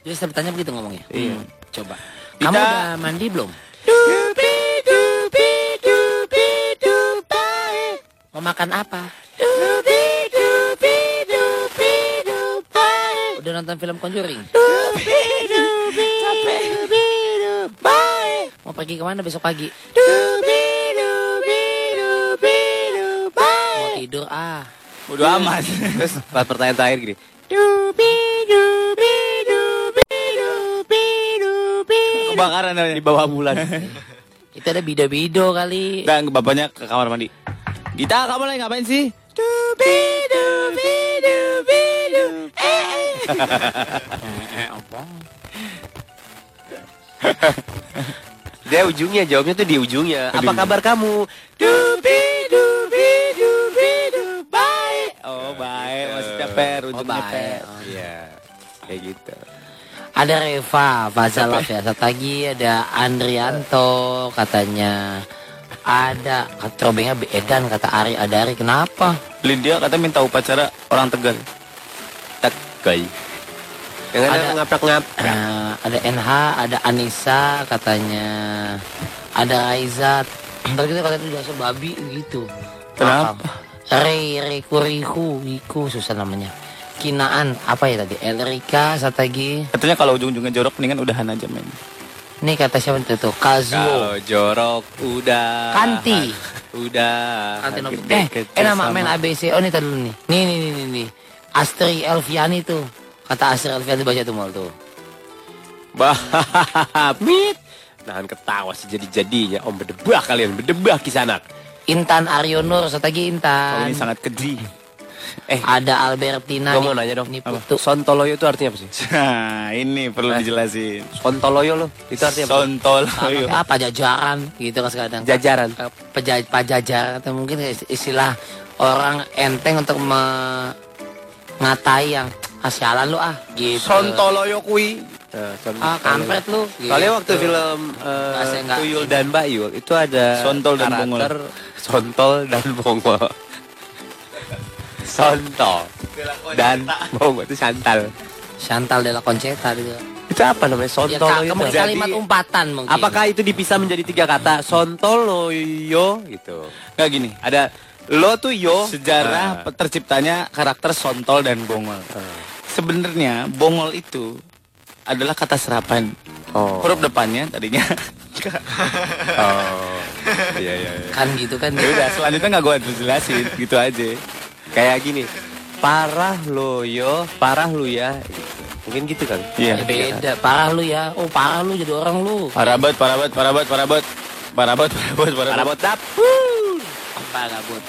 [SPEAKER 5] Jadi saya bertanya begitu ngomongnya. Hmm,
[SPEAKER 4] Iya.
[SPEAKER 5] Coba. Kamu
[SPEAKER 2] Dita.
[SPEAKER 5] udah mandi belum? Mau makan apa? Udah nonton film Conjuring? Mau pergi kemana besok pagi? Mau tidur ah.
[SPEAKER 2] Bodo amat.
[SPEAKER 4] Terus pas pertanyaan terakhir gini.
[SPEAKER 2] Kebakaran namanya. di bawah bulan.
[SPEAKER 5] Itu ada bido-bido kali.
[SPEAKER 2] Dan bapaknya ke kamar mandi. Gita, kamu lagi ngapain sih?
[SPEAKER 4] Dia ujungnya jawabnya tuh di ujungnya. Apa kabar kamu?
[SPEAKER 2] Oh, baik. Masih capek,
[SPEAKER 5] Oh,
[SPEAKER 2] ujungnya
[SPEAKER 5] baik.
[SPEAKER 2] per.
[SPEAKER 5] Oh.
[SPEAKER 4] Iya. Kayak gitu.
[SPEAKER 5] Ada Reva, Fazalaf ya. Satu lagi ada Andrianto katanya. Ada Trobengnya Edan kata Ari ada Ari kenapa?
[SPEAKER 2] Lydia kata minta upacara orang Tegal. Tegal.
[SPEAKER 4] Yang ada
[SPEAKER 5] Ada-
[SPEAKER 4] ngaprak-ngap.
[SPEAKER 5] Eh, ada NH, ada Anissa katanya, ada Aizat. Tapi kita kalian udah sebabi gitu.
[SPEAKER 2] Kenapa?
[SPEAKER 5] Apa? Rei, Rei Kurihu, Iku susah namanya. Kinaan apa ya tadi? Elrika, Satagi.
[SPEAKER 2] Katanya kalau ujung-ujungnya jorok mendingan udahan aja main.
[SPEAKER 5] Nih kata siapa itu tuh? Kazuo.
[SPEAKER 4] Kalau jorok udah.
[SPEAKER 5] Kanti.
[SPEAKER 4] Udah.
[SPEAKER 5] Kanti nomor.
[SPEAKER 4] Sakit
[SPEAKER 5] Eh,
[SPEAKER 4] deket
[SPEAKER 5] eh nama
[SPEAKER 4] sama-
[SPEAKER 5] main ABC. Oh, ini tadi dulu nih. Nih, nih, nih, nih, nih. Astri Elviani tuh. Kata Astri Elviani baca tuh mal tuh.
[SPEAKER 4] Babit. Nahan ketawa sejadi-jadinya. Om berdebah kalian, berdebah kisanak.
[SPEAKER 5] Intan Aryonur, Satagi
[SPEAKER 2] Kalau
[SPEAKER 5] Intan.
[SPEAKER 2] ini sangat keji.
[SPEAKER 5] Ada Albertina.
[SPEAKER 4] Gue mau
[SPEAKER 5] nih-
[SPEAKER 4] nanya dong.
[SPEAKER 5] nih
[SPEAKER 4] apa?
[SPEAKER 5] Putu.
[SPEAKER 4] Sontoloyo itu artinya apa sih?
[SPEAKER 2] Nah, ini perlu dijelasin.
[SPEAKER 4] Sontoloyo loh. Itu artinya apa? Oh, iya.
[SPEAKER 2] Sontol.
[SPEAKER 5] Sama kayak pajajaran gitu kan sekarang.
[SPEAKER 4] Jajaran.
[SPEAKER 5] Eh, Peja, pajajaran atau mungkin is- istilah orang enteng untuk me- ngatai yang ah sialan lu ah gitu.
[SPEAKER 4] Sontoloyo kui. Eh, Sontoloyo.
[SPEAKER 5] Ah kampret lu. Gitu.
[SPEAKER 4] Soalnya waktu film eh,
[SPEAKER 5] Nggak sih, nggak.
[SPEAKER 4] Tuyul dan Bayu itu ada
[SPEAKER 2] Sontol dan
[SPEAKER 4] karakter Sontol dan Bongol. Sontol dan Bongol itu santal.
[SPEAKER 5] Chantal de la Concetta gitu.
[SPEAKER 4] Itu apa namanya?
[SPEAKER 5] Ya,
[SPEAKER 4] Sontol
[SPEAKER 5] ka- mungkin
[SPEAKER 4] itu.
[SPEAKER 5] kalimat
[SPEAKER 4] Jadi,
[SPEAKER 5] umpatan mungkin.
[SPEAKER 4] Apakah itu dipisah menjadi tiga kata? Sontoloyo gitu.
[SPEAKER 2] Gak gini, ada lo tuh yo sejarah pe- terciptanya karakter sontol dan bongol. Sebenarnya bongol itu adalah kata serapan.
[SPEAKER 4] Oh.
[SPEAKER 2] Huruf depannya tadinya.
[SPEAKER 4] Oh. Iya iya iya.
[SPEAKER 5] kan gitu kan?
[SPEAKER 2] ya udah, selanjutnya nggak gue jelasin, gitu aja.
[SPEAKER 4] Kayak gini. Parah loyo, parah lu ya.
[SPEAKER 9] Mungkin gitu kan.
[SPEAKER 2] Iya.
[SPEAKER 5] Ya, beda, parah lu ya. Oh, parah lu jadi orang lu.
[SPEAKER 2] Parabat, parabat, parabat, parabat. Parabat, parabat, parabat. Parabat tap.
[SPEAKER 5] Apa gabut?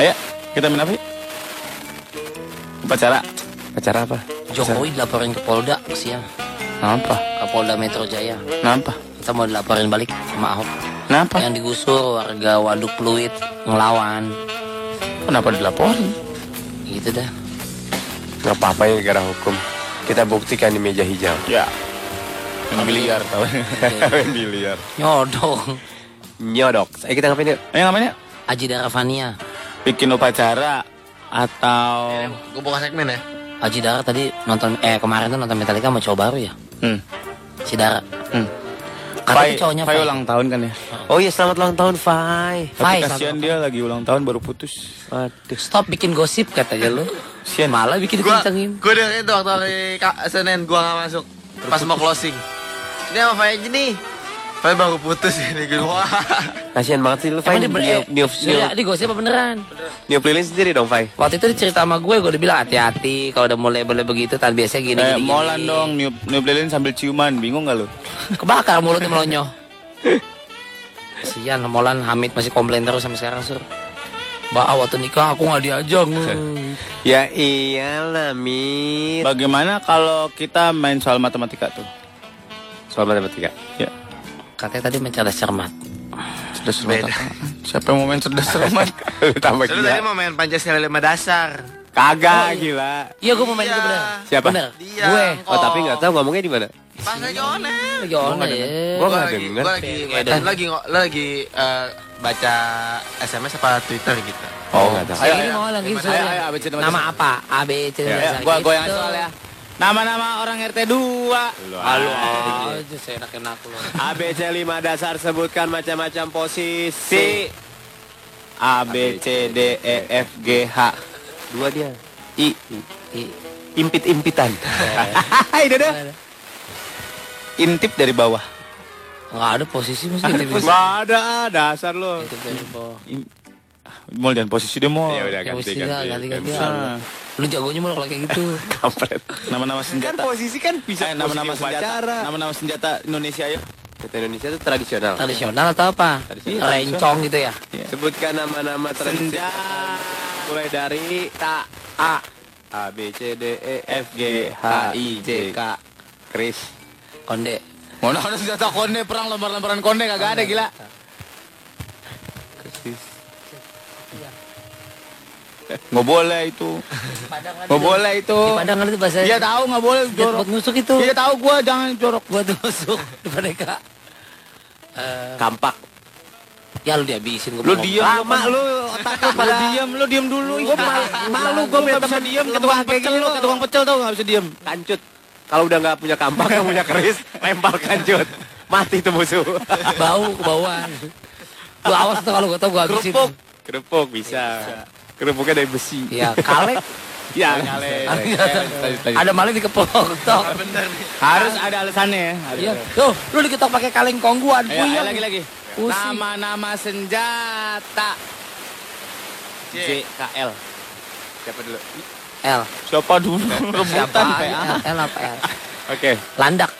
[SPEAKER 2] Ayo, kita main apa? yuk? Upacara.
[SPEAKER 9] Acara apa?
[SPEAKER 5] Jokowi dilaporin ke Polda siang.
[SPEAKER 2] Kenapa?
[SPEAKER 5] Ke Polda Metro Jaya.
[SPEAKER 2] Kenapa?
[SPEAKER 5] Kita mau dilaporin balik sama Ahok.
[SPEAKER 2] Kenapa?
[SPEAKER 5] Yang digusur warga Waduk Pluit ngelawan.
[SPEAKER 2] Kenapa dilaporin?
[SPEAKER 5] Gitu dah.
[SPEAKER 9] Gak apa-apa ya negara hukum. Kita buktikan di meja hijau.
[SPEAKER 2] Ya. Main biliar tau. Main biliar.
[SPEAKER 5] Nyodong.
[SPEAKER 9] Nyodok. Ayo kita ngapain yuk?
[SPEAKER 2] Ayo ngapain yuk?
[SPEAKER 5] Aji Darafania.
[SPEAKER 2] Bikin upacara atau
[SPEAKER 7] Gue buka segmen ya.
[SPEAKER 5] Aji Dara tadi nonton eh kemarin tuh nonton Metallica sama cowok baru ya.
[SPEAKER 2] hmm.
[SPEAKER 5] Si Dara.
[SPEAKER 2] Hmm.
[SPEAKER 5] Katanya cowoknya
[SPEAKER 2] Fai
[SPEAKER 5] Fai.
[SPEAKER 2] ulang tahun kan ya?
[SPEAKER 9] Oh iya selamat ulang tahun Fai.
[SPEAKER 2] Tapi
[SPEAKER 5] Fai,
[SPEAKER 2] kasihan
[SPEAKER 5] satu-
[SPEAKER 2] dia lagi ulang tahun baru putus.
[SPEAKER 9] Waduh.
[SPEAKER 5] Stop bikin gosip katanya lu.
[SPEAKER 2] Sian.
[SPEAKER 5] Malah bikin
[SPEAKER 7] Gua,
[SPEAKER 5] dikencengin.
[SPEAKER 7] gua udah itu waktu hari Ka- Senin gua gak masuk Pas mau closing Ini sama Fai aja nih Fai baru putus ini gue Wah
[SPEAKER 9] Kasihan banget sih lu Fai.
[SPEAKER 5] Emang dia ber- eh,
[SPEAKER 9] Niup, niup,
[SPEAKER 5] iya,
[SPEAKER 9] niup,
[SPEAKER 5] ini gosip apa beneran?
[SPEAKER 9] niup lilin sendiri dong Fai.
[SPEAKER 5] Waktu itu dia cerita sama gue, gue udah bilang hati-hati kalau udah mulai boleh begitu, tadi biasanya gini,
[SPEAKER 2] Eh,
[SPEAKER 5] gini,
[SPEAKER 2] molan
[SPEAKER 5] gini.
[SPEAKER 2] dong, niup, niup lilin sambil ciuman, bingung gak lu?
[SPEAKER 5] Kebakar mulutnya melonyoh. Kasihan, Molan Hamid masih komplain terus sampai sekarang, Sur. Mbak, waktu nikah aku nggak diajak.
[SPEAKER 9] Ya iyalah
[SPEAKER 5] Iya.
[SPEAKER 9] Mit.
[SPEAKER 2] Bagaimana kalau kita main soal matematika tuh?
[SPEAKER 9] Soal matematika.
[SPEAKER 2] Ya.
[SPEAKER 5] Katanya tadi main cerdas cermat.
[SPEAKER 2] Cerdas cermat. apa? Siapa yang mau main cerdas cermat?
[SPEAKER 9] Tambah
[SPEAKER 7] Terus tadi mau main Pancasila 5 dasar Oh,
[SPEAKER 2] Kagak gila.
[SPEAKER 5] Iya, gue mau main itu
[SPEAKER 7] Iya.
[SPEAKER 5] bener.
[SPEAKER 9] Siapa?
[SPEAKER 5] Bener.
[SPEAKER 7] Dia
[SPEAKER 5] Gue.
[SPEAKER 9] Oh tapi nggak tahu ngomongnya di mana.
[SPEAKER 7] Pas lagi online
[SPEAKER 5] Lagi online ya.
[SPEAKER 9] Gua
[SPEAKER 7] Gua
[SPEAKER 9] nggak
[SPEAKER 7] lagi,
[SPEAKER 9] denger.
[SPEAKER 7] gua lagi, lagi, lagi, ngo- lagi eh, baca SMS apa Twitter gitu
[SPEAKER 9] Oh nggak tahu.
[SPEAKER 5] Ayo, ini mau lagi
[SPEAKER 7] Ayo,
[SPEAKER 5] Sur.
[SPEAKER 2] ayo, ayo, ABC,
[SPEAKER 5] Nama Gitu. apa? A, B, C, D,
[SPEAKER 2] Ya, gua gua yang soal ya. Nama-nama orang RT 2.
[SPEAKER 5] Halo. aja, saya enak-enak lu.
[SPEAKER 8] ABC 5 dasar sebutkan macam-macam posisi.
[SPEAKER 2] C A B C D E F G H
[SPEAKER 9] Dua dia.
[SPEAKER 2] I
[SPEAKER 5] I-
[SPEAKER 9] Impit-impitan.
[SPEAKER 2] Hai Dodo Intip dari bawah
[SPEAKER 5] Nggak ada posisi mesti gitu. bisa.
[SPEAKER 2] Nggak ada dasar lo
[SPEAKER 5] Gitu, Bebo.
[SPEAKER 2] Mall dan posisi dia mall
[SPEAKER 9] Ya udah
[SPEAKER 5] Ya
[SPEAKER 9] ganti
[SPEAKER 5] mesti lah,
[SPEAKER 9] ganti.
[SPEAKER 5] ganti-ganti.
[SPEAKER 2] Ah,
[SPEAKER 5] Lu jagonya mulu kalau kayak gitu.
[SPEAKER 9] Kampret.
[SPEAKER 2] Nama-nama senjata
[SPEAKER 8] posisi kan bisa
[SPEAKER 2] Eh, Nama-nama
[SPEAKER 8] posisi
[SPEAKER 2] senjata
[SPEAKER 8] upacara.
[SPEAKER 2] Nama-nama senjata Indonesia ayo
[SPEAKER 9] Kata Indonesia itu tradisional.
[SPEAKER 5] Tradisional atau apa?
[SPEAKER 9] Tradisional.
[SPEAKER 5] Rencong gitu ya.
[SPEAKER 9] Sebutkan nama-nama tradisional.
[SPEAKER 2] Senja Mulai dari Ta A A B C D E F G H I J K
[SPEAKER 9] Chris.
[SPEAKER 5] Konde.
[SPEAKER 2] Mana ada senjata konde perang lembar-lembaran konde kagak ada gila Eh, Nggak boleh itu Nggak boleh itu
[SPEAKER 5] Di Padang kan itu bahasa.
[SPEAKER 2] Dia tahu nggak boleh
[SPEAKER 5] Dia
[SPEAKER 2] jorok.
[SPEAKER 5] tempat nusuk itu.
[SPEAKER 2] Dia tahu gua jangan jorok.
[SPEAKER 5] Buat nusuk di mereka.
[SPEAKER 9] Kampak.
[SPEAKER 5] Ya lu dihabisin gue.
[SPEAKER 2] Lu
[SPEAKER 5] mau
[SPEAKER 2] diam
[SPEAKER 8] Lama lu otak lu
[SPEAKER 2] Lu
[SPEAKER 8] pada
[SPEAKER 2] diam, lu diam dulu.
[SPEAKER 4] iya.
[SPEAKER 2] Gua ma- malu gua nggak bisa diam ke tukang pecel lu, ke tukang pecel tau nggak bisa diam.
[SPEAKER 4] Eh,
[SPEAKER 9] Kancut. Kalau udah nggak punya kampak, nggak punya keris, lempar kancut. Mati tuh musuh.
[SPEAKER 5] ngomong. Bau kebauan. Lu awas tuh kalau gue tau gue habisin.
[SPEAKER 9] Kerupuk. Kerupuk bisa. Kerupuknya dari besi.
[SPEAKER 5] Iya, kalek.
[SPEAKER 9] Ya, kalian.
[SPEAKER 5] Ada malah dikeplok tok.
[SPEAKER 2] Harus ada alasannya ya.
[SPEAKER 5] Iya. Tuh, lu diketok pakai kaleng kongguan.
[SPEAKER 2] Ayo, ayo,
[SPEAKER 5] Puyeng.
[SPEAKER 2] lagi lagi.
[SPEAKER 5] Pusing.
[SPEAKER 2] Nama-nama senjata. J K L.
[SPEAKER 9] Siapa dulu?
[SPEAKER 5] L.
[SPEAKER 2] Siapa dulu?
[SPEAKER 5] Siapa?
[SPEAKER 2] Rebutan PA.
[SPEAKER 5] L, L iya. apa L?
[SPEAKER 9] Oke.
[SPEAKER 5] Landak.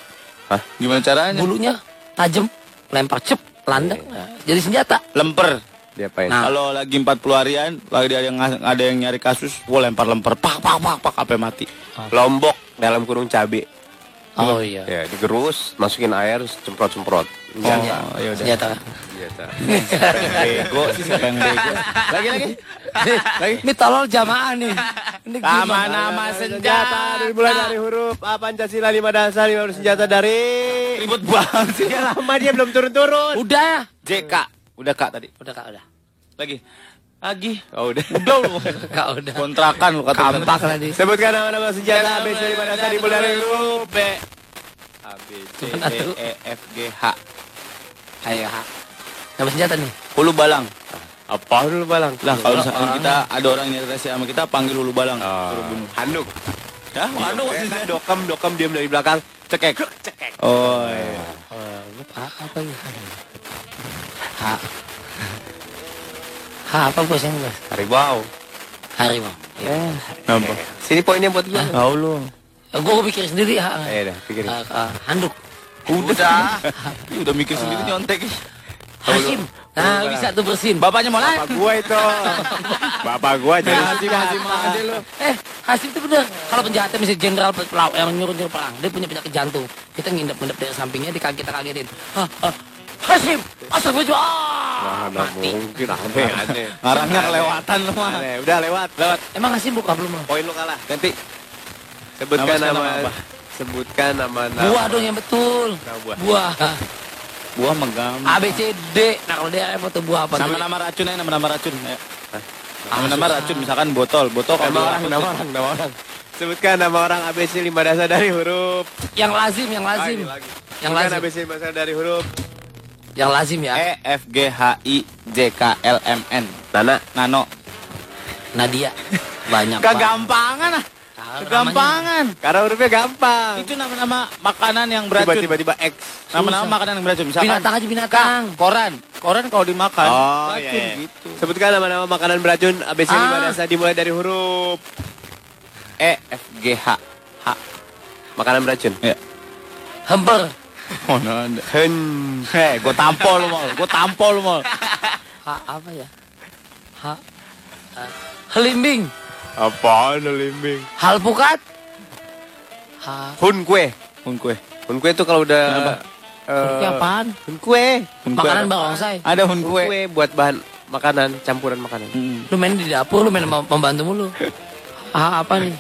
[SPEAKER 2] Gimana caranya?
[SPEAKER 5] Bulunya tajam. Lempar cep. Landak. Jadi senjata.
[SPEAKER 2] Lemper.
[SPEAKER 9] Diapain?
[SPEAKER 5] Nah.
[SPEAKER 2] Kalau lagi 40 harian, lagi ada yang ada yang nyari kasus, gua lempar-lempar, pak pak pak pak, apa mati.
[SPEAKER 9] Lombok dalam kurung cabe.
[SPEAKER 5] Oh iya.
[SPEAKER 9] Ya, digerus, masukin air, semprot-semprot.
[SPEAKER 4] iya.
[SPEAKER 9] iya,
[SPEAKER 2] Oh,
[SPEAKER 5] Senjata.
[SPEAKER 2] ya udah.
[SPEAKER 5] Senjata.
[SPEAKER 2] Bego sih siapa yang bego. Lagi lagi.
[SPEAKER 5] Ini tolol jamaah nih. Ini
[SPEAKER 2] Nama-nama senjata dari bulan
[SPEAKER 8] Mulai dari huruf A Pancasila 5 dasar 5 senjata dari
[SPEAKER 2] ribut banget sih.
[SPEAKER 8] Ya lama dia belum turun-turun.
[SPEAKER 5] Udah.
[SPEAKER 2] JK. Udah Kak tadi.
[SPEAKER 5] Udah kak udah.
[SPEAKER 2] Lagi. Lagi.
[SPEAKER 9] Oh, udah.
[SPEAKER 2] Udah lu.
[SPEAKER 5] Kak udah.
[SPEAKER 2] Kontrakan lu kata.
[SPEAKER 5] Kampak lah nih.
[SPEAKER 8] Sebutkan nama-nama senjata ABC 5 dasar dimulai dari huruf
[SPEAKER 2] B. A B C
[SPEAKER 5] Cuman
[SPEAKER 2] D
[SPEAKER 5] satu.
[SPEAKER 2] E F G H.
[SPEAKER 5] Ayo kak. Nama senjata nih.
[SPEAKER 2] Hulu balang.
[SPEAKER 9] Apa dulu balang?
[SPEAKER 2] Lah kalau
[SPEAKER 5] Orang-
[SPEAKER 2] misalkan
[SPEAKER 5] orang-
[SPEAKER 2] kita ada orang yang interest sama kita panggil hulu balang. Suruh bunuh.
[SPEAKER 9] Handuk. Iya,
[SPEAKER 2] Hah? Waduh.
[SPEAKER 9] Dokam, dokam diam dari belakang. Cekek. Cekek.
[SPEAKER 2] Oh. iya.
[SPEAKER 5] Eh, lu A apa ya? H. H apa gue sih gue?
[SPEAKER 9] Hari bau.
[SPEAKER 5] Harimau.
[SPEAKER 2] Kenapa? Ah,
[SPEAKER 9] Sini poinnya buat gua.
[SPEAKER 2] Tahu lu.
[SPEAKER 5] Gue pikir sendiri. ah.
[SPEAKER 4] Ya udah, pikirin.
[SPEAKER 5] Ah, ah, handuk.
[SPEAKER 7] Udah.
[SPEAKER 2] Ih, udah mikir sendiri nyontek. ih.
[SPEAKER 5] Hasim. Nah, bisa tuh bersin.
[SPEAKER 2] Bapaknya mau lah.
[SPEAKER 9] Bapak gua itu. Bapak gua jadi.
[SPEAKER 5] Eh, Hasim itu bener. Kalau penjahatnya misalnya jenderal pelaut yang nyuruh-nyuruh perang, dia punya penyakit jantung. Kita ngindep-ngindep dari sampingnya, dikaget kita kagetin. Hah, hah, Hasim, asal gue
[SPEAKER 4] Nah,
[SPEAKER 5] mati.
[SPEAKER 9] Ah, Mungkin aneh, aneh.
[SPEAKER 2] Ngarangnya kelewatan lu mah.
[SPEAKER 9] Aneh, Udah lewat. Lewat.
[SPEAKER 5] Emang Hasim buka belum? Bang?
[SPEAKER 9] Poin lu kalah.
[SPEAKER 2] Ganti.
[SPEAKER 9] Sebutkan
[SPEAKER 2] Nama-
[SPEAKER 9] nama.
[SPEAKER 2] nama apa?
[SPEAKER 9] Sebutkan nama.
[SPEAKER 4] Nah,
[SPEAKER 5] Buah dong yang betul.
[SPEAKER 9] buah.
[SPEAKER 5] Buah.
[SPEAKER 2] Buah menggam.
[SPEAKER 5] A, B, C, D. Nah, kalau dia apa tuh buah apa? tuh?
[SPEAKER 2] Sama nama racun aja, nama-nama racun. ayo. Nama-nama racun, misalkan botol. Ah. Botol kalau
[SPEAKER 9] Nama orang,
[SPEAKER 2] diracun,
[SPEAKER 9] nama orang, nama orang. Sebutkan nama orang ABC lima dasar dari huruf.
[SPEAKER 5] Yang lazim, yang lazim.
[SPEAKER 9] Ah, ini lagi.
[SPEAKER 5] Yang
[SPEAKER 9] Sebutkan
[SPEAKER 5] lazim.
[SPEAKER 9] ABC lima dasar dari huruf.
[SPEAKER 5] Yang lazim ya.
[SPEAKER 2] E F G H I J K L M N. Nana. Nano.
[SPEAKER 5] Nadia. Banyak banget.
[SPEAKER 2] Kegampangan ah.
[SPEAKER 5] Namanya-
[SPEAKER 2] Kegampangan.
[SPEAKER 9] Karena hurufnya gampang.
[SPEAKER 2] Itu nama-nama makanan yang
[SPEAKER 9] Tiba-
[SPEAKER 2] beracun.
[SPEAKER 9] Tiba-tiba X.
[SPEAKER 2] Nama-nama makanan yang beracun. Misalkan
[SPEAKER 5] Binatang aja binatang.
[SPEAKER 2] koran. Koran kalau dimakan.
[SPEAKER 9] Oh,
[SPEAKER 2] beracun
[SPEAKER 9] iya, iya.
[SPEAKER 2] gitu.
[SPEAKER 9] Sebutkan nama-nama makanan beracun ABC lima
[SPEAKER 5] Ah.
[SPEAKER 9] dasar dimulai dari huruf.
[SPEAKER 2] E F G H.
[SPEAKER 9] Makanan beracun.
[SPEAKER 5] Hemper.
[SPEAKER 2] Oh, no, no. Heh, gue Eh, tampol lu mal. Gue tampol lu mal.
[SPEAKER 5] Ha, apa ya? Ha. eh, helimbing.
[SPEAKER 9] Apaan limbing?
[SPEAKER 5] Halpukat. Ha.
[SPEAKER 9] Hun kue.
[SPEAKER 2] Pun kue.
[SPEAKER 9] Hun kue itu kalau udah eh,
[SPEAKER 5] Itu apaan?
[SPEAKER 9] hun kue.
[SPEAKER 2] Hun kue
[SPEAKER 5] Eh, Makanan
[SPEAKER 2] ada.
[SPEAKER 5] barongsai.
[SPEAKER 2] Ada hun
[SPEAKER 9] Kue.
[SPEAKER 2] kue. Hmm.
[SPEAKER 9] buat bahan makanan, campuran makanan.
[SPEAKER 5] Lu main di dapur, lu main sama pembantu mulu. Ah, apa nih?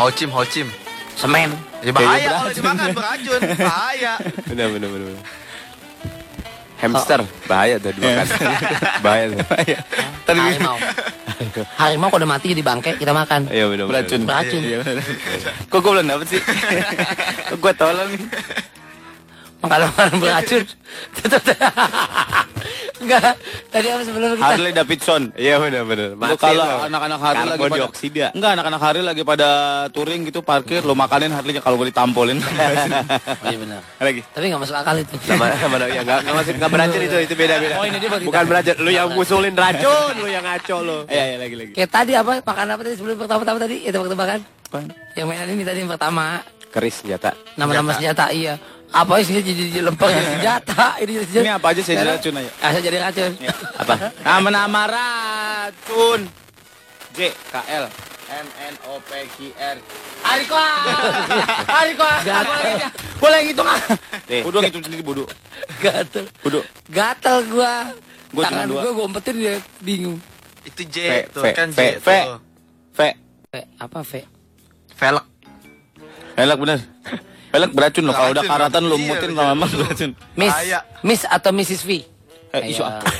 [SPEAKER 7] Hochim, Hochim.
[SPEAKER 5] Semen.
[SPEAKER 7] Ya bahaya kalau dimakan beracun. Ah, Bahaya.
[SPEAKER 9] Benar, benar, benar. benar. Hamster,
[SPEAKER 2] Oh.
[SPEAKER 9] bahaya tuh
[SPEAKER 2] Iya.
[SPEAKER 9] dimakan. bahaya tuh.
[SPEAKER 5] Harimau. Harimau kalau udah mati jadi bangke, kita makan.
[SPEAKER 9] Iya, benar, benar.
[SPEAKER 2] Beracun.
[SPEAKER 5] Beracun.
[SPEAKER 2] Iya, bener. Kok gue belum dapet sih? Kok gue tolong nih?
[SPEAKER 5] Makanan makanan beracun. Tetep- Enggak, tadi apa sebelum kita?
[SPEAKER 2] Harley Davidson.
[SPEAKER 9] Iya, benar, benar.
[SPEAKER 2] Lu
[SPEAKER 9] Mati
[SPEAKER 2] kalau
[SPEAKER 9] lo.
[SPEAKER 2] anak-anak Harley lagi
[SPEAKER 9] Karbon
[SPEAKER 2] pada
[SPEAKER 9] dioksida.
[SPEAKER 2] Enggak, anak-anak Harley lagi pada touring gitu parkir, lu makanin Harley-nya kalau gue ditampolin.
[SPEAKER 5] Iya benar.
[SPEAKER 2] Lagi.
[SPEAKER 5] Tapi nggak masuk akal itu.
[SPEAKER 9] Sama, sama, ya, nggak nggak masuk, nggak beracun itu, itu beda, beda.
[SPEAKER 5] Oh, ini dia bagi-
[SPEAKER 9] Bukan beracun, lu yang ngusulin racun, lu yang ngaco lo.
[SPEAKER 2] Iya, iya, lagi lagi.
[SPEAKER 5] Kayak tadi apa? Makan apa tadi sebelum pertama-tama tadi? Ya tebak-tebakan. Yang mainan ini tadi yang pertama.
[SPEAKER 9] Keris senjata.
[SPEAKER 5] Nama-nama senjata, iya. Apa sih jadi jadi lempar jadi senjata? Ini jadi senjata.
[SPEAKER 2] Ini apa aja saya jadi
[SPEAKER 5] Sekarang-
[SPEAKER 2] racun aja. Iya.
[SPEAKER 5] Ah, saya jadi racun.
[SPEAKER 2] Apa? Nama-nama racun. J K L M N O P Q R.
[SPEAKER 5] Ariko. Ariko.
[SPEAKER 2] Boleh yang hitung ah.
[SPEAKER 9] Nih.
[SPEAKER 2] Bodoh ngitung sendiri bodoh.
[SPEAKER 5] Gatel.
[SPEAKER 2] Bodoh.
[SPEAKER 5] Gatel gua.
[SPEAKER 2] Gua
[SPEAKER 5] Tangan
[SPEAKER 2] cuma dua.
[SPEAKER 5] gua gua umpetin dia bingung.
[SPEAKER 7] Itu J
[SPEAKER 2] Fe-
[SPEAKER 7] tuh
[SPEAKER 2] fe-
[SPEAKER 7] kan
[SPEAKER 2] fe-
[SPEAKER 7] J
[SPEAKER 2] fe.
[SPEAKER 7] tuh.
[SPEAKER 2] V.
[SPEAKER 5] V, apa V?
[SPEAKER 7] Velg.
[SPEAKER 2] Pelek bener. Pelek beracun loh. Kalau udah
[SPEAKER 7] Beracun,
[SPEAKER 2] karatan lu
[SPEAKER 7] iya,
[SPEAKER 2] mutin
[SPEAKER 7] bener.
[SPEAKER 2] kalau emang beracun.
[SPEAKER 5] Miss,
[SPEAKER 7] Bahaya.
[SPEAKER 5] Miss atau Mrs V?
[SPEAKER 2] Eh, isu
[SPEAKER 5] Ayo.
[SPEAKER 2] apa?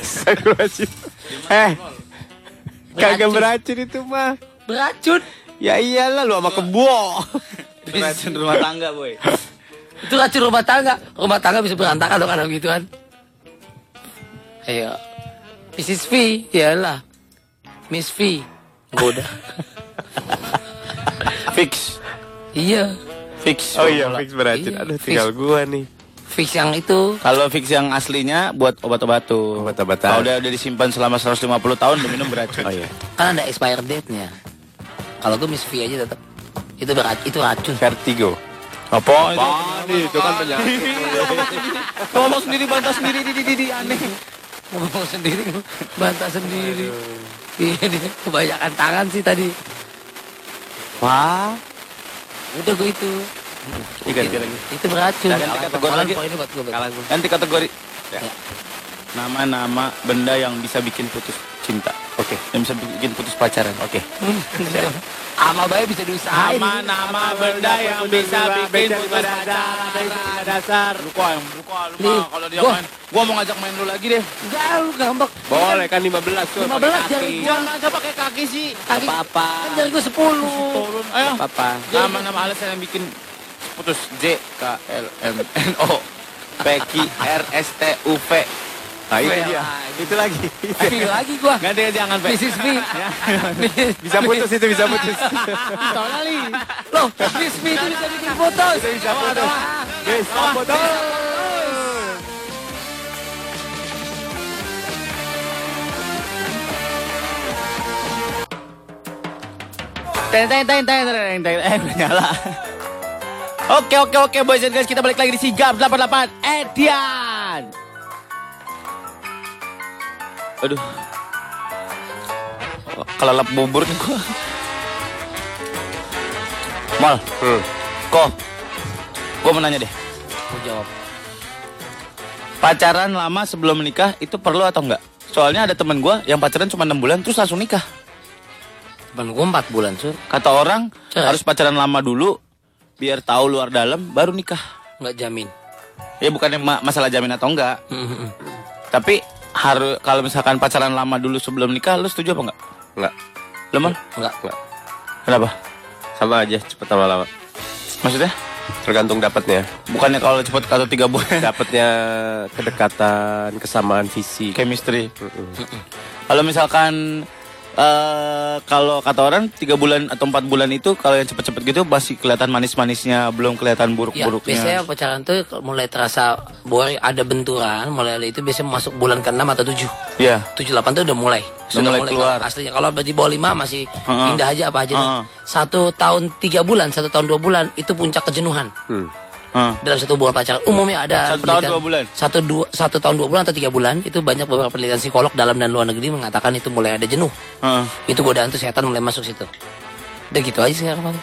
[SPEAKER 9] Eh, kagak
[SPEAKER 5] Beracun.
[SPEAKER 9] beracun itu mah.
[SPEAKER 5] Beracun.
[SPEAKER 9] Ya iyalah lu sama kebo.
[SPEAKER 2] Beracun rumah tangga, boy.
[SPEAKER 5] Itu racun rumah tangga. Rumah tangga bisa berantakan dong kalau gituan. kan? Ayo. Mrs. V, iyalah. Miss V. Goda.
[SPEAKER 2] Fix.
[SPEAKER 5] iya.
[SPEAKER 2] Fix.
[SPEAKER 9] Oh iya, fix beracun.
[SPEAKER 5] Iya,
[SPEAKER 9] Aduh,
[SPEAKER 5] fix.
[SPEAKER 9] tinggal gua nih.
[SPEAKER 5] Fix yang itu.
[SPEAKER 2] Kalau fix yang aslinya buat obat-obat tuh.
[SPEAKER 9] Obat-obatan.
[SPEAKER 2] Kalau udah, udah disimpan selama 150 tahun diminum beracun.
[SPEAKER 9] Oh iya.
[SPEAKER 5] Kan ada expired date-nya. Kalau gue Miss V aja tetap. Itu beracun, itu racun.
[SPEAKER 9] Vertigo.
[SPEAKER 2] Apa itu?
[SPEAKER 9] itu kan penyakit.
[SPEAKER 2] Ngomong sendiri bantah sendiri di di di, di aneh.
[SPEAKER 5] Ngomong sendiri, bantah sendiri. Iya, dia kebanyakan tangan sih tadi.
[SPEAKER 2] Wah.
[SPEAKER 5] Udah gue itu.
[SPEAKER 2] Ini ganti lagi.
[SPEAKER 5] Itu beracun.
[SPEAKER 2] Dan nanti kata gua
[SPEAKER 5] Kalah,
[SPEAKER 2] lagi.
[SPEAKER 5] poin ini buat gue. Bang.
[SPEAKER 2] Ganti kategori.
[SPEAKER 5] Ya.
[SPEAKER 2] Nama-nama benda yang bisa bikin putus cinta. Oke. Yang bisa bikin putus pacaran. Oke.
[SPEAKER 5] Ama baik bisa diusahain.
[SPEAKER 2] Nah, Nama-nama benda yang bisa bikin putus pacaran.
[SPEAKER 9] dasar.
[SPEAKER 2] Lu kok yang lu kok lu
[SPEAKER 5] Nih,
[SPEAKER 2] mah kalau dia
[SPEAKER 5] gua-
[SPEAKER 2] main, gua mau ngajak main lu lagi deh.
[SPEAKER 5] Enggak, lu ngambek.
[SPEAKER 9] Boleh kan 15 tuh.
[SPEAKER 5] 15 jari gua.
[SPEAKER 2] ngajak pakai kaki sih.
[SPEAKER 5] Kaki,
[SPEAKER 2] Apa-apa.
[SPEAKER 5] kan jari gua 10.
[SPEAKER 2] Turun, ayo.
[SPEAKER 9] Apa?
[SPEAKER 2] Nama-nama alasan yang bikin putus J K L M N O P Q R S T U V.
[SPEAKER 9] Nah, itu dia. Itu lagi.
[SPEAKER 5] Tapi lagi gua.
[SPEAKER 2] Ganti jangan Pak.
[SPEAKER 5] Mrs. B.
[SPEAKER 9] Ya. Bisa putus itu bisa putus.
[SPEAKER 5] Tolong kali. Loh, Mrs. B itu bisa bikin putus. Bisa putus.
[SPEAKER 9] Bisa putus.
[SPEAKER 2] Teng teng teng teng teng teng eh nyala. Oke, oke, oke, boys and girls. Kita balik lagi di Sigap eh, 88 Edian. Aduh. Kelalap bubur nih gua. Mal.
[SPEAKER 5] Hmm.
[SPEAKER 2] Kok. Gua mau nanya deh.
[SPEAKER 5] Aku jawab.
[SPEAKER 2] Pacaran lama sebelum menikah itu perlu atau enggak? Soalnya ada temen gua yang pacaran cuma 6 bulan terus langsung nikah.
[SPEAKER 5] Temen gue 4 bulan, Sur.
[SPEAKER 2] Kata orang
[SPEAKER 5] Cerai.
[SPEAKER 2] harus pacaran lama dulu biar tahu luar dalam baru nikah.
[SPEAKER 5] Nggak jamin.
[SPEAKER 2] Ya bukannya ma- masalah jamin atau enggak,
[SPEAKER 5] Mm-hmm.
[SPEAKER 2] tapi harus kalau misalkan pacaran lama dulu sebelum nikah lu setuju apa enggak?
[SPEAKER 4] Enggak.
[SPEAKER 2] Lemah?
[SPEAKER 5] Enggak.
[SPEAKER 2] Kenapa?
[SPEAKER 4] Sama aja cepet sama lama.
[SPEAKER 2] Maksudnya?
[SPEAKER 4] Tergantung dapatnya.
[SPEAKER 2] Bukannya kalau cepet atau tiga bulan
[SPEAKER 4] Dapatnya kedekatan, kesamaan visi.
[SPEAKER 2] chemistry. Kalau misalkan eh kalau kata orang tiga bulan atau empat bulan itu kalau yang cepet-cepet gitu masih kelihatan manis-manisnya, belum kelihatan
[SPEAKER 5] Ya, biasanya
[SPEAKER 2] buruk-buruknya.
[SPEAKER 5] pacaran tuh mulai terasa boring, ada benturan, mulai itu biasanya masuk bulan ke-6 atau 7.
[SPEAKER 2] Iya.
[SPEAKER 5] 7 8 tuh udah mulai.
[SPEAKER 2] mulai keluar.
[SPEAKER 5] Aslinya kalau di bawah 5 masih
[SPEAKER 2] Heeh.
[SPEAKER 5] pindah aja apa aja. nih.
[SPEAKER 2] Heeh.
[SPEAKER 5] Satu tahun 3 bulan, satu tahun 2 bulan itu puncak kejenuhan.
[SPEAKER 2] Heeh.
[SPEAKER 5] dalam satu bulan pacaran umumnya ada
[SPEAKER 2] Satu tahun,
[SPEAKER 5] penelitian-
[SPEAKER 2] dua bulan.
[SPEAKER 5] satu dua satu tahun dua bulan atau tiga bulan itu banyak beberapa penelitian psikolog dalam dan luar negeri mengatakan itu mulai ada jenuh
[SPEAKER 2] Heeh.
[SPEAKER 5] itu godaan tuh setan mulai masuk situ udah gitu aja sekarang Bang.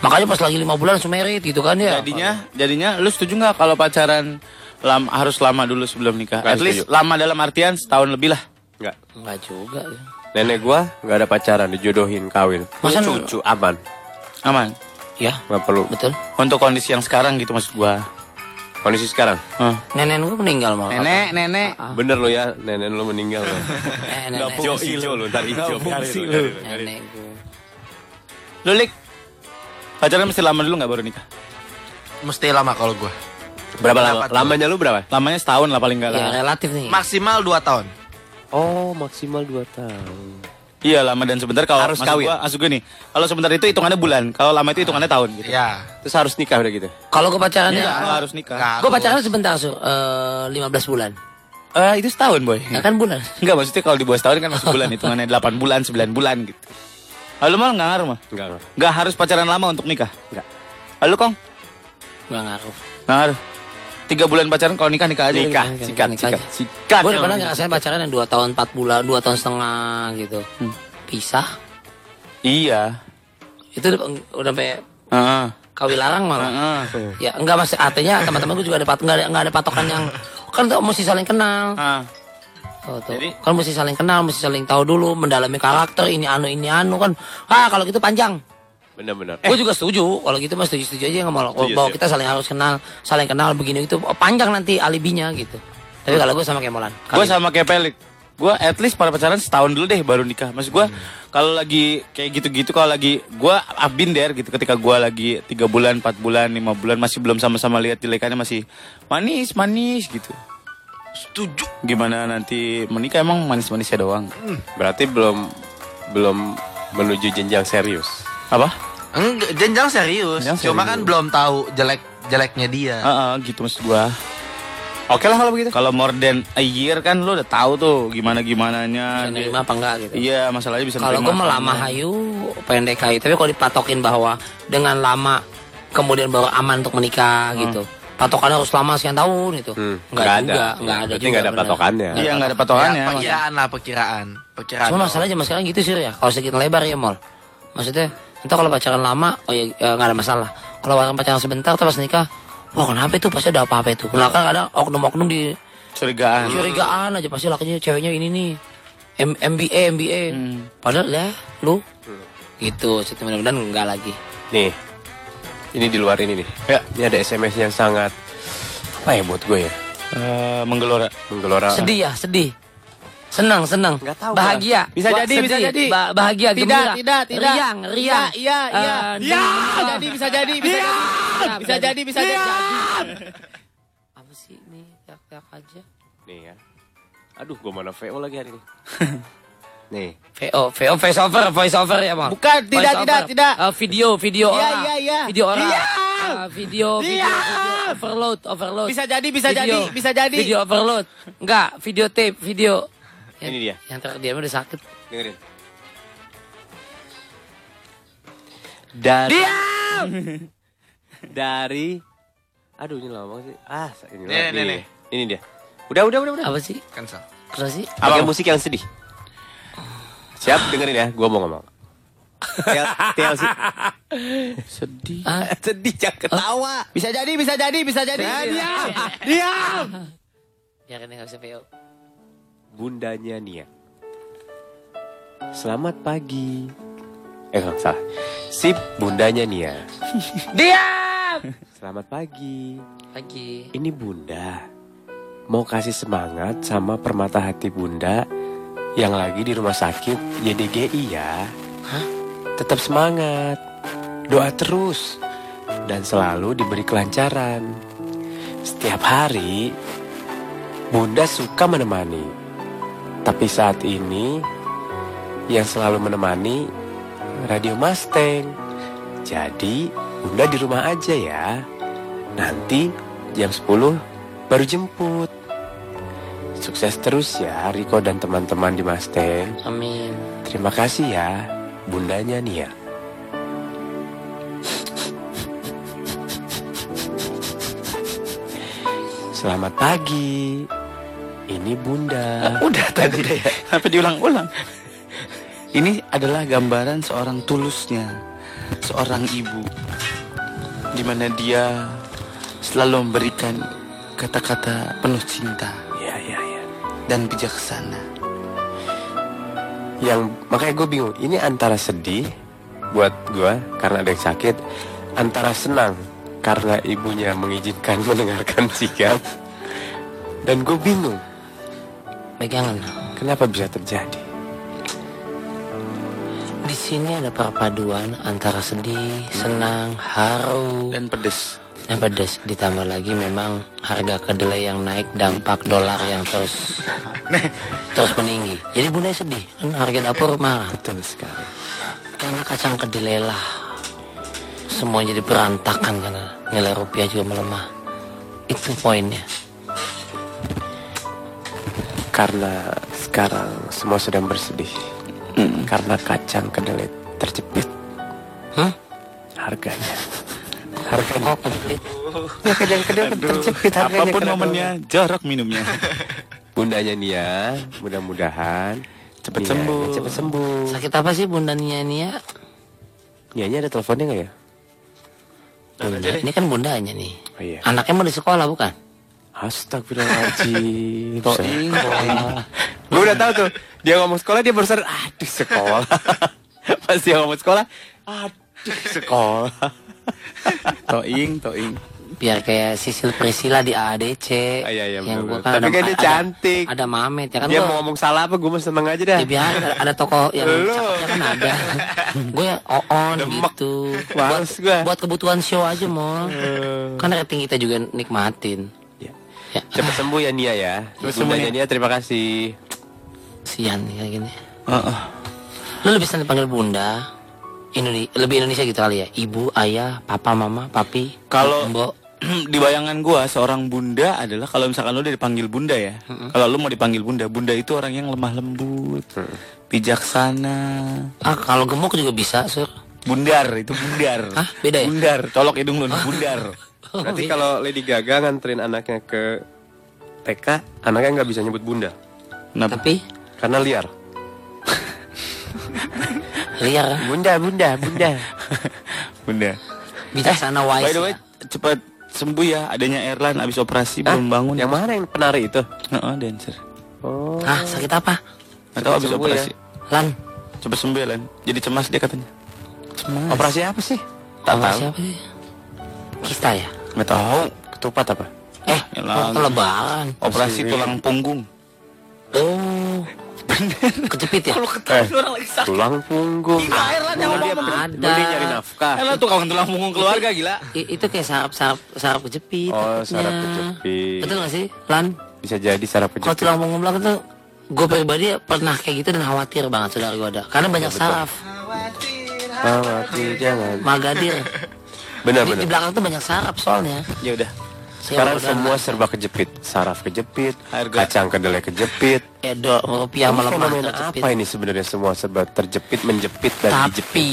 [SPEAKER 5] makanya pas lagi lima bulan langsung merit gitu kan ya
[SPEAKER 2] jadinya jadinya lu setuju nggak kalau pacaran lam, harus lama dulu sebelum nikah
[SPEAKER 4] Nggak
[SPEAKER 2] at least
[SPEAKER 4] setuju.
[SPEAKER 2] lama dalam artian setahun lebih lah
[SPEAKER 4] Enggak.
[SPEAKER 5] nggak juga ya.
[SPEAKER 4] Nenek gua nggak ada pacaran, dijodohin, kawin.
[SPEAKER 5] Masa
[SPEAKER 4] cucu aman.
[SPEAKER 2] aman
[SPEAKER 5] ya
[SPEAKER 4] Nggak perlu.
[SPEAKER 5] betul
[SPEAKER 2] untuk kondisi yang sekarang gitu maksud gua
[SPEAKER 4] Kondisi sekarang.
[SPEAKER 2] Hah.
[SPEAKER 5] nenek gue meninggal malah
[SPEAKER 2] nenek nenek
[SPEAKER 5] Ah.
[SPEAKER 4] Bener lo ya, nenek lo meninggal. Lo.
[SPEAKER 5] eh, nenek
[SPEAKER 4] Hijau lo, ntar hijau.
[SPEAKER 5] nenek gue
[SPEAKER 2] lu lik pacaran mesti lama dulu nggak baru nikah
[SPEAKER 7] Mesti lama kalau gua.
[SPEAKER 4] Berapa Iya.
[SPEAKER 7] Kenapa
[SPEAKER 4] lama?
[SPEAKER 7] tuh?
[SPEAKER 4] Lamanya lu berapa?
[SPEAKER 2] lamanya setahun lah paling nggak lah
[SPEAKER 5] ya relatif nih
[SPEAKER 7] Maksimal 2 tahun.
[SPEAKER 4] Oh, maksimal 2 tahun.
[SPEAKER 2] iya lama dan sebentar kalau
[SPEAKER 4] Harus
[SPEAKER 2] maksud
[SPEAKER 4] kawin.
[SPEAKER 2] gua maksud gua nih kalau sebentar itu hitungannya bulan kalau lama itu hitungannya tahun gitu
[SPEAKER 7] Ya.
[SPEAKER 4] Terus harus nikah udah gitu.
[SPEAKER 5] kalau gue pacaran
[SPEAKER 2] Nggak,
[SPEAKER 5] ya
[SPEAKER 2] nggak harus nikah
[SPEAKER 5] gue pacaran sebentar su lima belas bulan
[SPEAKER 2] Eh, itu setahun boy
[SPEAKER 5] ya kan bulan
[SPEAKER 2] Enggak maksudnya kalau di bawah setahun kan masuk bulan hitungannya 8 bulan 9 bulan gitu
[SPEAKER 5] Ah,
[SPEAKER 2] lalu mal nggak ngaruh mah
[SPEAKER 4] Enggak, enggak.
[SPEAKER 2] nggak harus pacaran lama untuk nikah
[SPEAKER 4] Nggak.
[SPEAKER 2] lalu kong
[SPEAKER 5] nggak ngaruh
[SPEAKER 2] Nah, aduh. tiga bulan pacaran kalau nikah nikah aja.
[SPEAKER 5] Nikah, sikat,
[SPEAKER 2] sikat,
[SPEAKER 5] aja.
[SPEAKER 2] sikat.
[SPEAKER 5] Gue udah pernah ngerasain pacaran yang 2 tahun 4 bulan, 2 tahun setengah gitu. Pisah.
[SPEAKER 2] Iya.
[SPEAKER 5] Itu udah, udah sampai Ah.
[SPEAKER 2] Heeh.
[SPEAKER 5] kawin larang malah.
[SPEAKER 2] Heeh.
[SPEAKER 5] Ya enggak mas, artinya teman-teman gue juga ada pat- enggak ada, enggak ada patokan yang kan tuh mesti saling kenal.
[SPEAKER 2] Ah,
[SPEAKER 5] Tuh, tuh.
[SPEAKER 2] Jadi-
[SPEAKER 5] kan mesti saling kenal, mesti saling tahu dulu, mendalami karakter ini anu ini anu kan. Ah, kalau gitu panjang.
[SPEAKER 4] Bener-bener.
[SPEAKER 5] Gue juga setuju. Kalau gitu mas setuju setuju aja nggak mau bahwa kita saling harus kenal, saling kenal begini itu panjang nanti alibinya gitu. Tapi kalau gue sama Kemolan.
[SPEAKER 2] Gue sama kayak Pelik. Gue at least pada pacaran setahun dulu deh baru nikah. Maksud gue kalau lagi kayak gitu-gitu kalau lagi gue abin der gitu ketika gue lagi tiga bulan, 4 bulan, lima bulan masih belum sama-sama lihat jelekannya masih manis manis gitu.
[SPEAKER 7] Setuju.
[SPEAKER 2] Gimana nanti menikah emang manis-manisnya doang?
[SPEAKER 4] Berarti belum belum menuju jenjang serius.
[SPEAKER 2] Apa?
[SPEAKER 7] Enggak, jenjang serius.
[SPEAKER 2] Jenjang
[SPEAKER 7] Cuma
[SPEAKER 2] serius.
[SPEAKER 7] kan belum tahu jelek jeleknya dia.
[SPEAKER 2] Heeh, gitu maksud gua. Oke lah kalau begitu. Kalau more than a year kan lu udah tahu tuh gimana gimananya.
[SPEAKER 5] Menerima apa enggak gitu.
[SPEAKER 2] Iya, masalahnya bisa
[SPEAKER 5] Kalau
[SPEAKER 2] nerima.
[SPEAKER 5] gue lama hayu, pendek hayu. Tapi kalau dipatokin bahwa dengan lama kemudian baru aman untuk menikah gitu. Patokannya harus lama sekian tahun gitu.
[SPEAKER 4] Hmm,
[SPEAKER 5] Enggak
[SPEAKER 4] nggak ada.
[SPEAKER 5] juga, enggak ada
[SPEAKER 4] Berarti
[SPEAKER 5] juga.
[SPEAKER 4] nggak ada
[SPEAKER 5] bener.
[SPEAKER 4] patokannya.
[SPEAKER 5] Nggak
[SPEAKER 2] Iya,
[SPEAKER 5] ada
[SPEAKER 2] enggak ada
[SPEAKER 7] Ya,
[SPEAKER 2] patokannya. emang.
[SPEAKER 7] perkiraan lah perkiraan. Perkiraan.
[SPEAKER 5] Cuma masalahnya zaman sekarang gitu sih ya. Kalau sedikit lebar ya mal. Maksudnya entah kalau pacaran lama, oh ya eh, nggak ada masalah. Kalau orang pacaran sebentar, terus pas nikah, wah kenapa itu pasti ada apa-apa itu. Nah kan kadang oknum-oknum di
[SPEAKER 4] Hmm.
[SPEAKER 2] curigaan.
[SPEAKER 5] curigaan aja pasti lakinya ceweknya ini nih M- MBA MBA.
[SPEAKER 4] Hmm.
[SPEAKER 5] Padahal ya lu gitu. Jadi mudah-mudahan enggak lagi.
[SPEAKER 4] Nih. Ini di luar ini nih.
[SPEAKER 2] Ya.
[SPEAKER 4] Ini ada SMS yang sangat apa ya buat gue ya?
[SPEAKER 2] Eh, menggelora.
[SPEAKER 4] Menggelora.
[SPEAKER 5] Sedih ya, sedih. Senang, senang.
[SPEAKER 4] Nggak tahu
[SPEAKER 5] bahagia.
[SPEAKER 2] Bisa
[SPEAKER 5] Wah,
[SPEAKER 2] jadi, bisa
[SPEAKER 5] sedih.
[SPEAKER 2] jadi.
[SPEAKER 5] Ba- bahagia,
[SPEAKER 2] Tidak,
[SPEAKER 5] gembira.
[SPEAKER 2] tidak, tidak.
[SPEAKER 5] Riang, riang.
[SPEAKER 2] Iya, iya,
[SPEAKER 5] Eh, dingin.
[SPEAKER 2] bisa jadi, bisa jadi. Bisa jadi, bisa jadi.
[SPEAKER 5] Apa sih ini? Teriak-teriak aja.
[SPEAKER 4] Nih ya. Aduh, gue mana VO lagi hari ini. Nih.
[SPEAKER 5] VO, VO, voice over, voice over ya, Bang.
[SPEAKER 2] Bukan, tidak,
[SPEAKER 5] Voice
[SPEAKER 2] tidak,
[SPEAKER 5] over.
[SPEAKER 2] tidak.
[SPEAKER 5] Eh, video, video
[SPEAKER 2] Iya,
[SPEAKER 5] orang.
[SPEAKER 2] iya, iya.
[SPEAKER 5] Video orang.
[SPEAKER 2] Iya.
[SPEAKER 5] Eh, video, video,
[SPEAKER 2] Iya.
[SPEAKER 5] video, overload, overload.
[SPEAKER 2] Bisa jadi, bisa
[SPEAKER 5] Video.
[SPEAKER 2] jadi, bisa jadi.
[SPEAKER 5] Video overload. Enggak, video tape, video.
[SPEAKER 4] Ini dia.
[SPEAKER 5] Yang terakhir dia udah sakit.
[SPEAKER 4] Dengerin. Dan
[SPEAKER 16] dari Aduh ini lama banget sih. Ah, ini
[SPEAKER 7] Nih,
[SPEAKER 16] lagi.
[SPEAKER 7] nih, nih.
[SPEAKER 16] Ini dia. Udah, udah, udah, udah.
[SPEAKER 5] Apa sih?
[SPEAKER 7] Cancel.
[SPEAKER 5] Kenapa sih?
[SPEAKER 16] Pakai musik yang sedih.
[SPEAKER 4] Siap dengerin ya, gua mau ngomong.
[SPEAKER 16] TLC.
[SPEAKER 5] Ah,
[SPEAKER 16] sedih jangan ketawa.
[SPEAKER 2] Bisa jadi, bisa jadi, bisa jadi.
[SPEAKER 16] diam, diam.
[SPEAKER 5] biarin dia nggak bisa PO.
[SPEAKER 4] Bundanya Nia. Selamat pagi. Eh, nggak, salah. Sip, bundanya Nia.
[SPEAKER 5] Diam!
[SPEAKER 4] Selamat pagi.
[SPEAKER 5] Pagi.
[SPEAKER 4] Ini bunda. Mau kasih semangat sama permata hati bunda yang lagi di rumah sakit YDGI ya. Tetap semangat. Doa terus. Dan selalu diberi kelancaran. Setiap hari, bunda suka menemani. Tapi saat ini, yang selalu menemani Radio Mustang. Jadi, bunda di rumah aja ya. Nanti jam 10 baru jemput. Sukses terus ya Riko dan teman-teman di Mustang.
[SPEAKER 5] Amin.
[SPEAKER 4] Terima kasih ya bundanya ya. Nia. Selamat pagi. Ini bunda.
[SPEAKER 2] Udah tadi deh. Apa diulang-ulang? Ini adalah gambaran seorang tulusnya, seorang ibu, di mana dia selalu memberikan kata-kata penuh cinta
[SPEAKER 4] Ya ya ya.
[SPEAKER 2] dan bijaksana.
[SPEAKER 4] Yang makanya gue bingung. Ini antara sedih buat gue karena ada yang sakit, antara senang karena ibunya mengizinkan mendengarkan sikap. Dan gue bingung.
[SPEAKER 5] Pegangan.
[SPEAKER 4] Kenapa bisa terjadi?
[SPEAKER 5] Di sini ada perpaduan antara sedih, senang, haru,
[SPEAKER 2] Dan pedes.
[SPEAKER 5] dan pedes. Ditambah lagi memang harga kedelai yang naik dampak dolar yang terus terus meninggi. Jadi bunda sedih, kan harga dapur mahal. Betul sekali. Karena kacang kedelai lah semua jadi berantakan karena nilai rupiah juga melemah. Itu poinnya.
[SPEAKER 4] Karena sekarang semua sedang bersedih Karena kacang kedelai terjepit
[SPEAKER 5] Hah?
[SPEAKER 4] Harganya Harganya
[SPEAKER 5] Kok komplit?
[SPEAKER 4] Ya, kedelai-kedelai terjepit harganya
[SPEAKER 2] Apapun
[SPEAKER 4] Kenapa?
[SPEAKER 2] momennya, jarak minumnya.
[SPEAKER 4] Bundanya Nia Mudah-mudahan
[SPEAKER 2] Cepet
[SPEAKER 4] Nianya
[SPEAKER 2] sembuh.
[SPEAKER 4] Cepet sembuh
[SPEAKER 5] Sakit apa sih bunda Nia Nia?
[SPEAKER 4] Nianya ada teleponnya gak ya?
[SPEAKER 5] Bunda. Ini kan bundanya nih.
[SPEAKER 4] Oh iya
[SPEAKER 5] Anaknya mau di sekolah bukan?
[SPEAKER 4] Astagfirullahaladzim
[SPEAKER 2] Toing,
[SPEAKER 4] iya. Gue udah tahu tuh Dia ngomong sekolah dia baru sadar Aduh sekolah Pas dia ngomong sekolah Aduh sekolah
[SPEAKER 2] toing, toing.
[SPEAKER 5] biar kayak Sisil Priscilla di AADC
[SPEAKER 4] Ah, iya, iya,
[SPEAKER 5] yang
[SPEAKER 4] benar-benar.
[SPEAKER 5] gua kan
[SPEAKER 4] Tapi
[SPEAKER 5] ada-
[SPEAKER 4] kan dia
[SPEAKER 5] ada-
[SPEAKER 4] cantik.
[SPEAKER 5] ada, Mamet ya kan
[SPEAKER 4] Dia
[SPEAKER 5] gua-
[SPEAKER 4] mau ngomong salah apa gue mah seneng aja dah
[SPEAKER 5] ya biar ada, ada toko yang cakepnya kan ada gue ya on gitu buat,
[SPEAKER 4] Males gua. Eh.
[SPEAKER 5] buat kebutuhan show aja mau kan rating kita juga nikmatin
[SPEAKER 4] Ya.
[SPEAKER 5] ya
[SPEAKER 4] Cepat sembuh ya Nia ya. Cepat sembuh ya Nia, terima kasih.
[SPEAKER 5] sian kayak gini
[SPEAKER 2] Heeh.
[SPEAKER 5] lu lebih senang dipanggil bunda Indonesia lebih Indonesia gitu kali ya ibu ayah papa mama papi
[SPEAKER 2] Kalau-
[SPEAKER 5] mbok
[SPEAKER 2] di bayangan gua seorang bunda adalah kalau misalkan lu udah dipanggil bunda ya. Kalau lu mau dipanggil bunda, bunda itu orang yang lemah lembut, bijaksana,
[SPEAKER 5] ah kalau gemuk juga bisa sur
[SPEAKER 2] bundar itu bundar.
[SPEAKER 5] Hah? Beda ya?
[SPEAKER 2] Bundar, colok hidung lu nih, bundar.
[SPEAKER 5] Oh, iya.
[SPEAKER 4] Berarti kalau Lady Gaga nganterin anaknya ke TK, anaknya nggak bisa nyebut bunda
[SPEAKER 2] Kenapa?
[SPEAKER 5] iya. tapi
[SPEAKER 4] karena liar.
[SPEAKER 5] liar
[SPEAKER 4] Bunda, bunda, bunda.
[SPEAKER 2] bunda.
[SPEAKER 4] Eh,
[SPEAKER 5] bijaksana wise
[SPEAKER 2] By the way,
[SPEAKER 5] ya.
[SPEAKER 2] cepat sembuh ya adanya Erlan abis operasi belum bangun.
[SPEAKER 4] yang mana yang penari itu?
[SPEAKER 2] Heeh, dancer.
[SPEAKER 4] Oh.
[SPEAKER 5] ah sakit apa
[SPEAKER 2] Atau abis
[SPEAKER 4] sembuh
[SPEAKER 2] operasi.
[SPEAKER 5] lan
[SPEAKER 2] Cepat sembuh ya, Lan. Jadi cemas dia katanya. Cemas.
[SPEAKER 4] Operasi apa sih? Tak
[SPEAKER 5] Apa
[SPEAKER 4] tahu.
[SPEAKER 5] siapa sih? Kista ya?
[SPEAKER 2] Nggak tahu.
[SPEAKER 4] Ketupat apa?
[SPEAKER 5] Eh,
[SPEAKER 4] ya
[SPEAKER 2] Elah.
[SPEAKER 5] waktu lebaran.
[SPEAKER 2] Operasi tulang punggung.
[SPEAKER 5] Oh. Kejepit ya?
[SPEAKER 4] Tulang punggung.
[SPEAKER 5] Ada.
[SPEAKER 4] Mending nyari nafkah.
[SPEAKER 2] Elah tuh kawan tulang punggung keluarga gila.
[SPEAKER 5] I- itu kayak sarap-sarap sarap kejepit.
[SPEAKER 4] Oh,
[SPEAKER 5] takutnya.
[SPEAKER 4] sarap kejepit.
[SPEAKER 5] Betul gak sih? Lan,
[SPEAKER 4] Bisa jadi sarap
[SPEAKER 5] kalau
[SPEAKER 4] kejepit.
[SPEAKER 5] tulang punggung belakang tuh gue pribadi pernah kayak gitu dan khawatir banget saudara gue ada. Karena
[SPEAKER 4] Iya,
[SPEAKER 5] banyak saraf,
[SPEAKER 4] Khawatir jangan.
[SPEAKER 5] magadir.
[SPEAKER 4] Benar,
[SPEAKER 5] Di, di
[SPEAKER 4] benar.
[SPEAKER 5] belakang tuh banyak saraf soalnya.
[SPEAKER 2] Ya udah.
[SPEAKER 4] Sekarang
[SPEAKER 5] udah-
[SPEAKER 4] semua serba kejepit, saraf kejepit, kacang kedelai kejepit.
[SPEAKER 5] Edo, rupiah
[SPEAKER 4] Ini
[SPEAKER 5] melemah,
[SPEAKER 4] fenomena
[SPEAKER 5] terjepit.
[SPEAKER 4] apa ini sebenarnya semua serba terjepit, menjepit dan
[SPEAKER 5] Tapi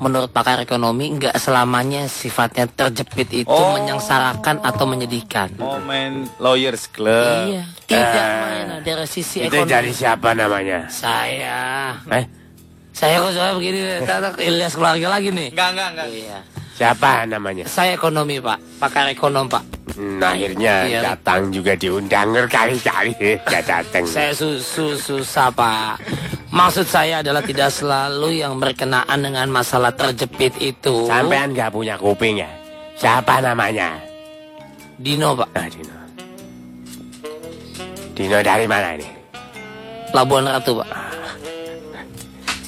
[SPEAKER 5] menurut pakar ekonomi nggak selamanya sifatnya terjepit itu
[SPEAKER 2] Oh.
[SPEAKER 5] menyengsarakan atau menyedihkan.
[SPEAKER 2] Oh main lawyers club.
[SPEAKER 5] Iya, tidak main dari sisi ekonomi.
[SPEAKER 4] siapa namanya?
[SPEAKER 5] Saya.
[SPEAKER 4] Eh,
[SPEAKER 5] Saya kok soalnya begini, tata Ilyas keluarga lagi nih.
[SPEAKER 2] Enggak, enggak, enggak.
[SPEAKER 5] Iya.
[SPEAKER 4] siapa namanya?
[SPEAKER 5] Saya ekonomi pak, pakar ekonom pak.
[SPEAKER 4] Hmm, akhirnya
[SPEAKER 5] Iya.
[SPEAKER 4] datang juga diundang berkali-kali. Gak datang.
[SPEAKER 5] Saya susu susah pak. Maksud saya adalah tidak selalu yang berkenaan dengan masalah terjepit itu.
[SPEAKER 4] Sampean gak punya kuping ya? Siapa namanya?
[SPEAKER 5] Dino pak,
[SPEAKER 4] Ah, Dino. Dino dari mana ini?
[SPEAKER 5] Labuan Ratu pak.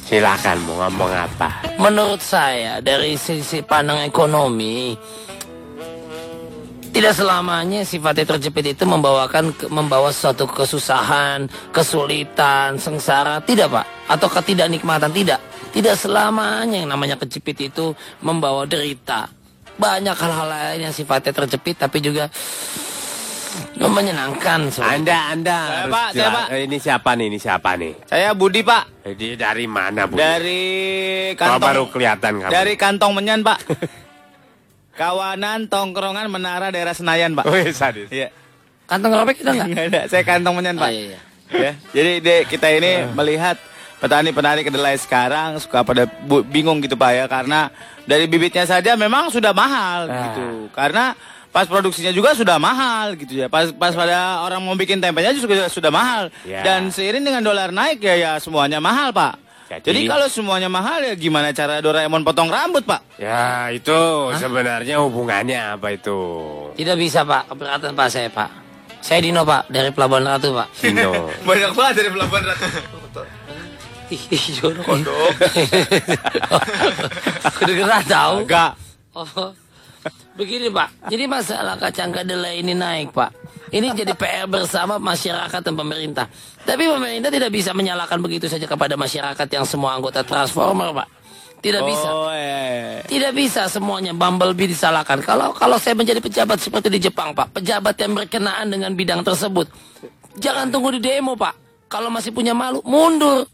[SPEAKER 4] Silakan mau ngomong apa?
[SPEAKER 5] Menurut saya dari sisi pandang ekonomi tidak selamanya sifatnya terjepit itu membawakan ke- membawa suatu kesusahan, kesulitan, sengsara, tidak Pak, atau ketidaknikmatan tidak. Tidak selamanya yang namanya kejepit itu membawa derita. Banyak hal-hal lain yang sifatnya terjepit tapi juga menyenangkan. sebenarnya.
[SPEAKER 4] Anda, Anda.
[SPEAKER 2] Saya,
[SPEAKER 4] harus
[SPEAKER 2] Pak, saya,
[SPEAKER 4] jela-
[SPEAKER 2] Pak.
[SPEAKER 4] Eh, Ini siapa nih? Ini siapa nih?
[SPEAKER 2] Saya Budi Pak
[SPEAKER 4] Jadi dari mana, Bu?
[SPEAKER 2] dari
[SPEAKER 4] Kau
[SPEAKER 2] kantong
[SPEAKER 4] baru kelihatan kamu.
[SPEAKER 2] dari kantong menyan Pak. Kawanan tongkrongan menara daerah Senayan Pak.
[SPEAKER 4] Wih, sadis.
[SPEAKER 2] Iya.
[SPEAKER 5] Kantong robek kita nggak?
[SPEAKER 2] Enggak ada. Saya kantong menyan
[SPEAKER 5] Oh,
[SPEAKER 2] Pak.
[SPEAKER 5] iya, iya.
[SPEAKER 2] ya. Jadi Dek, kita ini
[SPEAKER 7] Ah.
[SPEAKER 2] melihat petani-petani kedelai sekarang suka pada bu- bingung gitu Pak ya karena dari bibitnya saja memang sudah mahal
[SPEAKER 7] Ah.
[SPEAKER 2] gitu. Karena pas produksinya juga sudah mahal gitu ya. Pas pas pada orang mau bikin tempenya juga sudah, sudah mahal.
[SPEAKER 4] Ya.
[SPEAKER 2] Dan seiring dengan dolar naik ya ya semuanya mahal Pak.
[SPEAKER 4] Jadi-
[SPEAKER 2] Jadi kalau semuanya mahal ya gimana cara Doraemon potong rambut Pak?
[SPEAKER 4] Ya, itu sebenarnya hubungannya apa itu?
[SPEAKER 5] Tidak bisa Pak, keberatan Pak saya Pak. Saya Dino Pak dari Pelabuhan Ratu Pak.
[SPEAKER 4] Dino.
[SPEAKER 7] Banyak banget dari pelabuhan ratu.
[SPEAKER 5] Ih, ih, jorok. Kedengeran tahu?
[SPEAKER 2] Enggak.
[SPEAKER 5] Oh. Begini Pak, jadi masalah kacang kedelai ini naik Pak. Ini jadi PR bersama masyarakat dan pemerintah. Tapi pemerintah tidak bisa menyalahkan begitu saja kepada masyarakat yang semua anggota Transformer Pak. Tidak bisa.
[SPEAKER 2] Oh, eh.
[SPEAKER 5] Tidak bisa semuanya Bumblebee disalahkan. Kalau kalau saya menjadi pejabat seperti di Jepang, Pak, pejabat yang berkenaan dengan bidang tersebut, jangan tunggu di demo, Pak. Kalau masih punya malu, mundur.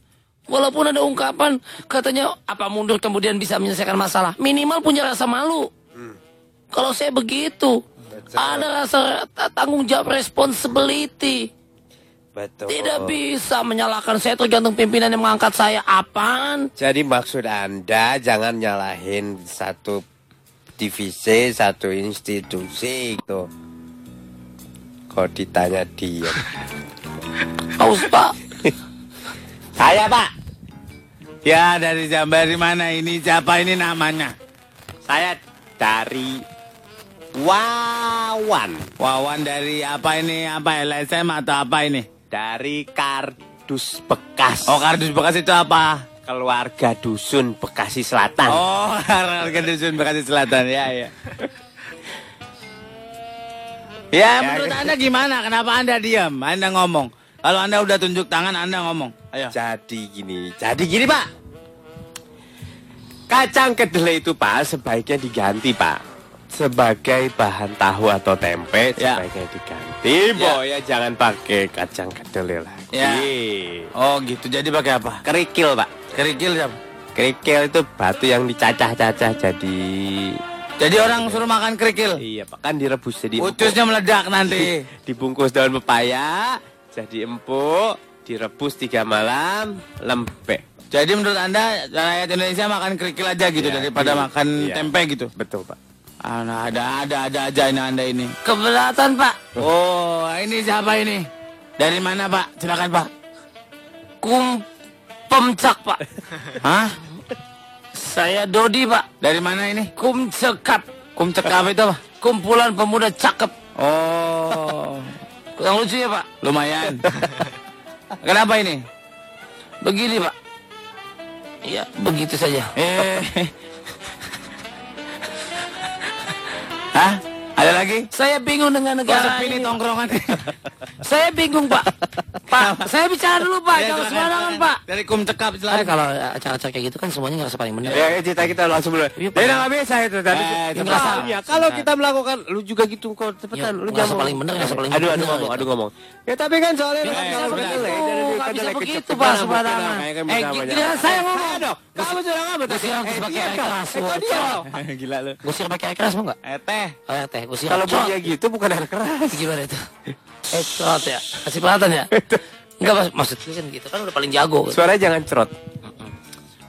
[SPEAKER 5] Walaupun ada ungkapan katanya apa mundur kemudian bisa menyelesaikan masalah, minimal punya rasa malu. Kalau saya begitu, ada rasa tanggung jawab responsibility.
[SPEAKER 9] Betul.
[SPEAKER 5] Tidak bisa menyalahkan saya tergantung pimpinan yang mengangkat saya. Apaan?
[SPEAKER 9] Jadi maksud Anda jangan nyalahin satu divisi, satu institusi gitu. Kok ditanya dia.
[SPEAKER 5] Haus, Pak.
[SPEAKER 2] Saya Pak. Ya dari Jambar di mana ini? Siapa ini namanya?
[SPEAKER 4] Saya dari Wawan
[SPEAKER 2] Wawan dari apa ini? Apa LSM atau apa ini?
[SPEAKER 4] dari kardus bekas.
[SPEAKER 2] Oh kardus bekas itu apa?
[SPEAKER 4] keluarga dusun Bekasi Selatan.
[SPEAKER 2] Oh harga dusun Bekasi Selatan ya ya. Ya menurut anda gimana? Kenapa anda diam? Anda ngomong. Kalau anda udah tunjuk tangan anda ngomong. Ayo.
[SPEAKER 4] Jadi gini, jadi gini pak. Kacang kedelai itu pak sebaiknya diganti pak sebagai bahan tahu atau tempe
[SPEAKER 2] Ya.
[SPEAKER 4] sebaiknya diganti. Boy ya jangan pakai kacang kedelai lagi.
[SPEAKER 2] Ya. Oh gitu. Jadi pakai apa?
[SPEAKER 4] Kerikil pak.
[SPEAKER 2] Kerikil siapa?
[SPEAKER 4] Kerikil itu batu yang dicacah-cacah jadi
[SPEAKER 2] Jadi orang suruh makan kerikil.
[SPEAKER 4] iya pak kan direbus jadi empuk.
[SPEAKER 2] Ucusnya meledak nanti.
[SPEAKER 4] dibungkus daun pepaya jadi empuk direbus tiga malam lembek
[SPEAKER 2] Jadi menurut anda rakyat Indonesia makan kerikil aja gitu
[SPEAKER 4] Ya,
[SPEAKER 2] daripada
[SPEAKER 4] iya.
[SPEAKER 2] makan
[SPEAKER 4] Iya.
[SPEAKER 2] tempe gitu.
[SPEAKER 4] betul pak
[SPEAKER 2] Ah, nah, ada ada ada aja ini anda ini.
[SPEAKER 5] Keberatan, Pak.
[SPEAKER 2] Oh, ini siapa ini? Dari mana Pak? Silakan Pak.
[SPEAKER 5] Kum pemcak pak.
[SPEAKER 2] Hah?
[SPEAKER 5] Saya Dodi pak.
[SPEAKER 2] Dari mana ini?
[SPEAKER 5] Kum cekap.
[SPEAKER 2] Kum cekap itu apa?
[SPEAKER 5] Kumpulan pemuda cakep.
[SPEAKER 2] Oh,
[SPEAKER 5] Yang lucu ya pak.
[SPEAKER 2] lumayan. Kenapa ini?
[SPEAKER 5] Begini pak. Ya begitu saja.
[SPEAKER 2] Eh. Hah? Ada lagi?
[SPEAKER 5] Saya bingung dengan negara
[SPEAKER 2] Konsep ini
[SPEAKER 5] ini.
[SPEAKER 2] tongkrongan.
[SPEAKER 5] Saya bingung pak. Pak, saya bicara dulu
[SPEAKER 2] Iya,
[SPEAKER 5] Pak,
[SPEAKER 9] Iya,
[SPEAKER 5] jangan sembarangan Pak.
[SPEAKER 7] Dari kum cekap
[SPEAKER 5] Kan kalau acara-acara kayak gitu kan semuanya ngerasa paling benar.
[SPEAKER 9] Ya, cerita kita langsung mulai.
[SPEAKER 5] Iya,
[SPEAKER 9] Dia nggak bisa itu tadi.
[SPEAKER 2] Eh,
[SPEAKER 9] Itu
[SPEAKER 5] ngerasa.
[SPEAKER 9] salahnya. Kalau kita melakukan, lu juga gitu kok
[SPEAKER 5] Ya,
[SPEAKER 9] cepetan. Lu
[SPEAKER 5] ngerasa
[SPEAKER 9] jangan
[SPEAKER 5] paling benar, ngerasa paling
[SPEAKER 9] Aduh, aduh
[SPEAKER 5] benar,
[SPEAKER 9] ngomong,
[SPEAKER 5] gitu.
[SPEAKER 9] aduh ngomong. Ya tapi kan soalnya
[SPEAKER 5] Ya,
[SPEAKER 9] kan
[SPEAKER 5] nggak
[SPEAKER 9] kalau
[SPEAKER 5] bisa
[SPEAKER 9] kita
[SPEAKER 5] begitu,
[SPEAKER 9] lele, dari kita
[SPEAKER 5] nggak bisa
[SPEAKER 9] lele
[SPEAKER 5] begitu,
[SPEAKER 9] kecepatan,
[SPEAKER 5] Pak,
[SPEAKER 9] kita
[SPEAKER 5] sembarangan.
[SPEAKER 9] namanya kan
[SPEAKER 5] Eh,
[SPEAKER 9] bisa
[SPEAKER 5] gi-
[SPEAKER 9] banyak.
[SPEAKER 5] giliran saya ngomong.
[SPEAKER 9] Ayo dong, kamu sudah nggak betul.
[SPEAKER 5] Gua siram terus pakai air keras.
[SPEAKER 9] Eh, kok dia?
[SPEAKER 2] Gila lu.
[SPEAKER 5] Gue siram pakai air keras mau nggak?
[SPEAKER 2] Eh, teh.
[SPEAKER 5] Oh ya teh, gue siram.
[SPEAKER 9] Kalau
[SPEAKER 5] Cok.
[SPEAKER 9] bunyinya gitu bukan air keras.
[SPEAKER 5] gimana itu? Eh, cerot ya? Kasih perhatian ya? Enggak, mas, maksudnya kan gitu. Kan udah paling jago. Gitu.
[SPEAKER 9] Suaranya jangan cerot.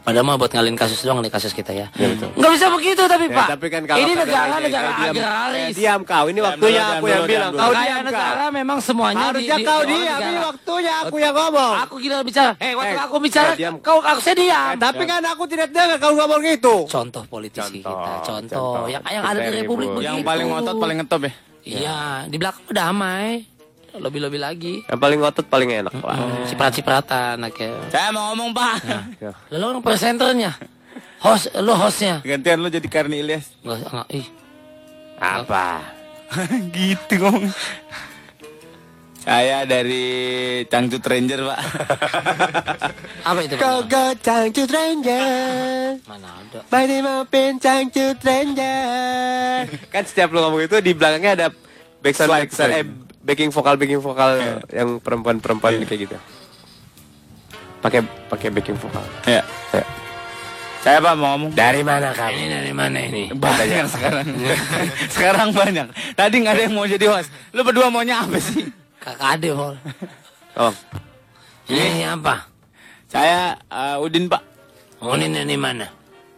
[SPEAKER 5] Padahal mah buat ngalin kasus doang nih kasus kita ya. Nggak bisa begitu tapi,
[SPEAKER 9] Iya, Ya,
[SPEAKER 5] Pak.
[SPEAKER 9] tapi kan kalau
[SPEAKER 5] Ini
[SPEAKER 9] kagak
[SPEAKER 5] negara,
[SPEAKER 9] diajak,
[SPEAKER 5] negara
[SPEAKER 9] eh, diam. Eh,
[SPEAKER 5] agraris.
[SPEAKER 9] Diam kau, ini waktunya aku yang bilang. Kau
[SPEAKER 5] Kaya
[SPEAKER 9] diam kau.
[SPEAKER 5] negara memang semuanya
[SPEAKER 9] Harusnya kau diam, ini waktunya aku yang ngomong.
[SPEAKER 5] Aku gila bicara. Eh, waktu
[SPEAKER 9] Eh,
[SPEAKER 5] aku bicara,
[SPEAKER 9] kau diam.
[SPEAKER 5] kau aku saya diam.
[SPEAKER 9] Tapi kan aku tidak dengar kau ngomong gitu.
[SPEAKER 5] contoh politisi
[SPEAKER 9] Contoh,
[SPEAKER 5] kita, contoh,
[SPEAKER 9] contoh.
[SPEAKER 5] yang yang ada di
[SPEAKER 9] Kita
[SPEAKER 5] Republik
[SPEAKER 9] ribut.
[SPEAKER 5] begitu.
[SPEAKER 2] Yang paling ngotot paling ngetop ya.
[SPEAKER 5] Iya, di belakang mah damai. Lebih-lebih lagi.
[SPEAKER 9] Yang paling ngotot paling enak lah.
[SPEAKER 5] Ciprat-cipratan akhirnya.
[SPEAKER 2] Saya mau ngomong, Pak.
[SPEAKER 9] Iya.
[SPEAKER 5] Lalu orang presenternya. Host, lo hostnya.
[SPEAKER 9] Eh.
[SPEAKER 2] Gantian lu jadi Karni Ilyas.
[SPEAKER 5] Nggak, nggak, ih.
[SPEAKER 9] Apa?
[SPEAKER 2] gitu ngomong. Saya dari Cangcut Ranger, Pak.
[SPEAKER 5] Apa itu?
[SPEAKER 6] Go
[SPEAKER 5] Mana?
[SPEAKER 6] go Cangcut Ranger
[SPEAKER 5] Mana ada?
[SPEAKER 6] Mari mampir Cangcut Ranger
[SPEAKER 9] kan setiap lu ngomong itu di belakangnya ada backsound
[SPEAKER 2] Slide,
[SPEAKER 9] backsound eh
[SPEAKER 2] slide.
[SPEAKER 9] backing vokal backing vokal yang
[SPEAKER 2] Iya.
[SPEAKER 9] perempuan-perempuan kayak gitu. Pakai pakai backing vokal.
[SPEAKER 2] Ya.
[SPEAKER 9] Ya.
[SPEAKER 2] Saya Pak mau ngomong.
[SPEAKER 9] Dari mana
[SPEAKER 5] Ini
[SPEAKER 9] kami?
[SPEAKER 5] dari mana ini?
[SPEAKER 2] Banyak sekarang. sekarang banyak. Tadi nggak ada yang mau jadi host. Lu berdua maunya apa sih?
[SPEAKER 5] Kakak Ade, Mol.
[SPEAKER 9] Oh,
[SPEAKER 5] Ini apa?
[SPEAKER 2] Saya eh, Udin, Pak.
[SPEAKER 5] Oh, ini dari mana?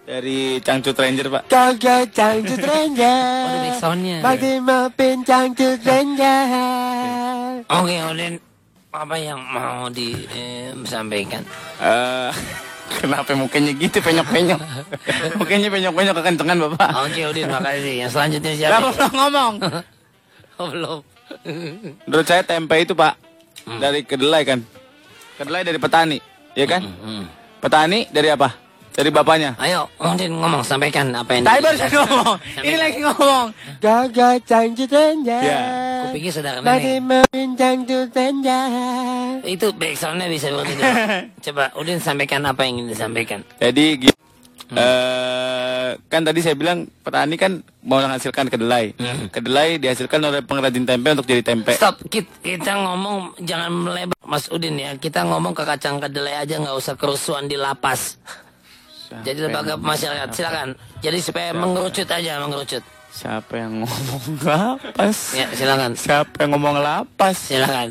[SPEAKER 2] Dari Cangcut Ranger, Pak.
[SPEAKER 6] Go go Cangcut
[SPEAKER 5] Oh, ada
[SPEAKER 6] Ranger
[SPEAKER 5] back soundnya.
[SPEAKER 6] Mari mampir Cangcut Ranger
[SPEAKER 5] Oke, Odin. Apa yang mau disampaikan?
[SPEAKER 2] Eh, kenapa mukanya gitu penyok-penyok? mukanya penyok-penyok kekencengan, Bapak.
[SPEAKER 5] Oke, Odin, makasih. Yang selanjutnya
[SPEAKER 2] Kenapa
[SPEAKER 5] siapa?
[SPEAKER 2] belum ngomong?
[SPEAKER 5] Oh, belum.
[SPEAKER 2] Menurut saya tempe itu, Pak, dari kedelai kan. Kedelai dari petani, ya kan?
[SPEAKER 5] Hmm.
[SPEAKER 2] Petani dari apa? Dari bapaknya.
[SPEAKER 5] Ayo, Odin ngomong, sampaikan apa yang...
[SPEAKER 2] Tapi baru saya ngomong. Ini lagi ngomong.
[SPEAKER 6] Go go Cangcut Ranger
[SPEAKER 2] Ya.
[SPEAKER 5] Kupingnya saudara
[SPEAKER 6] Mari
[SPEAKER 5] nenek.
[SPEAKER 6] mampir Cangcut Ranger
[SPEAKER 5] Itu back soundnya bisa seperti itu. Coba, Udin sampaikan apa yang ingin disampaikan.
[SPEAKER 2] Jadi gini.
[SPEAKER 5] Hmm.
[SPEAKER 2] Eh, kan tadi saya bilang petani kan mau menghasilkan kedelai. Kedelai dihasilkan oleh pengrajin tempe untuk jadi tempe.
[SPEAKER 5] Hmm. Stop, kita, kita ngomong jangan melebar Mas Udin ya. Kita ngomong ke kacang kedelai aja nggak usah kerusuhan di lapas. Jadi lembaga masyarakat silakan. Jadi supaya mengerucut aja mengerucut.
[SPEAKER 2] Siapa yang ngomong lapas?
[SPEAKER 5] Ya silakan,
[SPEAKER 2] Siapa yang ngomong lapas?
[SPEAKER 5] silakan.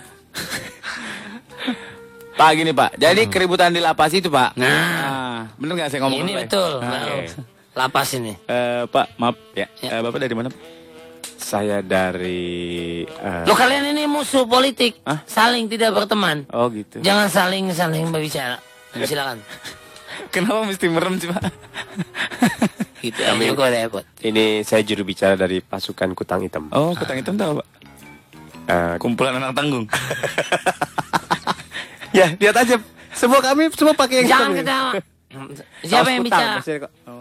[SPEAKER 2] Pak gini Pak, jadi
[SPEAKER 5] Hmm.
[SPEAKER 2] keributan di lapas itu Pak. Nah, bener nggak saya ngomong
[SPEAKER 5] Ini
[SPEAKER 2] apa ya?
[SPEAKER 5] betul.
[SPEAKER 2] Nah,
[SPEAKER 5] Nah,
[SPEAKER 2] oke.
[SPEAKER 5] Lapas ini.
[SPEAKER 2] Eh, Pak, maaf ya.
[SPEAKER 5] Ya.
[SPEAKER 2] Eh, Bapak dari mana? Pak?
[SPEAKER 4] Saya dari eh,
[SPEAKER 5] Lo kalian ini musuh politik, saling tidak berteman.
[SPEAKER 4] oh gitu.
[SPEAKER 5] Jangan saling saling berbicara. Silakan.
[SPEAKER 2] Kenapa mesti merem sih Pak?
[SPEAKER 5] Gitu aja gue repot.
[SPEAKER 4] Ini saya juru bicara dari pasukan Kutang Hitam.
[SPEAKER 2] oh, kutang hitam tahu Pak?
[SPEAKER 4] Eh,
[SPEAKER 2] Kumpulan anak tanggung.
[SPEAKER 9] ya lihat aja. Semua kami semua pakai yang
[SPEAKER 5] Jangan
[SPEAKER 9] hitam, ya.
[SPEAKER 5] ketawa. Siapa
[SPEAKER 9] Kaos
[SPEAKER 5] yang
[SPEAKER 9] kutang,
[SPEAKER 5] bicara?
[SPEAKER 9] maksudnya kok.
[SPEAKER 4] Oh.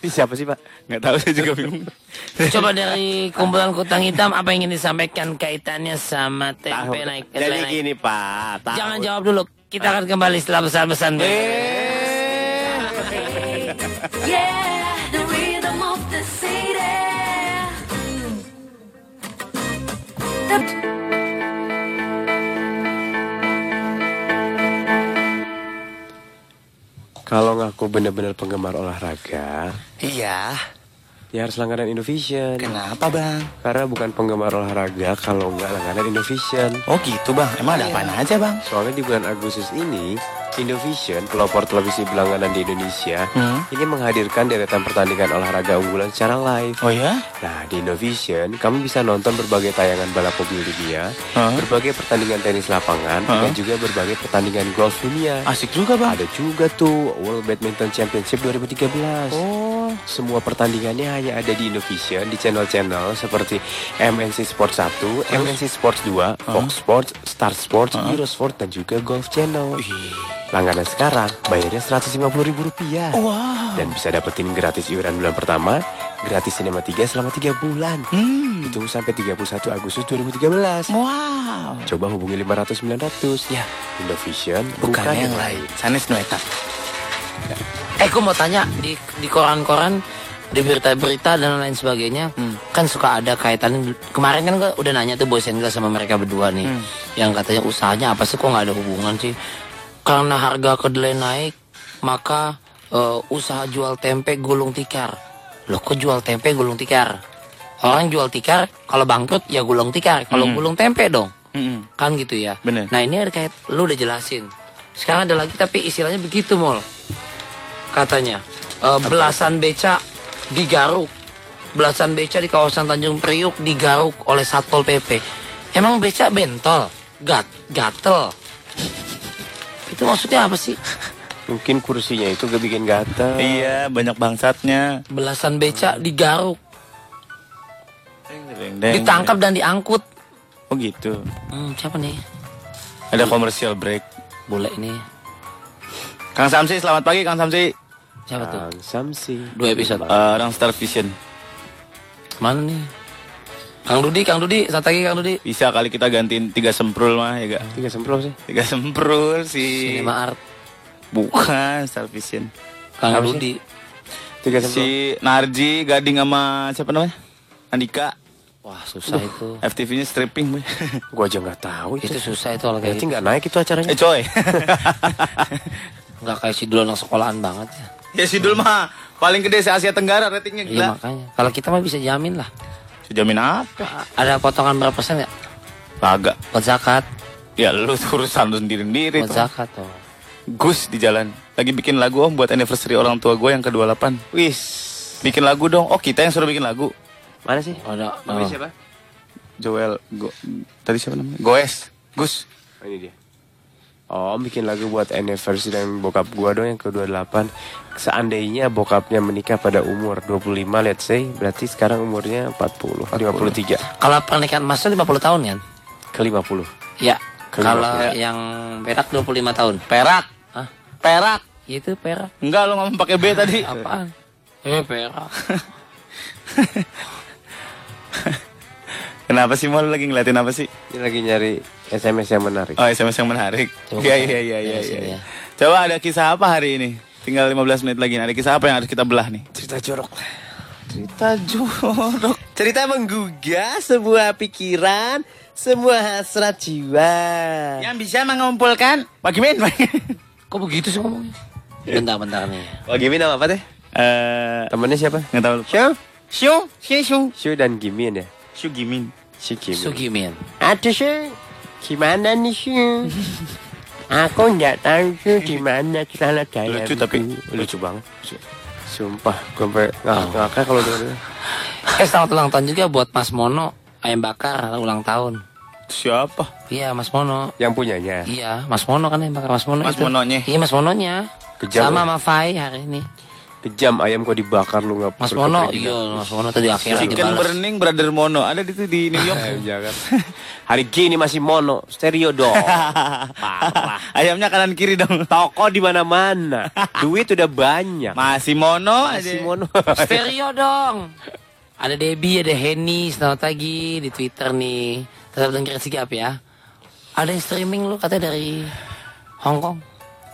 [SPEAKER 9] Ini siapa sih pak?
[SPEAKER 2] Nggak tahu saya juga bingung.
[SPEAKER 5] Coba dari kumpulan kutang hitam apa yang ingin disampaikan kaitannya sama tempe naik
[SPEAKER 9] Jadi
[SPEAKER 5] kedelai naik.
[SPEAKER 9] gini pak. tahu.
[SPEAKER 5] Jangan jawab dulu. Kita akan kembali setelah pesan-pesan.
[SPEAKER 4] Eh.
[SPEAKER 17] Yeah, the rhythm of the city.
[SPEAKER 4] Kalau ngaku benar-benar penggemar olahraga,
[SPEAKER 7] Iya.
[SPEAKER 4] ya harus langganan Indovision.
[SPEAKER 7] Kenapa bang?
[SPEAKER 4] Karena bukan penggemar olahraga kalau nggak langganan Indovision.
[SPEAKER 7] Oh gitu bang. Emang
[SPEAKER 5] Iya.
[SPEAKER 7] ada apaan aja bang?
[SPEAKER 4] Soalnya di bulan Agustus ini, Indovision, pelopor televisi berlangganan di Indonesia, ini menghadirkan deretan pertandingan olahraga unggulan secara live.
[SPEAKER 7] Oh ya?
[SPEAKER 4] Nah, di Indovision, kamu bisa nonton berbagai tayangan balap mobil dunia,
[SPEAKER 2] Hah?
[SPEAKER 4] berbagai pertandingan tenis lapangan,
[SPEAKER 2] Hah?
[SPEAKER 4] dan juga berbagai pertandingan golf dunia.
[SPEAKER 2] Asik juga Bang.
[SPEAKER 4] Ada juga tuh World Badminton Championship 2013. Oh. Semua pertandingannya hanya ada di Indovision di channel-channel seperti MNC Sports 1, MNC Sports 2, Fox Sports, Star Sports, Eurosport dan juga Golf Channel. Langganan sekarang bayarnya Rp150.000 rupiah. Dan bisa dapetin gratis iuran bulan pertama, gratis Cinema 3 selama 3 bulan.
[SPEAKER 2] Hmm.
[SPEAKER 4] Itu sampai 31 Agustus 2013.
[SPEAKER 2] Wow.
[SPEAKER 4] Coba hubungi 500 900. Ya, Indovision
[SPEAKER 2] Bukan yang lain. Sanes Noetak.
[SPEAKER 5] Eh, gue mau tanya di di koran-koran, di berita-berita dan lain sebagainya,
[SPEAKER 2] Hmm.
[SPEAKER 5] kan suka ada kaitannya. Kemarin kan gue udah nanya tuh bosen gue sama mereka berdua nih,
[SPEAKER 2] Hmm.
[SPEAKER 5] yang katanya usahanya apa sih kok nggak ada hubungan sih? Karena harga kedelai naik, maka eh, usaha jual tempe gulung tikar. Loh, kok jual tempe gulung tikar? Orang jual tikar, kalau bangkrut ya gulung tikar, kalau
[SPEAKER 2] Hmm.
[SPEAKER 5] gulung tempe dong.
[SPEAKER 2] Mm-mm.
[SPEAKER 5] Kan gitu ya.
[SPEAKER 2] Bener.
[SPEAKER 5] Nah ini ada kayak lu udah jelasin. Sekarang ada lagi tapi istilahnya begitu mol. Katanya e, belasan beca digaruk, belasan beca di kawasan Tanjung Priuk digaruk oleh satpol pp. Emang beca bentol, gat, gatel. Itu maksudnya apa sih?
[SPEAKER 4] Mungkin kursinya itu gak bikin gatal.
[SPEAKER 2] Iya, banyak bangsatnya.
[SPEAKER 5] Belasan beca digaruk,
[SPEAKER 2] Deng, deng,
[SPEAKER 5] ditangkap dan diangkut.
[SPEAKER 2] deng. Oh gitu.
[SPEAKER 5] Hmm, siapa nih?
[SPEAKER 2] Ada komersial break.
[SPEAKER 5] Boleh nih.
[SPEAKER 2] Kang Samsi, selamat pagi Kang Samsi.
[SPEAKER 5] Siapa tuh?
[SPEAKER 4] Kang Samsi.
[SPEAKER 5] Dua episode.
[SPEAKER 2] Eh, orang Star Vision.
[SPEAKER 5] Mana nih? Kang Dudi, Kang Dudi, satu lagi Kang Dudi.
[SPEAKER 2] Bisa kali kita gantiin tiga semprul mah ya gak?
[SPEAKER 4] Tiga semprot sih.
[SPEAKER 2] Tiga semprul si
[SPEAKER 5] Cinema Art,
[SPEAKER 2] Bukan Star Vision.
[SPEAKER 5] Kang
[SPEAKER 4] Apa sih?
[SPEAKER 5] Dudi.
[SPEAKER 4] Tiga semprot.
[SPEAKER 2] Si Narji, Gading sama siapa namanya? Andika.
[SPEAKER 5] Wah susah itu.
[SPEAKER 2] FTV-nya stripping. Boy.
[SPEAKER 4] Gua aja nggak tahu itu.
[SPEAKER 5] Itu susah itu kalau kayak
[SPEAKER 4] Berarti
[SPEAKER 5] gitu.
[SPEAKER 4] nggak naik itu acaranya.
[SPEAKER 2] eh coy.
[SPEAKER 5] gitu. Nggak kayak si dulu anak sekolahan banget ya.
[SPEAKER 2] ya Sidul mah paling gede se Asia Tenggara ratingnya
[SPEAKER 5] Iya
[SPEAKER 2] gila.
[SPEAKER 5] makanya. Kalau kita mah bisa jamin lah.
[SPEAKER 2] Sejamin apa?
[SPEAKER 5] Ada potongan berapa persen ya?
[SPEAKER 2] Kagak.
[SPEAKER 5] Buat zakat.
[SPEAKER 2] Ya lu tuh urusan lu sendiri-sendiri.
[SPEAKER 5] Buat
[SPEAKER 2] tuh.
[SPEAKER 5] zakat tuh.
[SPEAKER 2] Gus di jalan. Lagi bikin lagu om buat anniversary orang tua gue yang ke-28. Wis. Bikin lagu dong. Oh kita yang suruh bikin lagu.
[SPEAKER 4] Mana sih?
[SPEAKER 5] Ada.
[SPEAKER 4] Namanya
[SPEAKER 5] oh.
[SPEAKER 4] siapa?
[SPEAKER 2] Joel. Go- tadi siapa namanya? Goes. Gus.
[SPEAKER 4] Oh, Ini dia. Oh, bikin lagu buat anniversary dan bokap gua dong yang ke-28. Seandainya bokapnya menikah pada umur 25, let's say, berarti sekarang umurnya 40, 53,
[SPEAKER 5] Kalau pernikahan emasnya 50 tahun kan?
[SPEAKER 4] ke 50.
[SPEAKER 5] Ya.
[SPEAKER 4] Kelima,
[SPEAKER 5] Kalau
[SPEAKER 4] ya.
[SPEAKER 5] yang perak 25 tahun.
[SPEAKER 2] Perak.
[SPEAKER 5] Hah? Ya
[SPEAKER 2] Perak.
[SPEAKER 5] Itu perak.
[SPEAKER 2] Enggak lu ngomong pakai B tadi.
[SPEAKER 5] Apaan? Eh perak.
[SPEAKER 2] Kenapa sih mau lu lagi ngeliatin apa sih?
[SPEAKER 4] Ini lagi nyari SMS yang menarik.
[SPEAKER 2] Oh SMS yang menarik.
[SPEAKER 5] Coba
[SPEAKER 2] Iya
[SPEAKER 5] kita
[SPEAKER 2] iya iya iya.
[SPEAKER 5] beresin
[SPEAKER 2] iya.
[SPEAKER 5] ya.
[SPEAKER 2] Coba ada kisah apa hari ini? Tinggal 15 menit lagi. Nah, Ada kisah apa yang harus kita belah nih?
[SPEAKER 18] Cerita jorok. Cerita jorok. Cerita menggugah sebuah pikiran, semua hasrat jiwa.
[SPEAKER 2] bisa mengumpulkan Pak Gimin.
[SPEAKER 5] Kok begitu sih ngomongnya? Bentar-bentar nih.
[SPEAKER 18] Oh, Gimin nama apa teh?
[SPEAKER 2] Eh,
[SPEAKER 4] Temennya siapa?
[SPEAKER 2] nggak tahu.
[SPEAKER 18] Show.
[SPEAKER 2] Syu, Syu, Syu.
[SPEAKER 4] Shu dan Gimin ya?
[SPEAKER 2] Syu Gimin.
[SPEAKER 4] Si Gimin.
[SPEAKER 5] Sugimin.
[SPEAKER 19] Aduh sih, gimana nih sih? Aku nggak tahu sih gimana celana dalam.
[SPEAKER 2] Lucu tapi
[SPEAKER 4] Lucu banget. Sumpah, gue sampe ngakak-ngakak kalau denger.
[SPEAKER 5] Eh selamat ulang tahun juga buat Mas Mono. Ayam bakar ulang tahun.
[SPEAKER 2] siapa?
[SPEAKER 5] Iya Mas Mono.
[SPEAKER 4] Yang punyanya.
[SPEAKER 5] Iya, Mas Mono kan yang bakar Mas Mono
[SPEAKER 2] Mas
[SPEAKER 5] itu.
[SPEAKER 2] Mononya.
[SPEAKER 5] Iya, Mas Mononya.
[SPEAKER 4] Kejam, ya?
[SPEAKER 5] Sama sama Fai hari ini.
[SPEAKER 4] Kejam ayam kok dibakar lu nggak
[SPEAKER 5] Mas
[SPEAKER 4] perlu
[SPEAKER 5] Mono,
[SPEAKER 4] kepergian.
[SPEAKER 5] iya Mas Mono tadi akhirnya
[SPEAKER 2] Chicken
[SPEAKER 5] dibalas.
[SPEAKER 2] Burning Brother Mono. Ada di itu di New York.
[SPEAKER 4] Ayam jangan. Eh, iya kan? Hari gini masih mono, stereo dong.
[SPEAKER 2] Ayamnya kanan kiri dong.
[SPEAKER 4] Toko di mana-mana, duit udah banyak.
[SPEAKER 2] Masih Mono
[SPEAKER 4] Masih
[SPEAKER 2] aja.
[SPEAKER 4] mono.
[SPEAKER 5] Stereo dong. Ada Debbie, ada Henny, selamat pagi di Twitter nih. Tetap dengerin Sigap ya. Ada yang streaming lu katanya dari Hong Kong.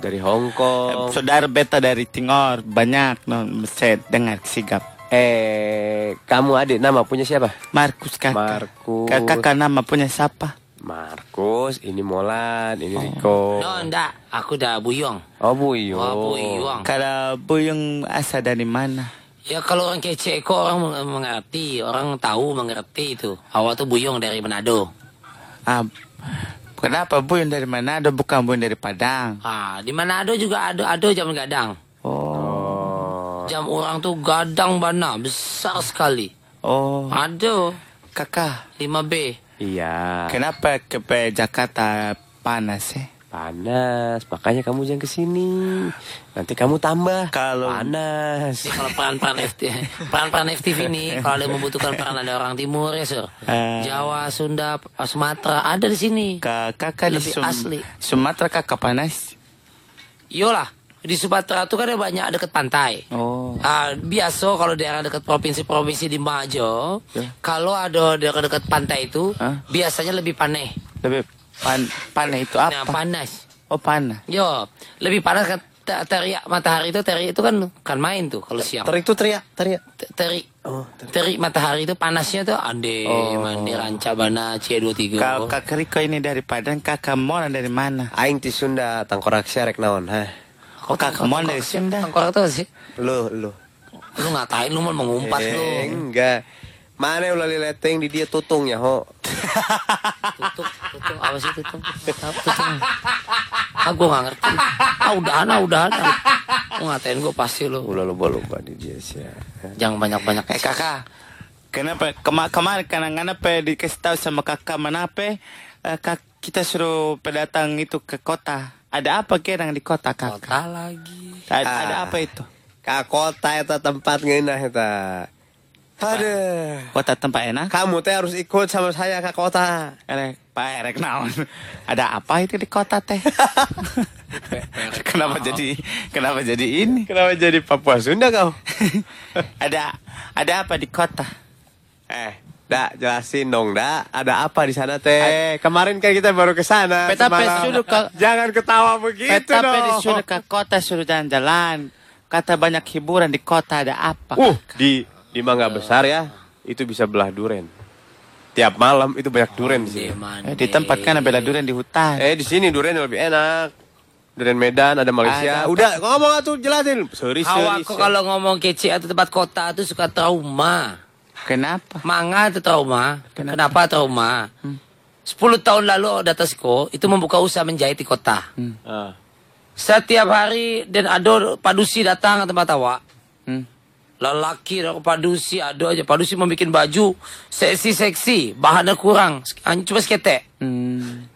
[SPEAKER 4] Dari Hong Kong.
[SPEAKER 2] Saudara beta dari Tingor banyak non meset dengar sigap.
[SPEAKER 4] Eh, kamu adik nama punya siapa?
[SPEAKER 2] Markus kakak.
[SPEAKER 4] Markus.
[SPEAKER 2] Kakak kan nama punya siapa?
[SPEAKER 4] Markus, ini Molan,
[SPEAKER 5] Oh.
[SPEAKER 4] ini
[SPEAKER 2] Oh.
[SPEAKER 4] Riko.
[SPEAKER 5] No, enggak. Aku udah buyong.
[SPEAKER 4] Oh, Buyo.
[SPEAKER 5] Wah, buyong.
[SPEAKER 2] Kalau Buyung asal dari mana?
[SPEAKER 5] Ya kalau orang kece kok orang meng- mengerti, orang tahu mengerti itu. Awal tuh buyong dari Manado.
[SPEAKER 2] Ah, kenapa Buyung dari mana? Ada bukan Buyung dari Padang.
[SPEAKER 5] Ah, di Manado juga ada ada jam gadang.
[SPEAKER 4] Oh.
[SPEAKER 5] Jam orang tuh gadang bana besar sekali.
[SPEAKER 2] Oh,
[SPEAKER 5] Ada
[SPEAKER 2] kakak.
[SPEAKER 5] 5B.
[SPEAKER 4] Iya.
[SPEAKER 2] Kenapa ke ke Jakarta panas ya?
[SPEAKER 4] Panas, makanya kamu jangan kesini. Nanti kamu tambah.
[SPEAKER 2] Kalau-
[SPEAKER 5] Jadi
[SPEAKER 4] panas.
[SPEAKER 5] kalau peran-peran FTV, peran-peran FTV ini kalau ada yang membutuhkan peran ada orang timur ya, Sur.
[SPEAKER 2] Eh.
[SPEAKER 5] Jawa, Sunda, Sumatera ada di sini.
[SPEAKER 2] Kakak kan di
[SPEAKER 5] Lebih
[SPEAKER 2] Sum-
[SPEAKER 5] asli.
[SPEAKER 2] Sumatera kakak panas.
[SPEAKER 5] Yolah, di Sumatera tuh kan ada banyak deket pantai.
[SPEAKER 2] Oh.
[SPEAKER 5] Ah, biasa kalau daerah dekat provinsi-provinsi di Majo, kalau ada dekat-dekat pantai itu biasanya lebih panas.
[SPEAKER 2] Lebih pan panah itu apa?
[SPEAKER 5] Nah, panas.
[SPEAKER 2] Oh, panah.
[SPEAKER 5] Yo, lebih panas kan te- teriak matahari itu teriak itu kan kan main tuh kalau siang.
[SPEAKER 2] Terik itu teriak, teriak.
[SPEAKER 5] Terik. Terik matahari itu panasnya tuh ande
[SPEAKER 2] Oh.
[SPEAKER 5] mandi rancabana C23.
[SPEAKER 2] Kau kakak Riko ini dari Padang, kakak Mona dari mana?
[SPEAKER 4] Aing di Sunda, tangkorak rek naon, ha.
[SPEAKER 2] Kok kakak Mona dari Sunda?
[SPEAKER 5] Tangkorak tuh sih.
[SPEAKER 4] Lu, lu.
[SPEAKER 5] Lu ngatain lu mau mengumpat lu.
[SPEAKER 4] Eh, Enggak. Mana ulah lileteng di dia tutung ya, ho.
[SPEAKER 5] Tutung, apa sih tutung? Apa tutung? Ah, gue gak ngerti. Ah, udahan, ah, udahan. ah. Lu ngatain gue pasti lu.
[SPEAKER 4] Ulah loba-loba di dia sih. ya.
[SPEAKER 5] Jangan banyak-banyak. Eh, kakak.
[SPEAKER 2] Kenapa kema kemarin kan karena kenapa ya, dikasih tahu sama kakak Manape eh, kak, kita suruh pendatang itu ke kota. Ada apa kirang di kota kakak?
[SPEAKER 5] Kota lagi.
[SPEAKER 2] Ada,
[SPEAKER 4] Ah.
[SPEAKER 2] ada apa itu?
[SPEAKER 4] Ka kota eta tempat ngeunah eta. Aduh.
[SPEAKER 2] Kota tempat enak.
[SPEAKER 4] Kamu teh harus ikut sama saya ke kota.
[SPEAKER 2] Erek, Pak Erek naon. Ada apa itu di kota teh? kenapa jadi kenapa jadi ini?
[SPEAKER 4] Kenapa jadi Papua Sunda kau?
[SPEAKER 2] ada ada apa di kota?
[SPEAKER 4] Eh, dak jelasin dong, dak. Ada apa di sana teh? Kemarin kan kita baru ke sana.
[SPEAKER 2] Peta pe
[SPEAKER 4] semalam.
[SPEAKER 2] suruh ke
[SPEAKER 4] Jangan ketawa begitu
[SPEAKER 2] peta pe
[SPEAKER 4] Gitu dong.
[SPEAKER 2] disuruh ke kota suruh jalan-jalan. Kata banyak hiburan di kota ada apa?
[SPEAKER 4] Uh, di di Mangga Besar ya, itu bisa belah duren. Tiap malam itu banyak duren di sini.
[SPEAKER 2] Eh, di tempat kan bela durian di hutan.
[SPEAKER 4] Eh, di sini duren lebih enak. Duren Medan ada
[SPEAKER 2] Ada.
[SPEAKER 4] Malaysia. Udah ngomong atuh jelasin. Seri
[SPEAKER 5] Awak
[SPEAKER 4] seri.
[SPEAKER 5] kok kalau ngomong kece atau tempat kota tuh suka trauma.
[SPEAKER 2] Kenapa?
[SPEAKER 5] Manga itu trauma. Kenapa, trauma? 10 tahun lalu Datasco itu membuka usaha menjahit di kota.
[SPEAKER 4] Ah.
[SPEAKER 5] Setiap hari dan ada padusi datang ke tempat awak.
[SPEAKER 2] Hmm.
[SPEAKER 5] Lelaki ada padusi ada aja padusi membuat baju seksi-seksi, bahannya kurang, hanya cuma seketek.
[SPEAKER 2] Hmm.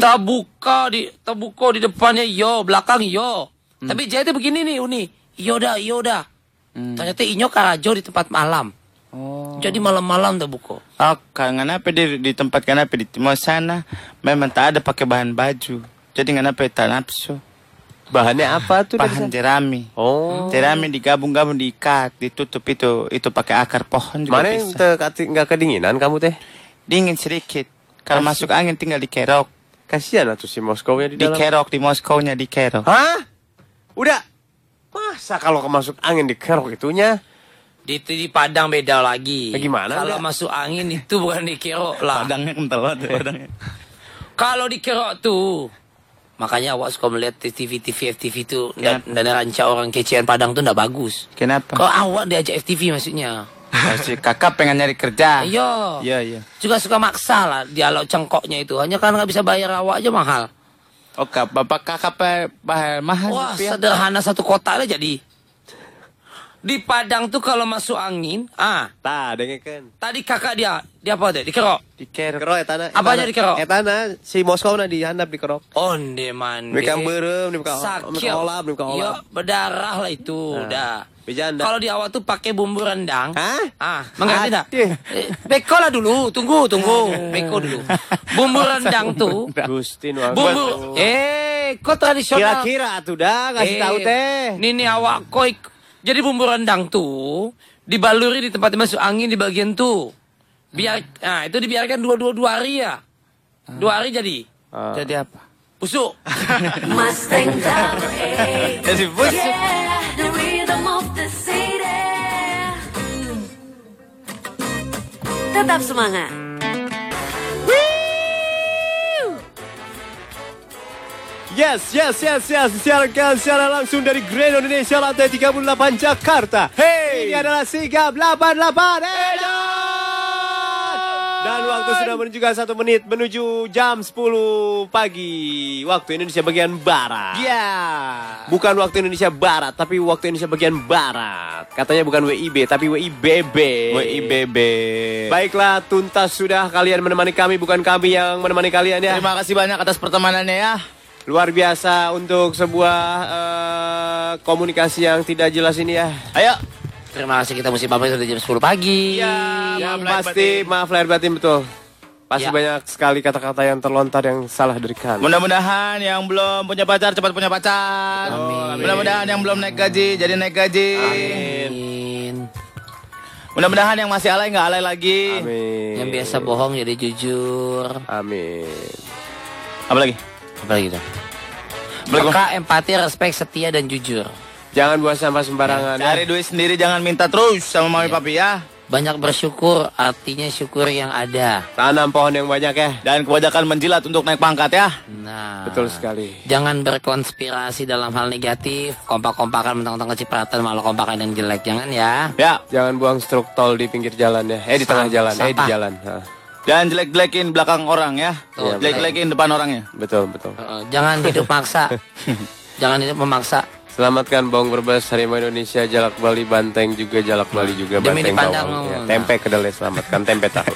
[SPEAKER 5] Terbuka di terbuka di depannya yo, belakang yo. Tapi jahitnya begini nih Uni. Yo dah, yo dah. Ternyata Inyo Karajo di tempat malam.
[SPEAKER 2] Oh.
[SPEAKER 5] Jadi malam-malam terbuka.
[SPEAKER 2] Oh, kenapa di, di tempat kenapa di timur sana memang tak ada pakai bahan baju. Jadi kenapa tak nafsu?
[SPEAKER 4] Bahannya apa tuh? dari
[SPEAKER 2] Bahan
[SPEAKER 4] sana?
[SPEAKER 2] jerami.
[SPEAKER 4] Oh.
[SPEAKER 2] Jerami digabung-gabung diikat, ditutup itu itu pakai akar pohon juga
[SPEAKER 4] Mana yang
[SPEAKER 2] bisa.
[SPEAKER 4] teu kati- nggak kedinginan kamu teh?
[SPEAKER 2] Dingin sedikit. Kalau masuk angin tinggal dikerok.
[SPEAKER 4] Kasihan atuh si Moskownya di dalam.
[SPEAKER 2] Dikerok di Moskownya dikerok.
[SPEAKER 4] Hah? Udah. Masa kalau masuk angin dikerok itunya?
[SPEAKER 5] Di, di Padang beda lagi.
[SPEAKER 4] Ya, gimana,
[SPEAKER 5] Kalau
[SPEAKER 4] Mbak?
[SPEAKER 5] masuk angin itu bukan dikerok lah.
[SPEAKER 2] Padangnya kental banget, padangnya.
[SPEAKER 5] Kalau dikerok tuh. Makanya awak suka melihat di TV TV FTV itu dan, dan ranca orang kecehan Padang tuh ndak bagus. Kalau
[SPEAKER 2] Kenapa?
[SPEAKER 5] awak diajak FTV maksudnya.
[SPEAKER 2] Oh, si kakak pengen nyari kerja.
[SPEAKER 5] Ayo.
[SPEAKER 2] Iya, iya.
[SPEAKER 5] Juga suka maksa lah dialog cengkoknya itu. Hanya karena nggak bisa bayar awak aja mahal.
[SPEAKER 2] Oke, Oh, bapak kakak pe- Iya. bahar mahal.
[SPEAKER 5] Wah
[SPEAKER 2] rupiah.
[SPEAKER 5] sederhana satu kota aja jadi. Di Padang tuh kalau masuk angin, ah
[SPEAKER 4] Tah, dengekeun.
[SPEAKER 5] tadi kakak dia dia apa tuh dikerok.
[SPEAKER 2] Dikerok.
[SPEAKER 4] Kero etana.
[SPEAKER 5] Apanya dikerok?
[SPEAKER 4] Etana Ya, si Moskow na dihandap dikerok.
[SPEAKER 5] Onde mandi.
[SPEAKER 4] Mereka berem, mereka- mereka olap, mereka olap.
[SPEAKER 5] eh. Iya, berdarah lah itu, udah.
[SPEAKER 4] Bejan dah.
[SPEAKER 5] Kalau di awal tuh pakai bumbu rendang.
[SPEAKER 4] Hah?
[SPEAKER 5] Ah, mengerti
[SPEAKER 4] Ah,
[SPEAKER 5] tak?
[SPEAKER 4] dia.
[SPEAKER 5] Eh, Beko lah dulu, tunggu, tunggu. Beko dulu. Bumbu rendang tuh.
[SPEAKER 4] Nah. Gusti nu
[SPEAKER 5] Bumbu.
[SPEAKER 4] agung.
[SPEAKER 5] Eh, kok tradisional? Eh,
[SPEAKER 4] Kira-kira atuh dah kasih tahu teh.
[SPEAKER 5] Nini awak koi. Jadi bumbu rendang tuh dibaluri di tempat masuk angin di bagian tuh. Biar nah itu dibiarkan dua dua dua hari ya. Dua hari jadi
[SPEAKER 4] Ah.
[SPEAKER 2] Jadi apa?
[SPEAKER 5] busuk.
[SPEAKER 20] Mustang Double A.
[SPEAKER 2] Jadi bus.
[SPEAKER 20] Yeah, the rhythm of the city. Tetap semangat.
[SPEAKER 4] Yes, yes, yes, yes. Disiarkan secara langsung dari Grand Indonesia lantai 38 Jakarta. Hey, ini adalah sigap 88 Edan. Eh, Dan waktu sudah menunjukkan satu menit menuju jam 10 pagi waktu Indonesia bagian barat.
[SPEAKER 2] Ya.
[SPEAKER 4] Bukan waktu Indonesia Barat, tapi waktu Indonesia bagian Barat. Katanya bukan WIB, tapi WIBB.
[SPEAKER 2] WIBB.
[SPEAKER 4] Baiklah, tuntas sudah kalian menemani kami, bukan kami yang menemani kalian ya.
[SPEAKER 2] Terima kasih banyak atas pertemanannya ya.
[SPEAKER 4] Luar biasa untuk sebuah eh, komunikasi yang tidak jelas ini ya.
[SPEAKER 2] Ayo.
[SPEAKER 5] Terima kasih kita musim pamit sudah jam 10 pagi.
[SPEAKER 4] Yang pasti maaf lahir batin betul. Pasti banyak sekali kata-kata yang terlontar yang salah dari kami.
[SPEAKER 2] Mudah-mudahan yang belum punya pacar cepat punya pacar. Oh, Mudah-mudahan yang belum naik gaji jadi naik gaji. Amin. Mudah-mudahan yang masih alay nggak alay lagi.
[SPEAKER 4] Amin.
[SPEAKER 5] Yang biasa bohong jadi jujur.
[SPEAKER 4] Amin.
[SPEAKER 2] Apa lagi?
[SPEAKER 5] Apa lagi dah? Peka, empati, respek, setia, dan jujur.
[SPEAKER 4] Jangan buang sampah sembarangan. ya.
[SPEAKER 2] Cari duit sendiri jangan minta terus sama mami papi ya.
[SPEAKER 5] Banyak bersyukur, artinya syukur yang ada.
[SPEAKER 4] Tanam pohon yang banyak ya.
[SPEAKER 2] Dan kebanyakan menjilat untuk naik pangkat ya.
[SPEAKER 5] Nah,
[SPEAKER 4] Betul sekali.
[SPEAKER 5] jangan berkonspirasi dalam hal negatif. Kompak-kompakan mentang-mentang kecipratan malah kompakan yang jelek. Jangan ya.
[SPEAKER 2] Ya.
[SPEAKER 4] Jangan buang struk tol di pinggir jalan ya. Eh di tengah
[SPEAKER 5] Sam-
[SPEAKER 4] jalan, eh di
[SPEAKER 5] sampah.
[SPEAKER 4] jalan. Hah.
[SPEAKER 2] Dan jelek-jelekin belakang orang ya.
[SPEAKER 5] Tuh,
[SPEAKER 2] Jelek-jelekin depan orangnya.
[SPEAKER 4] Betul, betul.
[SPEAKER 5] Uh, Jangan hidup maksa. jangan hidup memaksa.
[SPEAKER 4] Selamatkan bawang berbes harimau Indonesia, jalak Bali, banteng juga, jalak Bali juga, banteng
[SPEAKER 5] Demi dipandang.
[SPEAKER 4] bawang. Ya, tempe kedelai selamatkan tempe tahu.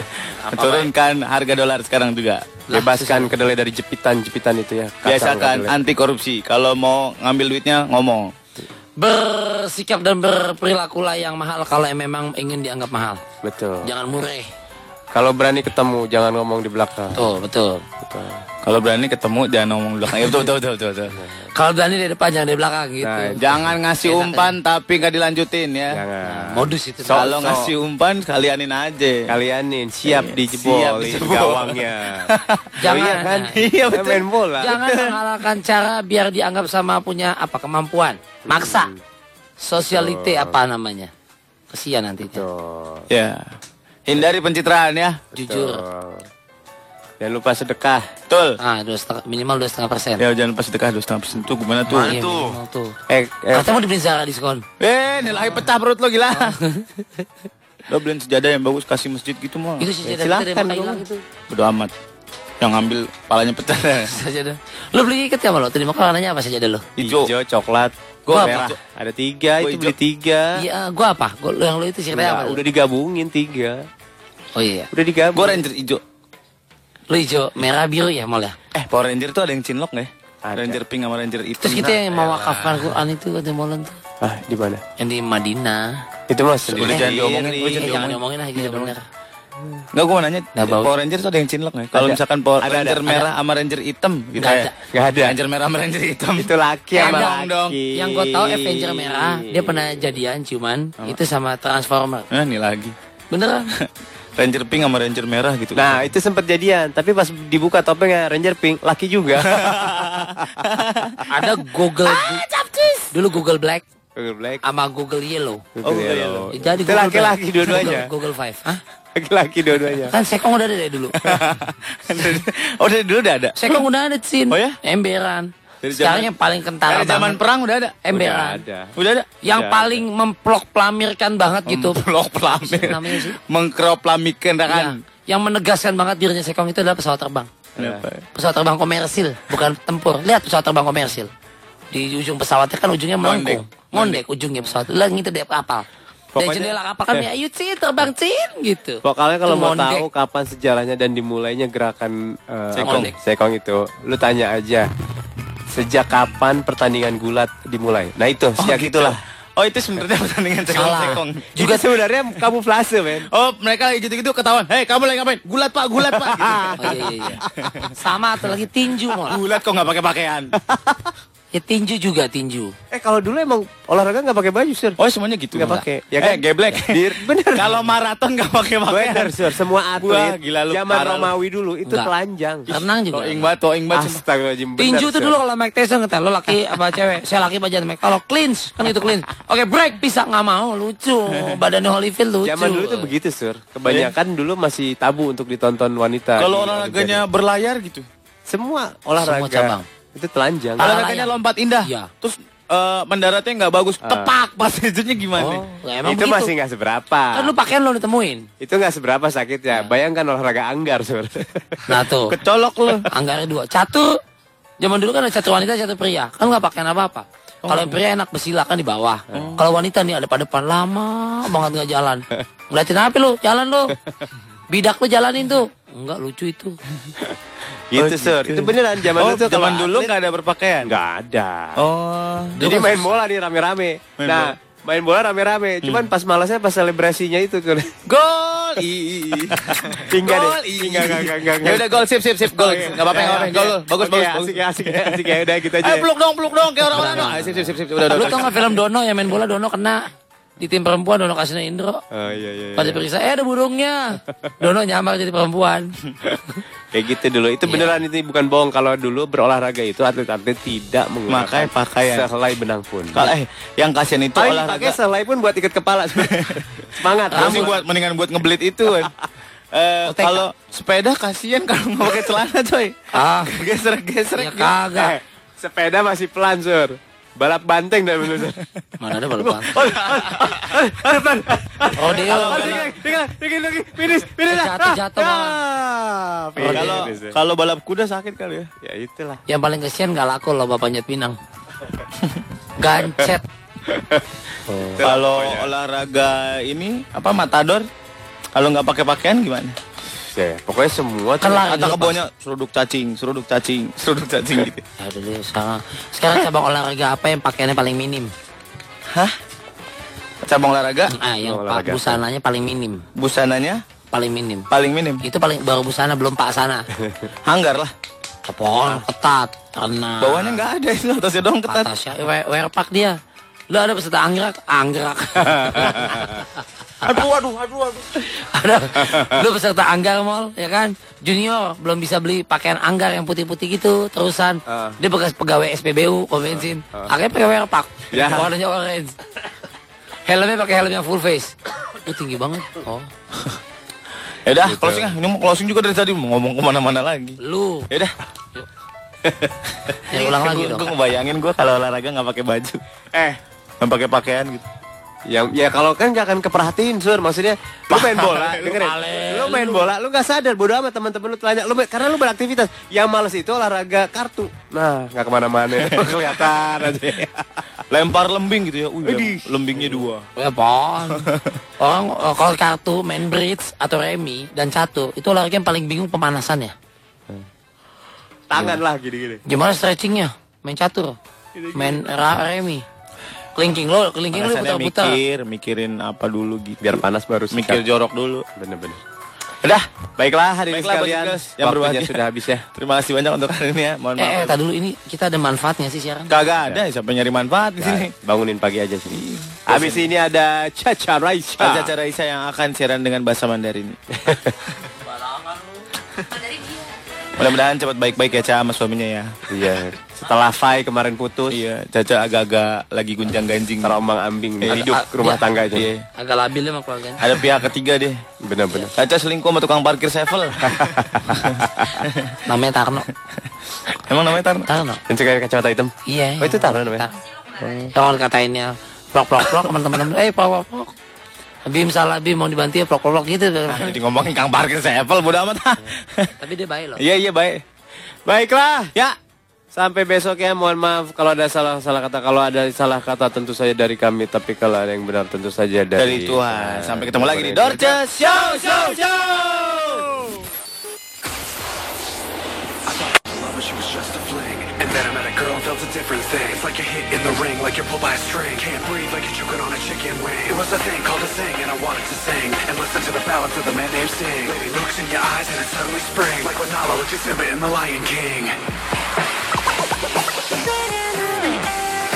[SPEAKER 2] Turunkan harga dolar sekarang juga.
[SPEAKER 4] Bebaskan kedelai dari jepitan-jepitan itu ya. kacang
[SPEAKER 2] Biasakan
[SPEAKER 4] kedelai.
[SPEAKER 2] anti korupsi. Kalau mau ngambil duitnya ngomong.
[SPEAKER 5] Bersikap dan berperilakulah yang mahal kalau memang ingin dianggap mahal.
[SPEAKER 4] Betul.
[SPEAKER 5] Jangan mureh.
[SPEAKER 4] Kalau berani ketemu, jangan ngomong di belakang.
[SPEAKER 5] Betul, betul.
[SPEAKER 4] Betul.
[SPEAKER 2] Kalau berani ketemu jangan ngomong Iya. di belakang. Ya, betul, betul, betul, betul, betul.
[SPEAKER 5] Kalau berani di depan jangan di belakang gitu.
[SPEAKER 4] Nah, itu.
[SPEAKER 2] Jangan ngasih
[SPEAKER 5] Enak,
[SPEAKER 2] umpan tapi nggak dilanjutin ya.
[SPEAKER 4] Jangan.
[SPEAKER 5] Modus itu.
[SPEAKER 2] Kalau ngasih umpan kalianin aja.
[SPEAKER 4] Kalianin Iya, siap
[SPEAKER 2] Siap
[SPEAKER 4] dijebol di
[SPEAKER 2] dijebol.
[SPEAKER 4] gawangnya.
[SPEAKER 5] Jangan.
[SPEAKER 4] Iya kan?
[SPEAKER 2] Iya, betul.
[SPEAKER 4] Main bola.
[SPEAKER 5] Jangan mengalahkan cara biar dianggap sama punya apa kemampuan. Maksa.
[SPEAKER 4] Hmm.
[SPEAKER 5] Sosialite apa namanya? Kesian nantinya.
[SPEAKER 4] Betul.
[SPEAKER 2] Ya. Hindari pencitraan ya.
[SPEAKER 5] Jujur.
[SPEAKER 4] Betul. Jangan lupa sedekah.
[SPEAKER 2] Betul.
[SPEAKER 5] Ah, dua setengah, minimal dua setengah persen.
[SPEAKER 2] Ya jangan pas dekat harus persen tuh gimana tuh?
[SPEAKER 5] Iya, minimal tuh.
[SPEAKER 4] Eh, eh,
[SPEAKER 5] Katanya mau dibeliin Zara diskon.
[SPEAKER 2] Eh, nilai pecah perut lo gila. lo beliin sejadah yang bagus kasih masjid gitu mau.
[SPEAKER 5] Itu sih
[SPEAKER 2] Ya,
[SPEAKER 5] jadi dari
[SPEAKER 2] silakan
[SPEAKER 5] maka hilang itu.
[SPEAKER 2] Bodo amat. Yang ngambil palanya pecah.
[SPEAKER 5] Sajadah. Lu beli ikat ya lo? Tadi makan warnanya apa sajadah lo?
[SPEAKER 2] Hijau.
[SPEAKER 4] hijau, coklat,
[SPEAKER 5] Gua apa?
[SPEAKER 4] merah. Ada tiga,
[SPEAKER 2] Gua
[SPEAKER 4] itu
[SPEAKER 2] hijau.
[SPEAKER 4] beli tiga.
[SPEAKER 5] Iya, gua apa? Gua lu yang lu itu
[SPEAKER 4] Enggak,
[SPEAKER 5] ceritanya apa?
[SPEAKER 4] udah digabungin tiga.
[SPEAKER 5] Oh iya.
[SPEAKER 4] Udah digabung.
[SPEAKER 2] Gue ranger hijau.
[SPEAKER 5] Lu hijau, merah, biru ya mal ya.
[SPEAKER 2] Eh, Power Ranger tuh ada yang cinlok nggak ya?
[SPEAKER 4] Ada.
[SPEAKER 2] Ranger pink sama Ranger hitam.
[SPEAKER 5] Terus gitu ya. kita yang mau wakafkan Quran itu ada molan tuh.
[SPEAKER 4] Ah, di mana?
[SPEAKER 5] Yang di Madinah.
[SPEAKER 4] Itu Mas.
[SPEAKER 2] Udah jangan diomongin, udah
[SPEAKER 5] Eh,
[SPEAKER 2] jangan
[SPEAKER 5] jangan
[SPEAKER 2] diomongin.
[SPEAKER 5] ngomongin lah gitu bener.
[SPEAKER 2] Enggak gue mau nanya,
[SPEAKER 5] Nggak bau.
[SPEAKER 2] Power Ranger tuh ada yang cinlok nggak? ya? Kalau
[SPEAKER 4] Ada.
[SPEAKER 2] misalkan Power
[SPEAKER 4] Ada, ada.
[SPEAKER 2] Ranger merah sama Ranger hitam gitu
[SPEAKER 5] Nggak
[SPEAKER 2] ya.
[SPEAKER 5] ada.
[SPEAKER 4] Gak ada.
[SPEAKER 2] Ranger merah sama Ranger hitam.
[SPEAKER 4] Itu laki sama
[SPEAKER 5] Ada.
[SPEAKER 4] laki.
[SPEAKER 2] Dong.
[SPEAKER 5] Yang gue tahu Avenger merah, dia pernah jadian cuman
[SPEAKER 2] Oh.
[SPEAKER 5] itu sama Transformer.
[SPEAKER 2] Nah, ini lagi.
[SPEAKER 5] Beneran?
[SPEAKER 2] Ranger pink sama Ranger merah gitu.
[SPEAKER 4] Nah, itu sempat jadian, tapi pas dibuka topengnya Ranger Pink, laki juga.
[SPEAKER 5] Ada Google
[SPEAKER 2] Ah,
[SPEAKER 5] Dulu Google Black
[SPEAKER 4] Google Black.
[SPEAKER 5] sama Google
[SPEAKER 2] oh,
[SPEAKER 5] Yellow.
[SPEAKER 4] Google
[SPEAKER 2] iya,
[SPEAKER 4] Yellow.
[SPEAKER 5] Jadi
[SPEAKER 4] Itu laki-laki dua-duanya.
[SPEAKER 5] Google, Google Five. Hah?
[SPEAKER 4] Laki-laki dua-duanya.
[SPEAKER 5] Kan Sekong udah ada dari dulu.
[SPEAKER 2] oh, dari dulu udah ada.
[SPEAKER 5] Sekong udah ada Sin.
[SPEAKER 2] Oh ya?
[SPEAKER 5] Emberan.
[SPEAKER 2] Dari
[SPEAKER 5] Sekarang
[SPEAKER 2] zaman-
[SPEAKER 5] yang paling kental
[SPEAKER 2] Dari zaman Ya. perang udah ada.
[SPEAKER 4] Udah
[SPEAKER 5] Emberan.
[SPEAKER 4] ada.
[SPEAKER 2] Udah ada.
[SPEAKER 5] Yang
[SPEAKER 4] Udah
[SPEAKER 5] paling memplok plamirkan banget gitu.
[SPEAKER 2] Blok pelamir.
[SPEAKER 5] Namanya sih?
[SPEAKER 2] Mengkroplamikan
[SPEAKER 4] Iya.
[SPEAKER 2] kan.
[SPEAKER 5] Ya. Yang menegaskan banget dirinya Sekong itu adalah pesawat terbang.
[SPEAKER 2] Kenapa?
[SPEAKER 5] pesawat terbang komersil, bukan tempur. Lihat pesawat terbang komersil. Di ujung pesawatnya kan ujungnya melengkung. Mondek ujungnya pesawat. Lah gitu deh kapal. Dari
[SPEAKER 4] Pokoknya- eh.
[SPEAKER 5] jendela kapal kan ya, ayo Cin, terbang Cin gitu.
[SPEAKER 4] Pokoknya kalau
[SPEAKER 5] Itu
[SPEAKER 4] mau
[SPEAKER 5] mondek.
[SPEAKER 4] tahu kan kapan sejarahnya dan dimulainya gerakan eh,
[SPEAKER 2] Sekong.
[SPEAKER 4] apa, sekong itu, lu tanya aja sejak kapan pertandingan gulat dimulai. Nah itu,
[SPEAKER 2] Oh,
[SPEAKER 4] sejak
[SPEAKER 2] gitulah.
[SPEAKER 4] itu.
[SPEAKER 2] Oh, itu sebenarnya pertandingan
[SPEAKER 5] Salah.
[SPEAKER 2] cekong-cekong.
[SPEAKER 4] Juga sebenarnya kamuflase, men.
[SPEAKER 2] Oh, mereka lagi gitu-gitu ketahuan. Hei, kamu lagi ngapain? Gulat, Pak. Gulat, Pak.
[SPEAKER 5] Oh, iya, iya, iya. Sama atau lagi tinju malah.
[SPEAKER 2] Gulat kok nggak pakai pakaian.
[SPEAKER 5] Ya tinju juga tinju.
[SPEAKER 4] Eh kalau dulu emang olahraga nggak pakai baju, Sir.
[SPEAKER 2] Oh, semuanya gitu.
[SPEAKER 4] Nggak pakai.
[SPEAKER 2] Ya
[SPEAKER 4] Ya
[SPEAKER 2] kan?
[SPEAKER 4] kan?
[SPEAKER 2] Eh, geblek.
[SPEAKER 4] Dir- bener.
[SPEAKER 2] Kalau maraton nggak pakai pakaian.
[SPEAKER 4] Bener, Sir.
[SPEAKER 2] Wah,
[SPEAKER 4] Semua atlet
[SPEAKER 2] gila lu,
[SPEAKER 4] zaman
[SPEAKER 2] parah lu.
[SPEAKER 4] Romawi dulu itu
[SPEAKER 5] Nggak.
[SPEAKER 4] telanjang.
[SPEAKER 5] Renang juga.
[SPEAKER 2] Toing banget, toing banget.
[SPEAKER 4] Astagfirullahaladzim. bener,
[SPEAKER 5] Tinju tuh
[SPEAKER 4] Sir.
[SPEAKER 5] dulu kalau Mike Tyson kata lo laki apa cewek, saya laki bajan Mike. Kalau clinch kan itu clinch. Oke break bisa nggak mau lucu, badannya Holyfield lucu.
[SPEAKER 4] Zaman dulu tuh begitu, Sur. Kebanyakan dulu masih tabu untuk ditonton wanita.
[SPEAKER 2] Kalau
[SPEAKER 4] di
[SPEAKER 2] olahraganya berlayar gitu.
[SPEAKER 4] Olimpiade. semua olahraga
[SPEAKER 5] Semua cabang.
[SPEAKER 4] itu telanjang.
[SPEAKER 5] Parah.
[SPEAKER 2] Olahraganya lompat indah. Ah.
[SPEAKER 5] Iya.
[SPEAKER 2] Nah, Terus eh, mendaratnya nggak bagus. Tepak pas itunya gimana?
[SPEAKER 5] Oh, lah emang
[SPEAKER 4] itu
[SPEAKER 5] begitu.
[SPEAKER 4] masih nggak seberapa.
[SPEAKER 5] Kan lu pakaian lo ditemuin.
[SPEAKER 4] Itu nggak seberapa sakit ya. Bayangkan olahraga anggar, Sur.
[SPEAKER 5] Nah tuh.
[SPEAKER 2] Kecolok lu.
[SPEAKER 5] Anggarnya dua. Catur. Zaman dulu kan ada catur wanita, catur pria. Kan nggak pakaian apa-apa. Kalau yang pria enak bersila kan di bawah. Kalau wanita nih ada pada depan lama banget nggak jalan. Ngeliatin apa lu? Jalan lu. Bidak lu jalanin tuh. Enggak lucu itu.
[SPEAKER 4] gitu, Sur. Itu beneran zaman
[SPEAKER 2] Oh,
[SPEAKER 4] dulu tuh.
[SPEAKER 2] zaman
[SPEAKER 4] kalau
[SPEAKER 2] dulu
[SPEAKER 4] atlet
[SPEAKER 2] nggak ada berpakaian.
[SPEAKER 4] nggak ada.
[SPEAKER 2] Oh,
[SPEAKER 4] Jadi main bola nih rame-rame.
[SPEAKER 2] Main
[SPEAKER 4] nah, main bola rame-rame. Cuman pas malasnya pas selebrasinya itu tuh.
[SPEAKER 2] Gol.
[SPEAKER 4] Tinggal deh.
[SPEAKER 2] Gol, ih.
[SPEAKER 5] iya.
[SPEAKER 4] Tinggal enggak enggak enggak.
[SPEAKER 2] Ya udah gol sip sip sip
[SPEAKER 5] Oh,
[SPEAKER 2] gol. Enggak apa-apa enggak apa-apa. Gol. Bagus bagus. bagus.
[SPEAKER 4] Asik ya asik ya asik ya udah kita aja.
[SPEAKER 2] Ayo Eh, peluk dong, peluk dong kayak orang-orang. dong. Ayo, Sip sip sip sip. Udah udah.
[SPEAKER 5] Lu
[SPEAKER 2] udah.
[SPEAKER 5] tau gak film Dono yang main bola Dono kena di tim perempuan Dono kasih Indro.
[SPEAKER 4] Oh iya iya. iya.
[SPEAKER 5] Pada periksa, eh ada burungnya. Dono nyamar jadi perempuan.
[SPEAKER 4] Kayak gitu dulu. Itu beneran itu bukan bohong kalau dulu berolahraga itu atlet-atlet tidak
[SPEAKER 2] Makanya
[SPEAKER 4] menggunakan
[SPEAKER 2] pakaian.
[SPEAKER 4] sehelai benang pun.
[SPEAKER 2] Kalau eh yang kasihan itu
[SPEAKER 4] Paling
[SPEAKER 2] olahraga.
[SPEAKER 4] pakai sehelai pun buat ikat kepala. Semangat.
[SPEAKER 2] Gua sih buat mendingan buat ngebelit itu. kan. Eh
[SPEAKER 5] Otek.
[SPEAKER 2] kalau sepeda kasihan kalau nggak pakai celana coy.
[SPEAKER 5] Ah,
[SPEAKER 2] Geser-geser.
[SPEAKER 5] ya
[SPEAKER 4] Eh,
[SPEAKER 5] kagak.
[SPEAKER 4] sepeda masih pelan, Sur. Balap banteng dari dulu, Sur.
[SPEAKER 5] Mana ada balapan?
[SPEAKER 4] Aduh, pelan.
[SPEAKER 5] Rodeo.
[SPEAKER 4] Oh, dikit lagi, dikit lagi, dikit lagi. Finish, finish. lah.
[SPEAKER 5] Jatuh, jatuh,
[SPEAKER 4] Ah, ah,
[SPEAKER 2] Eh,
[SPEAKER 4] finish,
[SPEAKER 2] Kalau
[SPEAKER 4] finish.
[SPEAKER 2] kalau balap kuda sakit kali ya.
[SPEAKER 4] ya itulah.
[SPEAKER 5] Yang paling kesian gak laku loh bapaknya Pinang. Gancet.
[SPEAKER 2] Kalau olahraga ini apa matador kalau nggak pakai pakaian gimana?
[SPEAKER 21] Ya, pokoknya semua tuh-
[SPEAKER 5] Kelar.
[SPEAKER 2] Kata
[SPEAKER 5] dilepas.
[SPEAKER 2] kebonnya seruduk cacing, seruduk cacing, seruduk cacing gitu.
[SPEAKER 5] Ya dulu sekarang. Sekarang cabang olahraga apa yang pakaiannya paling minim?
[SPEAKER 2] Hah? Cabang olahraga
[SPEAKER 5] Ah, yang pa-
[SPEAKER 21] Olahraga.
[SPEAKER 5] busananya paling minim.
[SPEAKER 2] busananya
[SPEAKER 5] Paling minim.
[SPEAKER 2] paling minim.
[SPEAKER 5] Itu paling baru busana belum pak sana.
[SPEAKER 2] Hanggar lah.
[SPEAKER 5] Kepol, ketat, tenang.
[SPEAKER 2] Bawahnya nggak ada itu atasnya doang ketat.
[SPEAKER 5] Atasnya, wear, wear pack ya, dia. Lu ada peserta anggerak? Anggerak.
[SPEAKER 2] Aduh aduh aduh aduh.
[SPEAKER 5] ada. Lu peserta anggar mall, ya kan? Junior belum bisa beli pakaian anggar yang putih-putih gitu terusan.
[SPEAKER 2] Ah.
[SPEAKER 5] Dia bekas pegawai SPBU, pom bensin. Akhirnya pakai wear pack.
[SPEAKER 4] Ya.
[SPEAKER 5] Warnanya orange. Helmnya pakai helm yang full face. Lu tinggi banget. Oh.
[SPEAKER 2] Ya udah, closing ah. Ini mau closing juga dari tadi mau ngomong kemana-mana lagi.
[SPEAKER 5] Lu.
[SPEAKER 2] Ya udah.
[SPEAKER 5] Ya ulang lagi
[SPEAKER 2] Gue
[SPEAKER 5] dong.
[SPEAKER 2] ngebayangin gue kalau olahraga nggak pakai baju,
[SPEAKER 4] Eh,
[SPEAKER 2] nggak pakai pakaian gitu.
[SPEAKER 4] Ya, ya kalau kan gak akan keperhatiin sur maksudnya lu main bola dengerin lu main bola lu nggak sadar bodo amat teman-teman lu telanya lu main- karena lu beraktivitas yang males itu olahraga kartu nah nggak kemana-mana kelihatan aja
[SPEAKER 21] Iya.
[SPEAKER 2] Lempar lembing gitu ya. Wih, lembingnya dua.
[SPEAKER 5] Ya, pon. Orang eh, kalau kartu main bridge atau remi dan satu itu olahraga yang paling bingung pemanasannya.
[SPEAKER 4] tangan lah gini-gini
[SPEAKER 5] Gimana stretchingnya? Main catur, main ra- remi, kelingking lo, kelingking lo
[SPEAKER 2] Rasanya
[SPEAKER 5] putar-putar.
[SPEAKER 2] mikir, mikirin apa dulu gitu.
[SPEAKER 21] biar panas baru sikat.
[SPEAKER 2] Mikir jorok dulu.
[SPEAKER 21] Bener-bener.
[SPEAKER 2] Udah,
[SPEAKER 4] baiklah hari ini
[SPEAKER 2] Baiklah,
[SPEAKER 4] sekalian
[SPEAKER 2] Bos Igas. Yang
[SPEAKER 4] waktunya
[SPEAKER 2] berbahagia.
[SPEAKER 4] sudah habis ya
[SPEAKER 2] terima kasih banyak untuk hari ini ya. Mohon
[SPEAKER 5] Eh, eh
[SPEAKER 2] maaf.
[SPEAKER 5] tar dulu ini kita ada manfaatnya sih siaran.
[SPEAKER 2] Kagak ada, siapa nyari manfaat di sini? Iya.
[SPEAKER 21] Bangunin pagi aja sih.
[SPEAKER 4] habis ini ada Caca Raisa
[SPEAKER 2] Ada acara Isa yang akan siaran dengan bahasa Mandarin. Mudah-mudahan cepat baik-baik ya Ca sama suaminya ya.
[SPEAKER 21] Iya.
[SPEAKER 4] setelah Fai kemarin putus
[SPEAKER 2] Iya, Caca agak-agak lagi gunjang ganjing.
[SPEAKER 21] Terombang ambing
[SPEAKER 2] Iya.
[SPEAKER 21] hidup rumah
[SPEAKER 5] Iya.
[SPEAKER 21] tangga aja.
[SPEAKER 2] Iya.
[SPEAKER 5] Agak labil ya sama keluarganya.
[SPEAKER 2] Ada pihak ketiga deh.
[SPEAKER 21] Bener-bener.
[SPEAKER 2] Caca selingkuh sama tukang parkir Sevel.
[SPEAKER 5] Namanya Tarno.
[SPEAKER 2] Emang namanya Tarno?
[SPEAKER 5] Tarno.
[SPEAKER 21] Dan sekarang kacamata hitam.
[SPEAKER 5] Iya.
[SPEAKER 21] Oh itu Tarno namanya.
[SPEAKER 5] Tolong katainnya plok plok plok teman-teman. Eh, plok plok plok. Bim salah Bim mau dibantu ya plok plok plok gitu.
[SPEAKER 2] Jadi ngomongin Kang Parkir Sevel bodo amat.
[SPEAKER 5] Tapi dia baik loh.
[SPEAKER 4] iya iya baik baiklah ya sampai besok ya mohon maaf kalau ada salah-salah kata kalau ada salah kata tentu saja dari kami tapi kalau ada yang benar tentu saja dari,
[SPEAKER 2] Dari Tuhan. Sampai ketemu lagi di
[SPEAKER 4] Dorce
[SPEAKER 2] Dorce Show Show Show.
[SPEAKER 20] But she was just a fling And then I met a girl, felt a different thing It's like a hit in the ring, like you're pulled by a string Can't breathe like you're choking on a chicken wing It was a thing called a thing and I wanted to sing And listen to the ballads of the man named Sting Lady looks in your eyes and it's suddenly spring Like when Nala looked at Simba in The Lion King